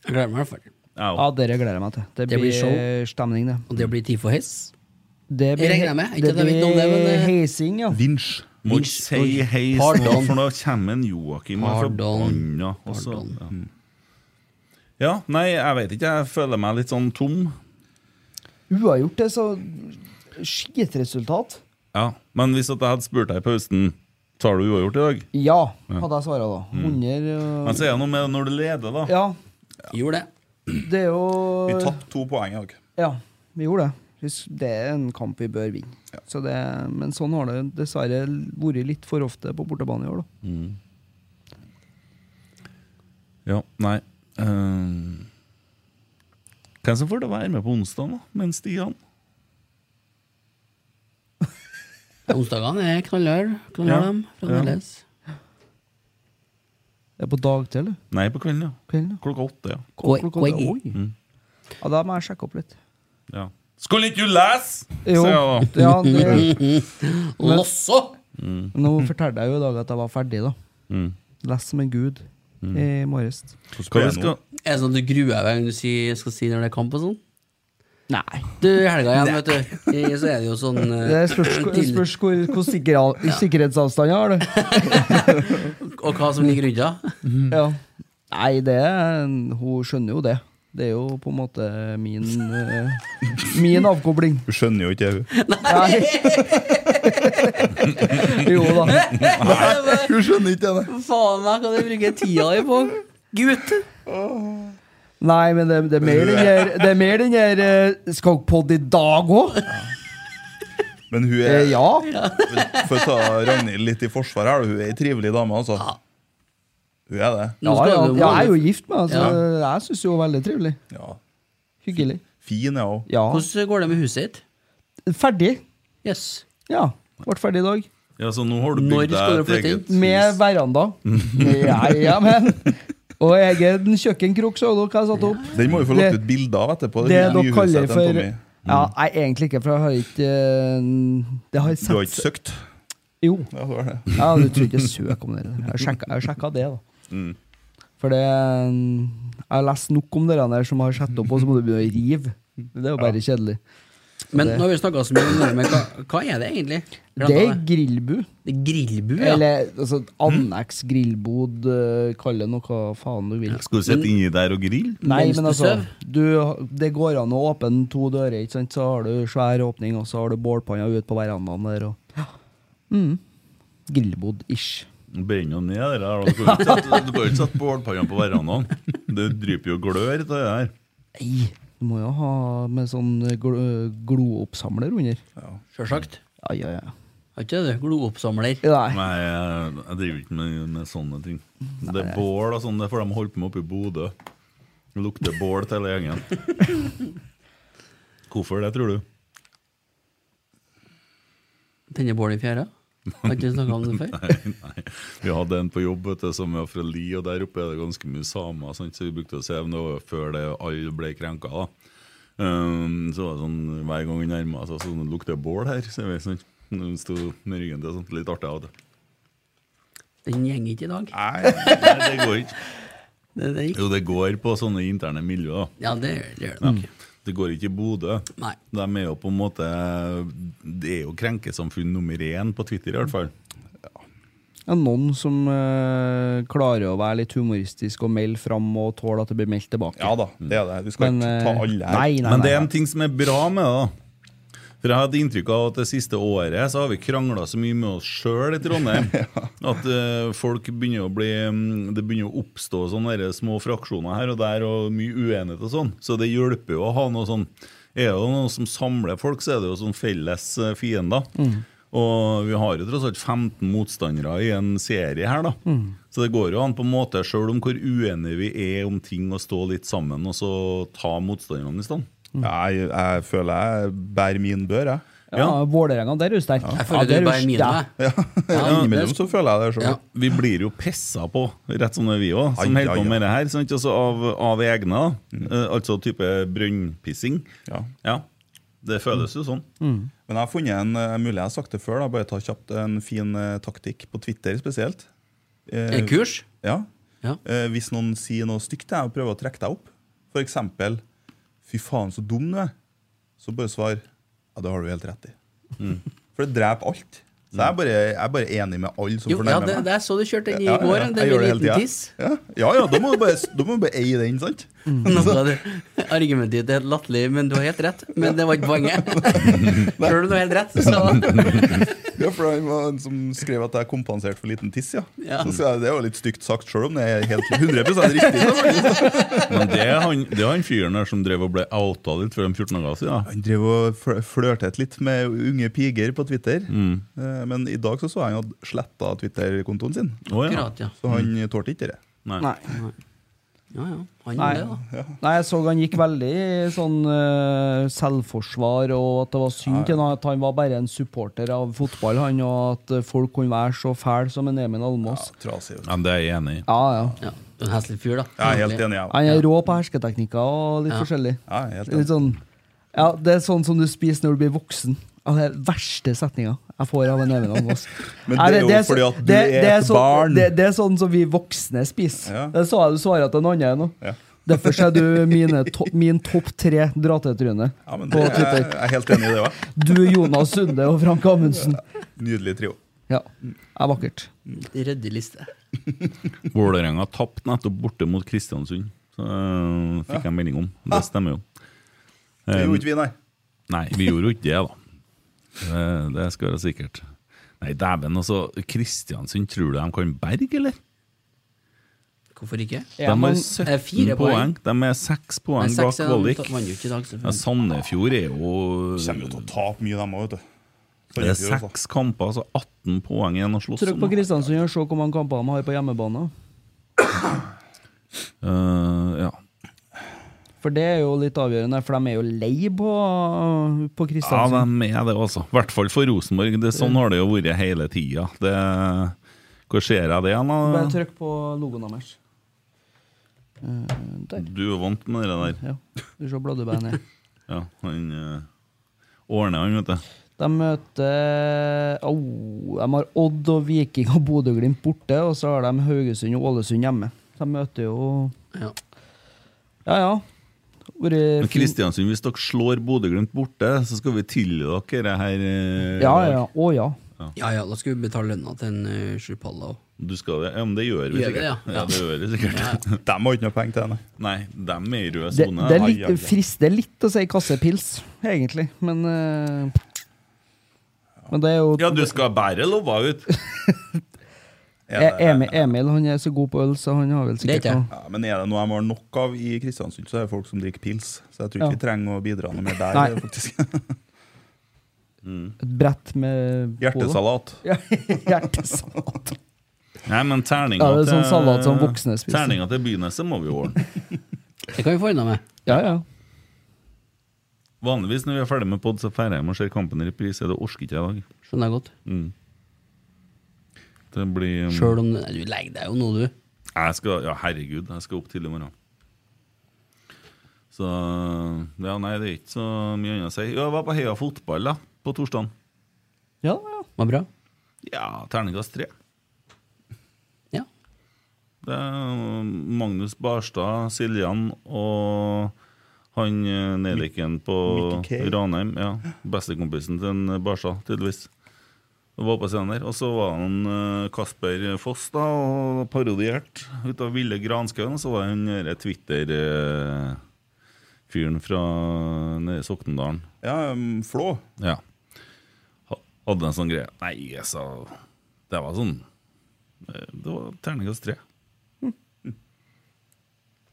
Jeg gleder meg i hvert fall.
Jeg
Ja,
òg.
Dere gleder jeg meg til. Det
Det blir
blir
show.
stemning, det.
Og det blir tid for hiss.
Det
Jeg regner med. Ikke at jeg vet noe om det, men, eh,
heising, ja.
Vinsj.
Må
Vinch-
ikke si heis nå,
Pardon.
for da kommer en Joakim og er
Pardon.
forbanna. og så-
Pardon.
Ja. ja, nei, jeg vet ikke. Jeg føler meg litt sånn tom.
Uavgjort er så skitresultat.
Ja, Men hvis at jeg hadde spurt deg i pausen Tar du uavgjort i dag?
Ja, Mm. hadde jeg svara da. 100 og-
Men så er det noe med når du leder, da.
Ja, øh.
Gjorde det.
det er jo
Vi tapte to poeng i dag.
Ja, vi gjorde det. Hvis Det er en kamp vi bør vinne. Så det, men sånn har det dessverre vært litt for ofte på bortebane i år, da.
Ja, nei Ehm, Hvem som får til å være med på onsdag, da? Med Stian?
Onsdagene er knallhard. Knallhard
Ja.
dem, fremdeles.
Det er på dagtid, eller?
Nei, på kvelden, ja.
Kvelden? da.
Klokka åtte, ja.
Oi,
Klokka-
oi.
Oi. Ja, da må jeg sjekke opp litt.
ja. Skulle ikke du lese?!
Jo,
sier jeg da.
ja, det,
Lasso!
nå fortalte jeg jo i dag at jeg var ferdig, da. Mm. Lest som en gud i morges.
Hva vi skal
Er det sånn at du gruer deg hver gang du sier, skal si når det er kamp og sånn?
Nei.
Du, i helga igjen, vet du. I- Så er det jo sånn
Det
eh,
spørs, hvor-
til-
spørs hvor, hvor sikker, sikkerhetsavstand jeg har, du.
Og hva som ligger rundt da.
Ja. Nei, det er- Hun skjønner jo det. Det er jo på en måte min eh, Min avkobling.
Hun skjønner jo ikke det, hun.
Nei. Jo da.
Hun skjønner ikke det,
Faen meg, kan du bruke tida di på? Gutt!
Nei, men det, det er mer den her, det er mer den her uh, Skal dere podde i dag òg?
nei. Men hun er
Eh, ja.
For å ta Ragnhild litt i forsvar her, hun er ei trivelig dame, altså. Hun er det.
Ja,
Nå skal
ja.
du-
Jeg er jo gift med henne, så jeg syns jo hun er veldig trivelig.
Ja.
Hyggelig.
Fin er hun.
Ja.
Hvordan går det med huset ditt?
Ferdig.
Jøss. Yes.
Ja. Ble ferdig i dag.
Ja, så nå har du
Når
bygd
skal
deg
dere
et
flytte
eget
Med veranda. ja, ja, men. Og egen kjøkkenkrok, så dere hva jeg satte opp.
Den må vi få lagt ut bilde av etterpå.
Det
nye
dere
huset
kaller
til
for
Tommy. Mm.
ja, Nei, egentlig ikke, for jeg har ikke eh, det har
Du har ikke søkt?
Jo.
Ja, det var det.
Ja, du tror ikke jeg søker om det? Jeg har sjekka- Jeg har sjekka det, da.
Mm.
For det eh, Jeg har lest nok om dere der som har satt opp, og så må du begynne å rive. Det er jo bare kjedelig. Så
Men
det-
nå har vi snakka så mye om det, men hva, hva er det egentlig?
Det er grillbu.
Det er grillbu, ja.
Eller altså, anneks grillbod, eh, kall det noe faen du vil.
Skal du sitte inni der og grille?
Nei,
Mens
men
du
altså,
sover?
du, det går an å åpne to dører, ikke sant? så har du svær åpning, og så har du bålpanna ut på verandaen der. Og... Mm. Grillbod-ish.
Brenner jo ned det der. da. Du kan jo ikke sette- du kan jo ikke sette bålpanna på verandaen. Det dryper jo glør av det der.
Nei, du må jo ha med sånn gl glooppsamler under.
Sjølsagt.
Ja, ja, ja.
Har ikke det, du? Glooppsamler.
Nei, jeg, jeg driver ikke med, med sånne ting. Det er
Nei.
bål og sånn, det får de holde på med oppe i Bodø. Det lukter bål til hele gjengen. Hvorfor det, tror du?
Tenne bål i fjæra? Har ikke vi snakka om det før?
Nei, nei. Vi hadde en på jobb vet du, som var fra Li, og der oppe er det ganske mye samer. Sant? Så vi brukte å se om det var før det alle ble krenka. Da. Um, så var det sånn hver gang vi nærma oss, sånn, det lukter bål her. Så vi sånn, Hun sto med ryggen til sånn, litt artig av det.
Den gjenger ikke i dag.
Nei, nei, det går ikke.
Det, det gikk.
Jo, det går på sånne interne miljøer. da.
Ja, det gjør- det gjør det
Mm.
nok.
Det går ikke i Bodø.
Nei.
De er jo på en måte Det er jo krenkesamfunn nummer én på Twitter, i hvert fall.
Ja, noen som eh, klarer å være litt humoristisk og melde fram og tåle at det blir meldt tilbake. eh,
Ja da, det er det. Vi skal ikke ta alle her.
Nei, nei,
Men
nei,
det
nei.
er en ting som er bra med det. da. For jeg hadde inntrykk av at det siste året så har vi krangla så mye med oss sjøl i Trondheim at eh, folk begynner å bli mm, Det begynner å oppstå sånne der små fraksjoner her og der og mye uenighet og sånn. Så det hjelper jo å ha noe sånn Er det noe som samler folk, så er det jo sånn felles eh, fiender.
Mm.
Og vi har jo tross alt 15 motstandere i en serie her, da.
Mm.
Så det går jo an på en måte, sjøl om hvor uenige vi er om ting, å stå litt sammen og så ta motstanderne i stand.
Jeg, jeg føler jeg bærer min bør, jeg.
Ja, Vålerenga, der er du sterk.
Jeg føler
ja, der
du
er
bærer mine,
sterk.
Ja,
Ja,
Innimellom
det-
så føler jeg det sjøl.
Vi blir jo pissa på, rett som det er vi òg, som
Ai, Mm.
holder på
ai,
med det her. Sant? Altså av, av egne, da. Eh, altså type brønnpissing. Ja. Det føles jo sånn.
Mm. Men jeg har funnet en eh, mulig jeg har sagt det før, da, bare ta kjapt en fin eh, taktikk på Twitter spesielt. Eh,
En kurs?
Ja.
Ja.
Eh, hvis noen sier noe stygt til deg og prøver å trekke deg opp, for eksempel 'fy faen, så dum du er', så bare svar 'ja, det har du helt rett i'.
Mm.
For det dreper alt. Så jeg er bare, jeg er bare enig med alle som
Jo, ja,
fornærmer
det,
meg.
det er så du kjørte den i
Ja, ja,
går.
ja. Jeg
Den med
gjør det
en
hele
liten
tida.
tiss.
Ja, ja, ja da må du bare, da må du bare eie den, sant?
Nå skal du- Argumentet ditt er helt latterlig, men du har helt rett. Men det var ikke poenget. Sjøl om du har helt rett, så
Ja, for det var en som skrev at jeg er kompensert for liten tiss, ja.
Ja.
Så sa jeg, det var litt stygt sagt, sjøl om det er helt 100 riktig. da, faktisk.
Men det er han, det er han fyren der som drev og ble outa litt for de 14 dager siden.
Han drev og fl- flørtet litt med unge piger på Twitter, Eh, men i dag så så jeg han hadde sletta Twitter-kontoen sin.
Å, ja. Akkurat, ja.
Så han tålte ikke det.
Nei.
Ja, ja. Han
Nei.
gjorde det, da.
Nei, jeg så han gikk veldig i sånn eh, selvforsvar, og at det var synd til han at han var bare en supporter av fotball, han, og at eh, folk kunne være så fæle som en Emil Almås.
altså.
Men det er jeg enig i.
Ja, ja.
En heslig fyr, da.
Jeg er helt enig, jeg også.
Han er rå på hersketeknikker og litt
Ja.
forskjellig.
Ja, jeg er helt enig.
litt sånn, ja, det er sånn som du spiser når du blir voksen. Ja, det er den verste setninga jeg får av en Even Almås.
Men
Nei,
det er jo
så-
fordi at du
det-
er
det
et
så-
barn.
Det, det er sånn som vi voksne spiser.
Ja.
Det sa jeg du svarer til en annen nå. Derfor er du mine, to, min topp tre dra-til-tryne
Ja, men
på
det, jeg,
Twitter.
jeg er helt enig i det òg.
Du, Jonas Sunde og Frank Amundsen.
Nydelig trio.
Ja, er vakkert.
Ryddig liste.
Vålerenga tapte nettopp borte mot Kristiansund. Så eh, fikk
Ja.
jeg melding om. Det stemmer jo.
Det
Eh,
gjorde ikke vi, nei.
Nei, vi gjorde jo ikke det, da. Det, det skal være sikkert. Nei, dæven, altså. Kristiansund, tror du de kan berge, eller?
Hvorfor ikke?
De har 17 poeng. De er 6
Nei,
poeng bak
seks er de-
Kvalik.
vant jo ikke i dag, selvfølgelig.
Ja, sånn Sandefjord er jo
Kommer jo til å tape mye, dem òg, vet du.
Det er seks kamper, altså 18 poeng igjen å slåss
Trykk
om.
på Kristiansund og se hvor mange kamper de har på hjemmebane.
Eh, ja.
For det er jo litt avgjørende, for de er jo lei på, på
Ja,
Kristiansund.
de er det, altså. I hvert fall for Rosenborg. Det, sånn har det jo vært hele tida. Det, hvor ser jeg det igjen?
Bare
da?
trykk på logoen deres. Eh, der.
Du er vant med det der.
Ja, du ser bladdebeinet ned.
Ja, han eh, ordner han, vet du.
De møter Au! de har Odd og Viking og Bodø-Glimt borte, og så har de Haugesund og Ålesund hjemme. De møter jo
Ja
ja. ja. Vært
Men
fin-
Kristiansund, hvis dere slår Bodø-Glimt borte, så skal vi tilgi dere det her. eh,
Ja, ja. Å ja.
Ja ja, da skal vi betale lønna til en uh, Sjupalla òg.
Du skal det? Ja, men det gjør vi
Gjør vi
sikkert.
det, ja?
ja. det gjør vi sikkert.
De har ikke noe penger til henne.
Nei, dem er i rød
Det,
sone.
det er
Ai,
litt,
ai, ai.
frister litt å si kassepils, egentlig, men eh, Men det er jo
Ja, du skal bære lova ut!
E- Emil, Emil han er så god på øl, så han har vel sikkert noe
Ja, men er det noe de har nok av i Kristiansund, så er det folk som drikker pils. Så jeg tror ikke
Ja.
vi trenger å bidra noe mer der.
Nei.
faktisk.
Et brett med
Hjertesalat.
Ja, Hjertesalat.
Nei, men terninga
Ja, det er sånn salat som voksne spiser.
Terninga til Byneset må vi ordne.
Det kan vi få unna med.
Ja, ja.
Vanligvis når vi er ferdig med pod, så drar jeg hjem og ser kampen i reprise. Det orker ikke jeg i dag.
Skjønner jeg godt.
Mm. Det blir um,
Sjøl om Nei, Du legger deg jo nå, du.
Jeg skal, ja, herregud, jeg skal opp tidlig i morgen. Så Ja, nei, det er ikke så mye annet å si. Ja, Jeg var på Heia fotball da, på torsdag.
Ja, ja.
Var bra.
Ja, terningkast tre.
Ja.
Det er Magnus Barstad, Siljan og han eh, nedlikken på
Mickey K.
Ranheim. Ja, Bestekompisen til en Barstad, tydeligvis. Og var på scenen der. Og så var han eh, Kasper Foss, da, og parodiert ut av Ville Granskauen. Og så var han derre Twitter-fyren eh, fra nede i Soknedalen.
Ja, um, Flå.
Ja. Ha- Hadde en sånn greie. Nei, jeg sa Det var sånn eh, Det var terningkast tre.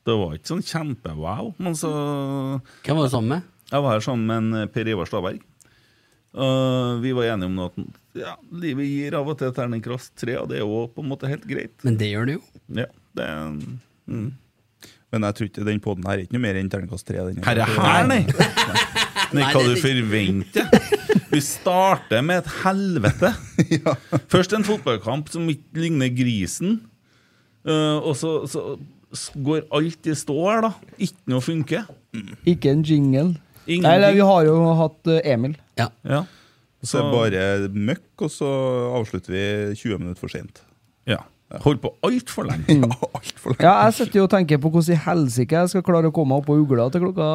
Det var ikke sånn kjempe-wow, men så
Hvem var du sammen med?
Jeg var her sammen med en Per Ivar Staberg. Eh, vi var enige om at ja, livet gir av og til terningkast tre, og det er jo på en måte helt greit.
Men det gjør det jo.
Ja, det er en- mm.
Men jeg tror ikke den poden her er ikke noe mer enn terningkast tre. den
Her er her, nei! Nei,
Nei,
hva du
det-
forventer. Vi starter med et helvete. Først en fotballkamp som ikke ligner grisen. Eh, og så, så s- går alt i stå her, da. Ikke noe funker.
Ikke en jingle.
Ingenting.
Nei, nei, vi har jo hatt eh, Emil.
Ja.
Ja.
Så er det bare møkk, og så avslutter vi 20 minutter for sent.
ja. Holdt på altfor lenge.
Ja, alt for
Ja, jeg sitter jo og tenker på hvordan i helsike jeg skal klare å komme meg opp på ugla til klokka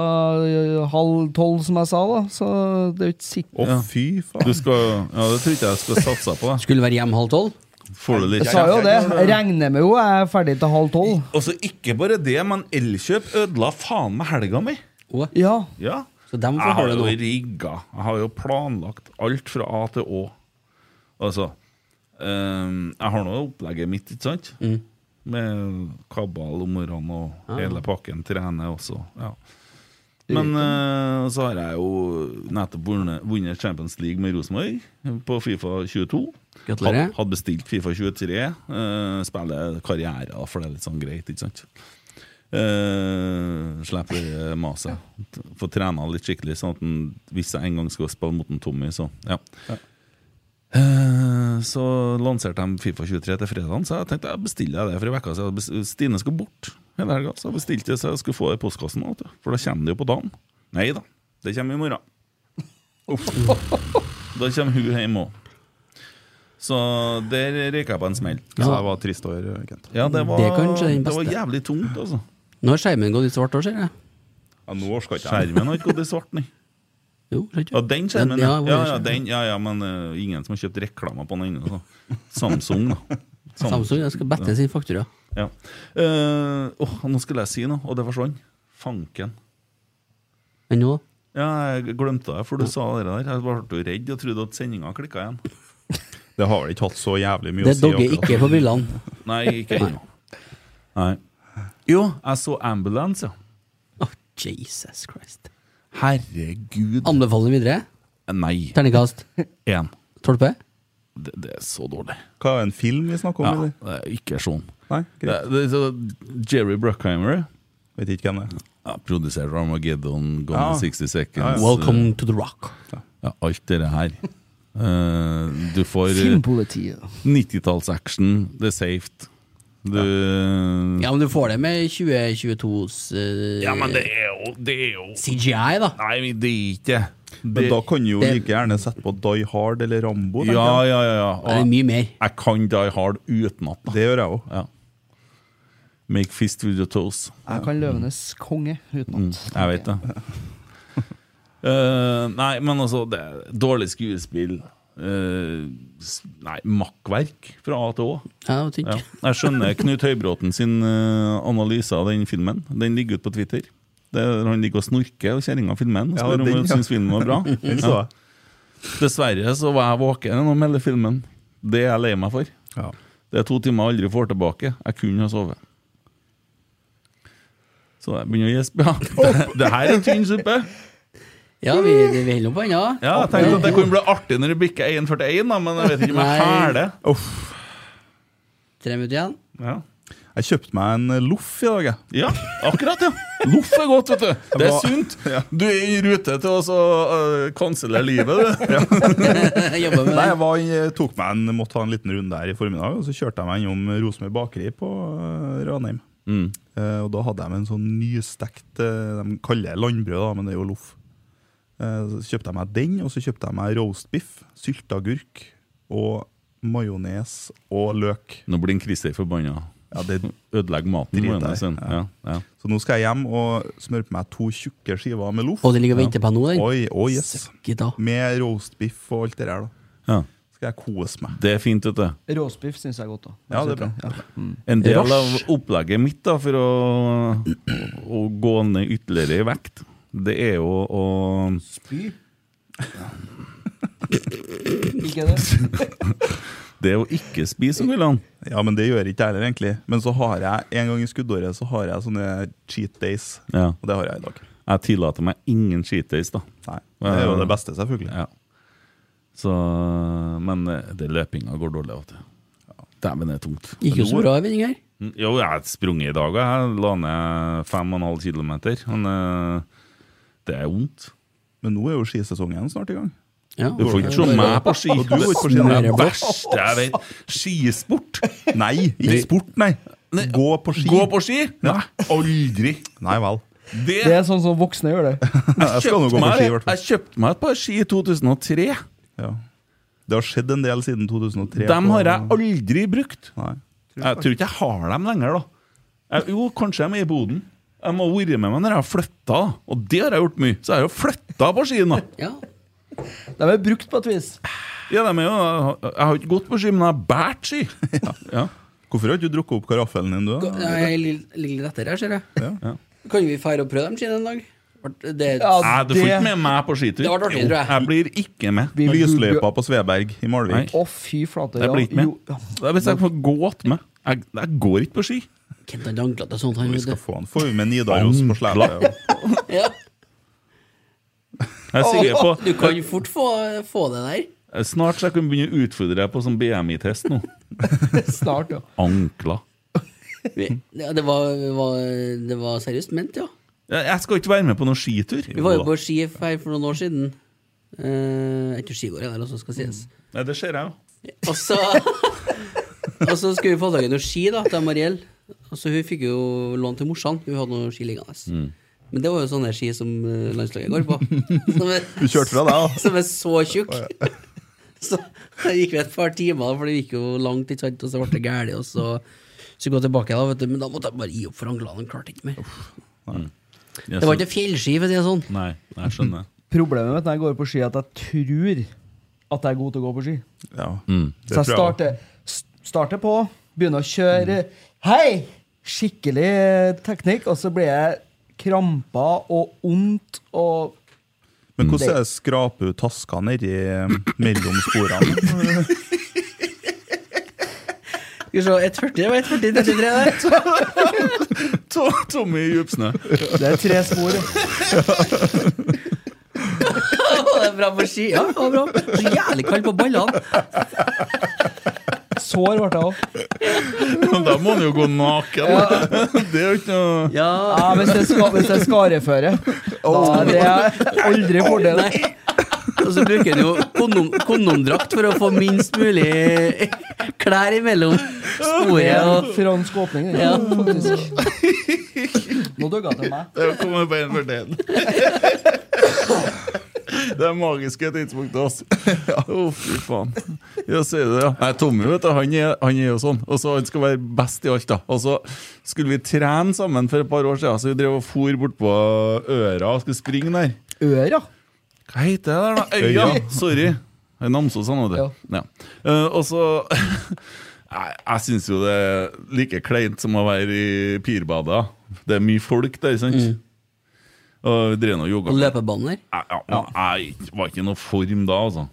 eh, halv tolv, som jeg sa, da. Så det er jo ikke sikkert
Å,
Ja.
fy
Du
faen.
skal, ja, det tror ikke jeg skulle satsa på. da.
Skulle være hjem halv tolv.
Får du litt
Jeg sa jo
kjeft.
det. Jeg Regner med jo jeg er ferdig til halv tolv.
Og så Altså, ikke bare det, men Elkjøp ødela faen meg helga mi.
Å,
Ja.
Ja.
Så dem
Jeg
får
har
holde
jo
nå.
rigga. Jeg har jo planlagt alt fra A til Å. Altså ehm, Jeg har nå opplegget mitt, ikke sant?
Mm.
Med kabal om morgenen og hele pakken. Trener også. Ja. Men eh, så har jeg jo nettopp vunnet- vunnet Champions League med Rosenborg på Fifa 22.
Gratulerer.
Had- Hadde bestilt Fifa 23. eh, spiller karriere, da, for det er litt sånn greit, ikke sant? Uh, Slipper eh, maset. Få trena litt skikkelig, sånn at en, hvis jeg en gang skal spille mot en Tommy, så ja. Eh, så lanserte de Fifa 23 til fredagen, så jeg tenkte jeg bestiller det for en uke siden. Bes- Stine skal bort hele helga, så jeg bestilte det så jeg skulle få det i postkassen. Vet du. For da kommer det jo på dagen. Nei da, det kommer i morgen. Uff. da kommer hun hjem òg. Så der røyk jeg på en smell.
Så jeg var trist over eh, Kent.
Ja, det var,
Mm. Det er kanskje den
det var
beste.
jævlig tungt, altså.
Nå har skjermen gått i svart òg, ser jeg.
Ja, nå orker ikke jeg.
Skjermen har ikke gått i svart, nei.
Jo, ser ikke
Ja, den skjermen,
ja.
ja.
hvor
Ja,
er
ja,
skjermen?
den, ja, ja men eh, ingen som har kjøpt reklame på den ennå. så. Samsung, da.
Samsung jeg skal bette sin faktura.
Ja. Eh, åh, nå skulle jeg si noe, og det forsvant. Fanken.
Men nå,
Ja, jeg glemte det, for du sa det der. Jeg ble jo redd og trodde at sendinga klikka igjen.
Det har vel ikke hatt så jævlig mye
det
å si.
dogger ikke på brillene.
Nei, ikke ennå. Nei. Jo, jeg så Ambulance, ja.
Å, Jesus Christ.
Herregud.
Anbefaler videre.
Eh, Nei.
Terningkast.
Én.
Tolpe.
Det, det er så dårlig.
Hva er en film vi snakker
Ja,
om? eller?
det er ikke sånn.
Nei,
Det,
greit.
det, det, Jerry Bruckheimer
Vet ikke hvem det er. Ja, Produsert av Armageddon, Gone
Ja.
in 60 Seconds
Ja, ja. Welcome
eh,
to the rock.
Ja, alt det her. Eh, du får eh,
Filmpolitiet.
90-talls-action, det er safe. Du
Mm.
Ja, men du får det med 2022s eh,
Ja, men det er jo, det er jo
CGI, da.
Nei, men det er ikke
Men
Det-
da kan jo
det-
like gjerne sette på Die Hard eller Rambo. tenker
Ja,
jeg.
ja, ja. ja.
Det er mye mer.
Jeg kan Die Hard utenat. da.
Det gjør jeg òg.
Ja. Make fist with your toes.
Jeg kan Løvenes konge
Mm,
utenat.
jeg vet det. Eh, nei, men altså det, er Dårlig skuespill. eh, s- nei, makkverk fra A til Å.
Ja, det var tynt.
Jeg skjønner Knut Høybråten sin eh, analyse av den filmen. Den ligger ute på Twitter. Det, er- han ligger og snorker, og kjerringa filmer den. og
Ja,
Spør om
den,
hun
ja.
syns filmen var bra.
Den så jeg.
Dessverre så var jeg våken gjennom hele filmen. Det er jeg lei meg for.
Ja.
Det er to timer jeg aldri får tilbake. Jeg kunne ha sovet. Så jeg begynner å gjespe. Ja. Det, det her er en tynn suppe.
Ja, vi, vi holder nå på ennå.
Ja, jeg tenkte at det kunne bli artig når det bikker 1,41, da, men jeg vet ikke om jeg
Nei.
er det.
Tre minutter igjen.
Ja.
Jeg kjøpte meg en eh, loff i dag, jeg.
Ja, akkurat, ja. Loff er godt, vet du. Det er
var-
sunt. Du er i rute til å så, øh, kansellere livet, du.
Jobber med
Nei,
det.
jeg var, i- tok meg en, måtte ha en liten runde her i formiddag, og så kjørte jeg meg innom Rosenborg Bakeri på eh, Ranheim.
Mm.
Eh, og da hadde de en sånn nystekt eh, De kaller det landbrød, da, men det er jo loff. Eh, så kjøpte jeg meg den, og så kjøpte jeg meg roastbiff, sylteagurk og majones og løk.
Nå blir en Christer forbanna.
Ja, det
Ødelegger maten.
Drit
må
deg.
jeg si. Ja, ja.
Så nå skal jeg hjem og smøre på meg to tjukke skiver med loff.
Og den ligger og venter på deg nå, den.
Oi, oi, yes.
Gitt da.
Med roastbiff og alt det der. da.
Ja.
Skal jeg kose meg.
Det er fint, vet du.
Råsbiff syns jeg er godt, da.
Ja, det er bra.
En del av
Rush.
opplegget mitt da, for å, å gå ned ytterligere i vekt, det er jo å
Spy. Ikke det?
Det er å ikke spise så mye.
Ja, men det gjør jeg ikke heller, egentlig. Men så har jeg en gang i skuddåret så har jeg sånne cheat days.
Ja.
Og det har jeg i dag.
Jeg tillater meg ingen cheat days, da.
Nei, Det er jo det beste, selvfølgelig.
Ja. Så, men eh, det løpinga går dårlig, vet du. Dæven, det er tungt.
Gikk jo så bra i vending her.
Mm, Jo, jeg har sprunget i dag, og jeg la ned 5,5 km. Men eh, det er vondt.
Men nå er jo skisesongen snart i gang.
Ja.
Du får ikke se meg på ski.
Og du går ikke på ski,
Det
nei.
er det verste jeg vet. Skisport.
Nei, ikke sport, nei!
Nei.
Gå på ski.
Gå på ski?
Nei.
Aldri.
Nei vel.
Det,
Det er sånn som voksne gjør det.
Jeg skal nå
kjøpte
gå på
meg,
ski, i hvert fall.
jeg kjøpte meg et par ski i 2003.
Ja. Det har skjedd en del siden 2003.
Dem
på-
har jeg aldri brukt.
Nei.
Jeg tror ikke jeg har dem lenger, da. Jeg, jo, kanskje de er i boden. Jeg må ha vært med meg når jeg har flytta, og det har jeg gjort mye. Så jeg har jo flytta på skien, da.
Ja.
De er brukt på et vis.
Ja, dem er jo, jeg har ikke gått på ski, men jeg har båret ski. Ja.
Hvorfor har ikke du drukket opp karaffelen din, du?
Gå-
da?
Nei, Jeg ligger litt etter her, ser jeg.
Ja.
Kan vi feire og prøve dem siden en dag? Vart- Det,
Ja,
Nei, du får
det-
ikke med meg på skitur.
Det var dårlig,
Jo,
tror jeg.
jeg blir ikke med.
Vi burde-
Lysløypa på Sveberg i Malvik.
Å, fy flate.
Jeg
ja.
blir ikke med.
Jo, ja.
Det er hvis jeg får gått med. Jeg, jeg går ikke på ski.
Kent hadde anklet og sånt. Han,
Vi
vet
skal
du.
få han. Får vi med Nidaros på slepet.
ja.
Jeg er sikker på
Du kan fort få, få det der.
Snart så jeg kan begynne å utfordre deg på sånn BMI-test nå.
Snart, ja.
Ankler.
Vi,
Mm.
ja, det, var, det var, det var seriøst ment, ja.
Jeg jeg skal ikke være med på noen skitur.
Vi var jo på ski her for noen år siden. Eh, ikke skigård, eller også skal sies.
Nei, Mm. det ser jeg jo.
Og så Og så skulle vi få tak i noen ski da til Mariell. Og så hun fikk jo lån til morsan. Hun hadde noen ski liggende.
Mm.
Men det var jo sånne ski som eh, landslaget går på. Som er,
Du kjørte fra deg, altså. da?
Som er så tjukk. Så det gikk vi et par timer, for det gikk jo langt, ikke sant, og så ble det gærent. Og så skulle jeg gå tilbake, da, vet du. men da måtte jeg bare gi opp for anglene. Jeg klarte ikke mer.
Jeg
Det var
så-
ikke fjellski, for å si det sånn.
Nei, jeg skjønner.
Problemet med at jeg går på ski, er at jeg tror at jeg er god til å gå på ski.
Ja.
Mm.
Så jeg starter, st- starter på, begynner å kjøre Hei! Skikkelig eh, teknikk, og så blir jeg kramper og vondt og
Men hvordan er det skraper du taska nedi eh, mellom sporene?
Skal vi se, 1,40 det var 1,40, 33 der.
To- Tommy i djupsnø.
Det er tre spor.
Å, Det er bra på ski. Ja, det var bra. Så jævlig kaldt på ballene.
sår ble jeg òg.
Da må han jo gå naken. Det er jo ikke noe
Ja,
hvis det er ska- hvis det er skareføre. Da er det aldri fordel.
Og så bruker han jo kondom, kondomdrakt for å få minst mulig klær imellom sporet og
Fransk åpning, det.
Ja.
Faktisk. Nå dugga det til meg.
Det kommer på en for den. Det er magiske tidspunktet, altså. Å, fy faen. Ja, sier du det, ja. Nei, Tommy vet du, han er, han er jo sånn. Og så Han skal være best i alt. da Og så skulle vi trene sammen for et par år siden, så vi drev og for bortpå Øra og skulle springe der.
Øra?
Hva heter det der, da? Øya! Sorry. Det er Namsos, han, vet du. Ja. Eh, og så Nei, Jeg syns jo det er like kleint som å være i Pirbadet. Det er mye folk der, sant? Og vi drev nå yoga.
og løpebaner.
Jeg, ja, men jeg var ikke i noe form da, altså.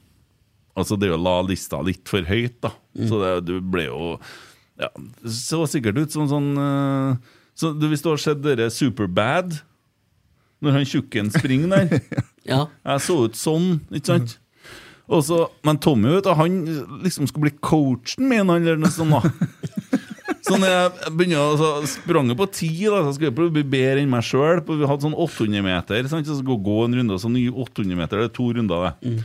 Altså, det å la lista litt for høyt, da. Så det, du ble jo ja, Det så sikkert ut som sånn eh, så, du, Hvis du har sett dere Superbad, når han tjukken springer der Jeg så ut sånn, ikke sant? Og så, men Tommy, vet du, han liksom skulle bli coachen min, han, eller noe sånt, da. Så når jeg begynner å så sprang jeg på ti, da, så skulle jeg prøve å bli bedre enn meg sjøl. Vi hadde sånn 800 meter, sant? så skulle jeg gå en runde, og så nye 800 meter, det er to runder, det.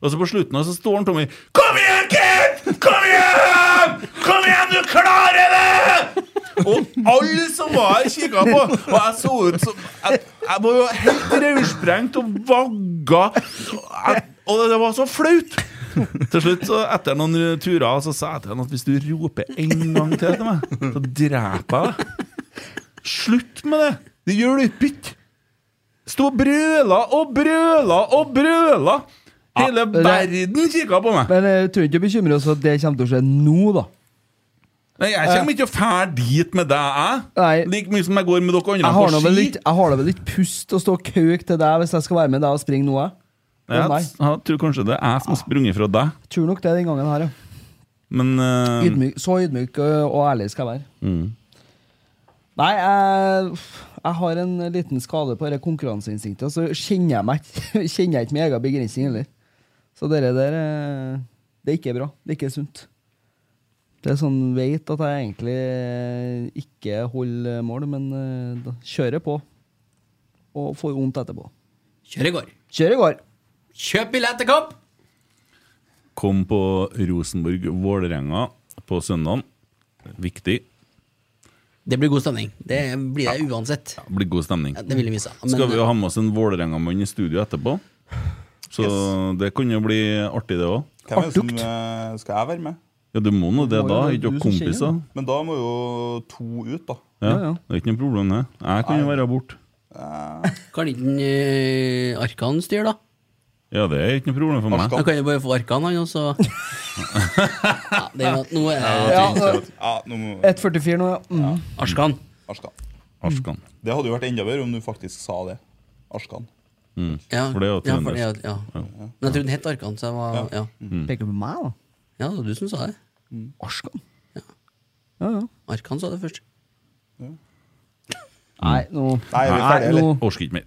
Og så på slutten av så står han Tommy Kom igjen, kid! Kom igjen! Kom igjen, du klarer det! Og alle som var her, kikka på. Og jeg så ut som Jeg, jeg var jo helt rødsprengt og vagga. Og jeg- Og det var så flaut. Til slutt, så etter noen turer, så sa jeg til han at hvis du roper en gang til til meg, så dreper jeg deg. Slutt med det! Det gjør du ikke. Sto og brøla og brøla og brøla. Hele verden kikka på meg.
Men jeg tror ikke du bekymrer oss for at det kommer til å skje nå, da.
Nei, Jeg kommer ikke å fære dit med deg, jeg. Like mye som jeg går med dere andre
Jeg har da
på
vel
ski.
litt, jeg har da vel litt pust å stå og kauke til deg hvis jeg skal være med deg og springe nå, jeg.
Jeg,
Nei.
jeg tror kanskje det er jeg som har sprunget fra deg.
Jeg tror nok det den gangen her, ja.
Men eh,
Ydmyk, så ydmyk ø, og ærlig skal jeg være.
mm.
Nei, jeg, jeg har en liten skade på dette konkurranseinstinktet, og så kjenner jeg meg ikke- kjenner jeg ikke min egen begrensning heller. Så dere der eh, Det er ikke bra. Det er ikke sunt. Det er sånn veit at jeg egentlig eh, ikke holder mål, men eh, da kjører jeg på. Og får vondt etterpå.
Kjør i går.
Kjør i går!
Kjøp billett til kamp!
kom på Rosenborg-Vålerenga på søndagen. Viktig.
Det blir god stemning. Det blir det uansett.
Det blir god stemning.
Ja, det vil vi si. Men-
Skal vi jo ha med oss en Vålerenga-mann i studio etterpå? Så det kan jo bli artig, det òg.
Hvem er det som eh, skal jeg være med?
Ja, du må nå det, da. Ikke noen kompiser.
Men da må jo to ut, da.
Ja, Det er ikke noe problem, det. Jeg kan jo være bort
Kan ikke den, eh, Arkan styre, da?
Ja, det er ikke noe problem for meg.
Han kan jo bare få Arkan, han, og så ja, det er, jo at Nå er det
Ja, nå-
Ja, nå må
1,44 nå, ja. Mm.
Arskan.
Arskan.
Arskan.
Det hadde jo vært enda bedre om du faktisk sa det. Arskan.
Mm.
Ja,
For det er jo
ja, for det er
trøndersk.
jo- ja.
Ja.
Men jeg trodde den het Arkan, så jeg var ja.
Peker du på meg,
Mm.
da?
Ja, det var du som sa det.
Arskan?
Ja.
Ja, ja.
Arkan sa det først.
Nei, nå
Nei, er vi ferdige,
nå-
eller?
Orsker ikke mer.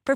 for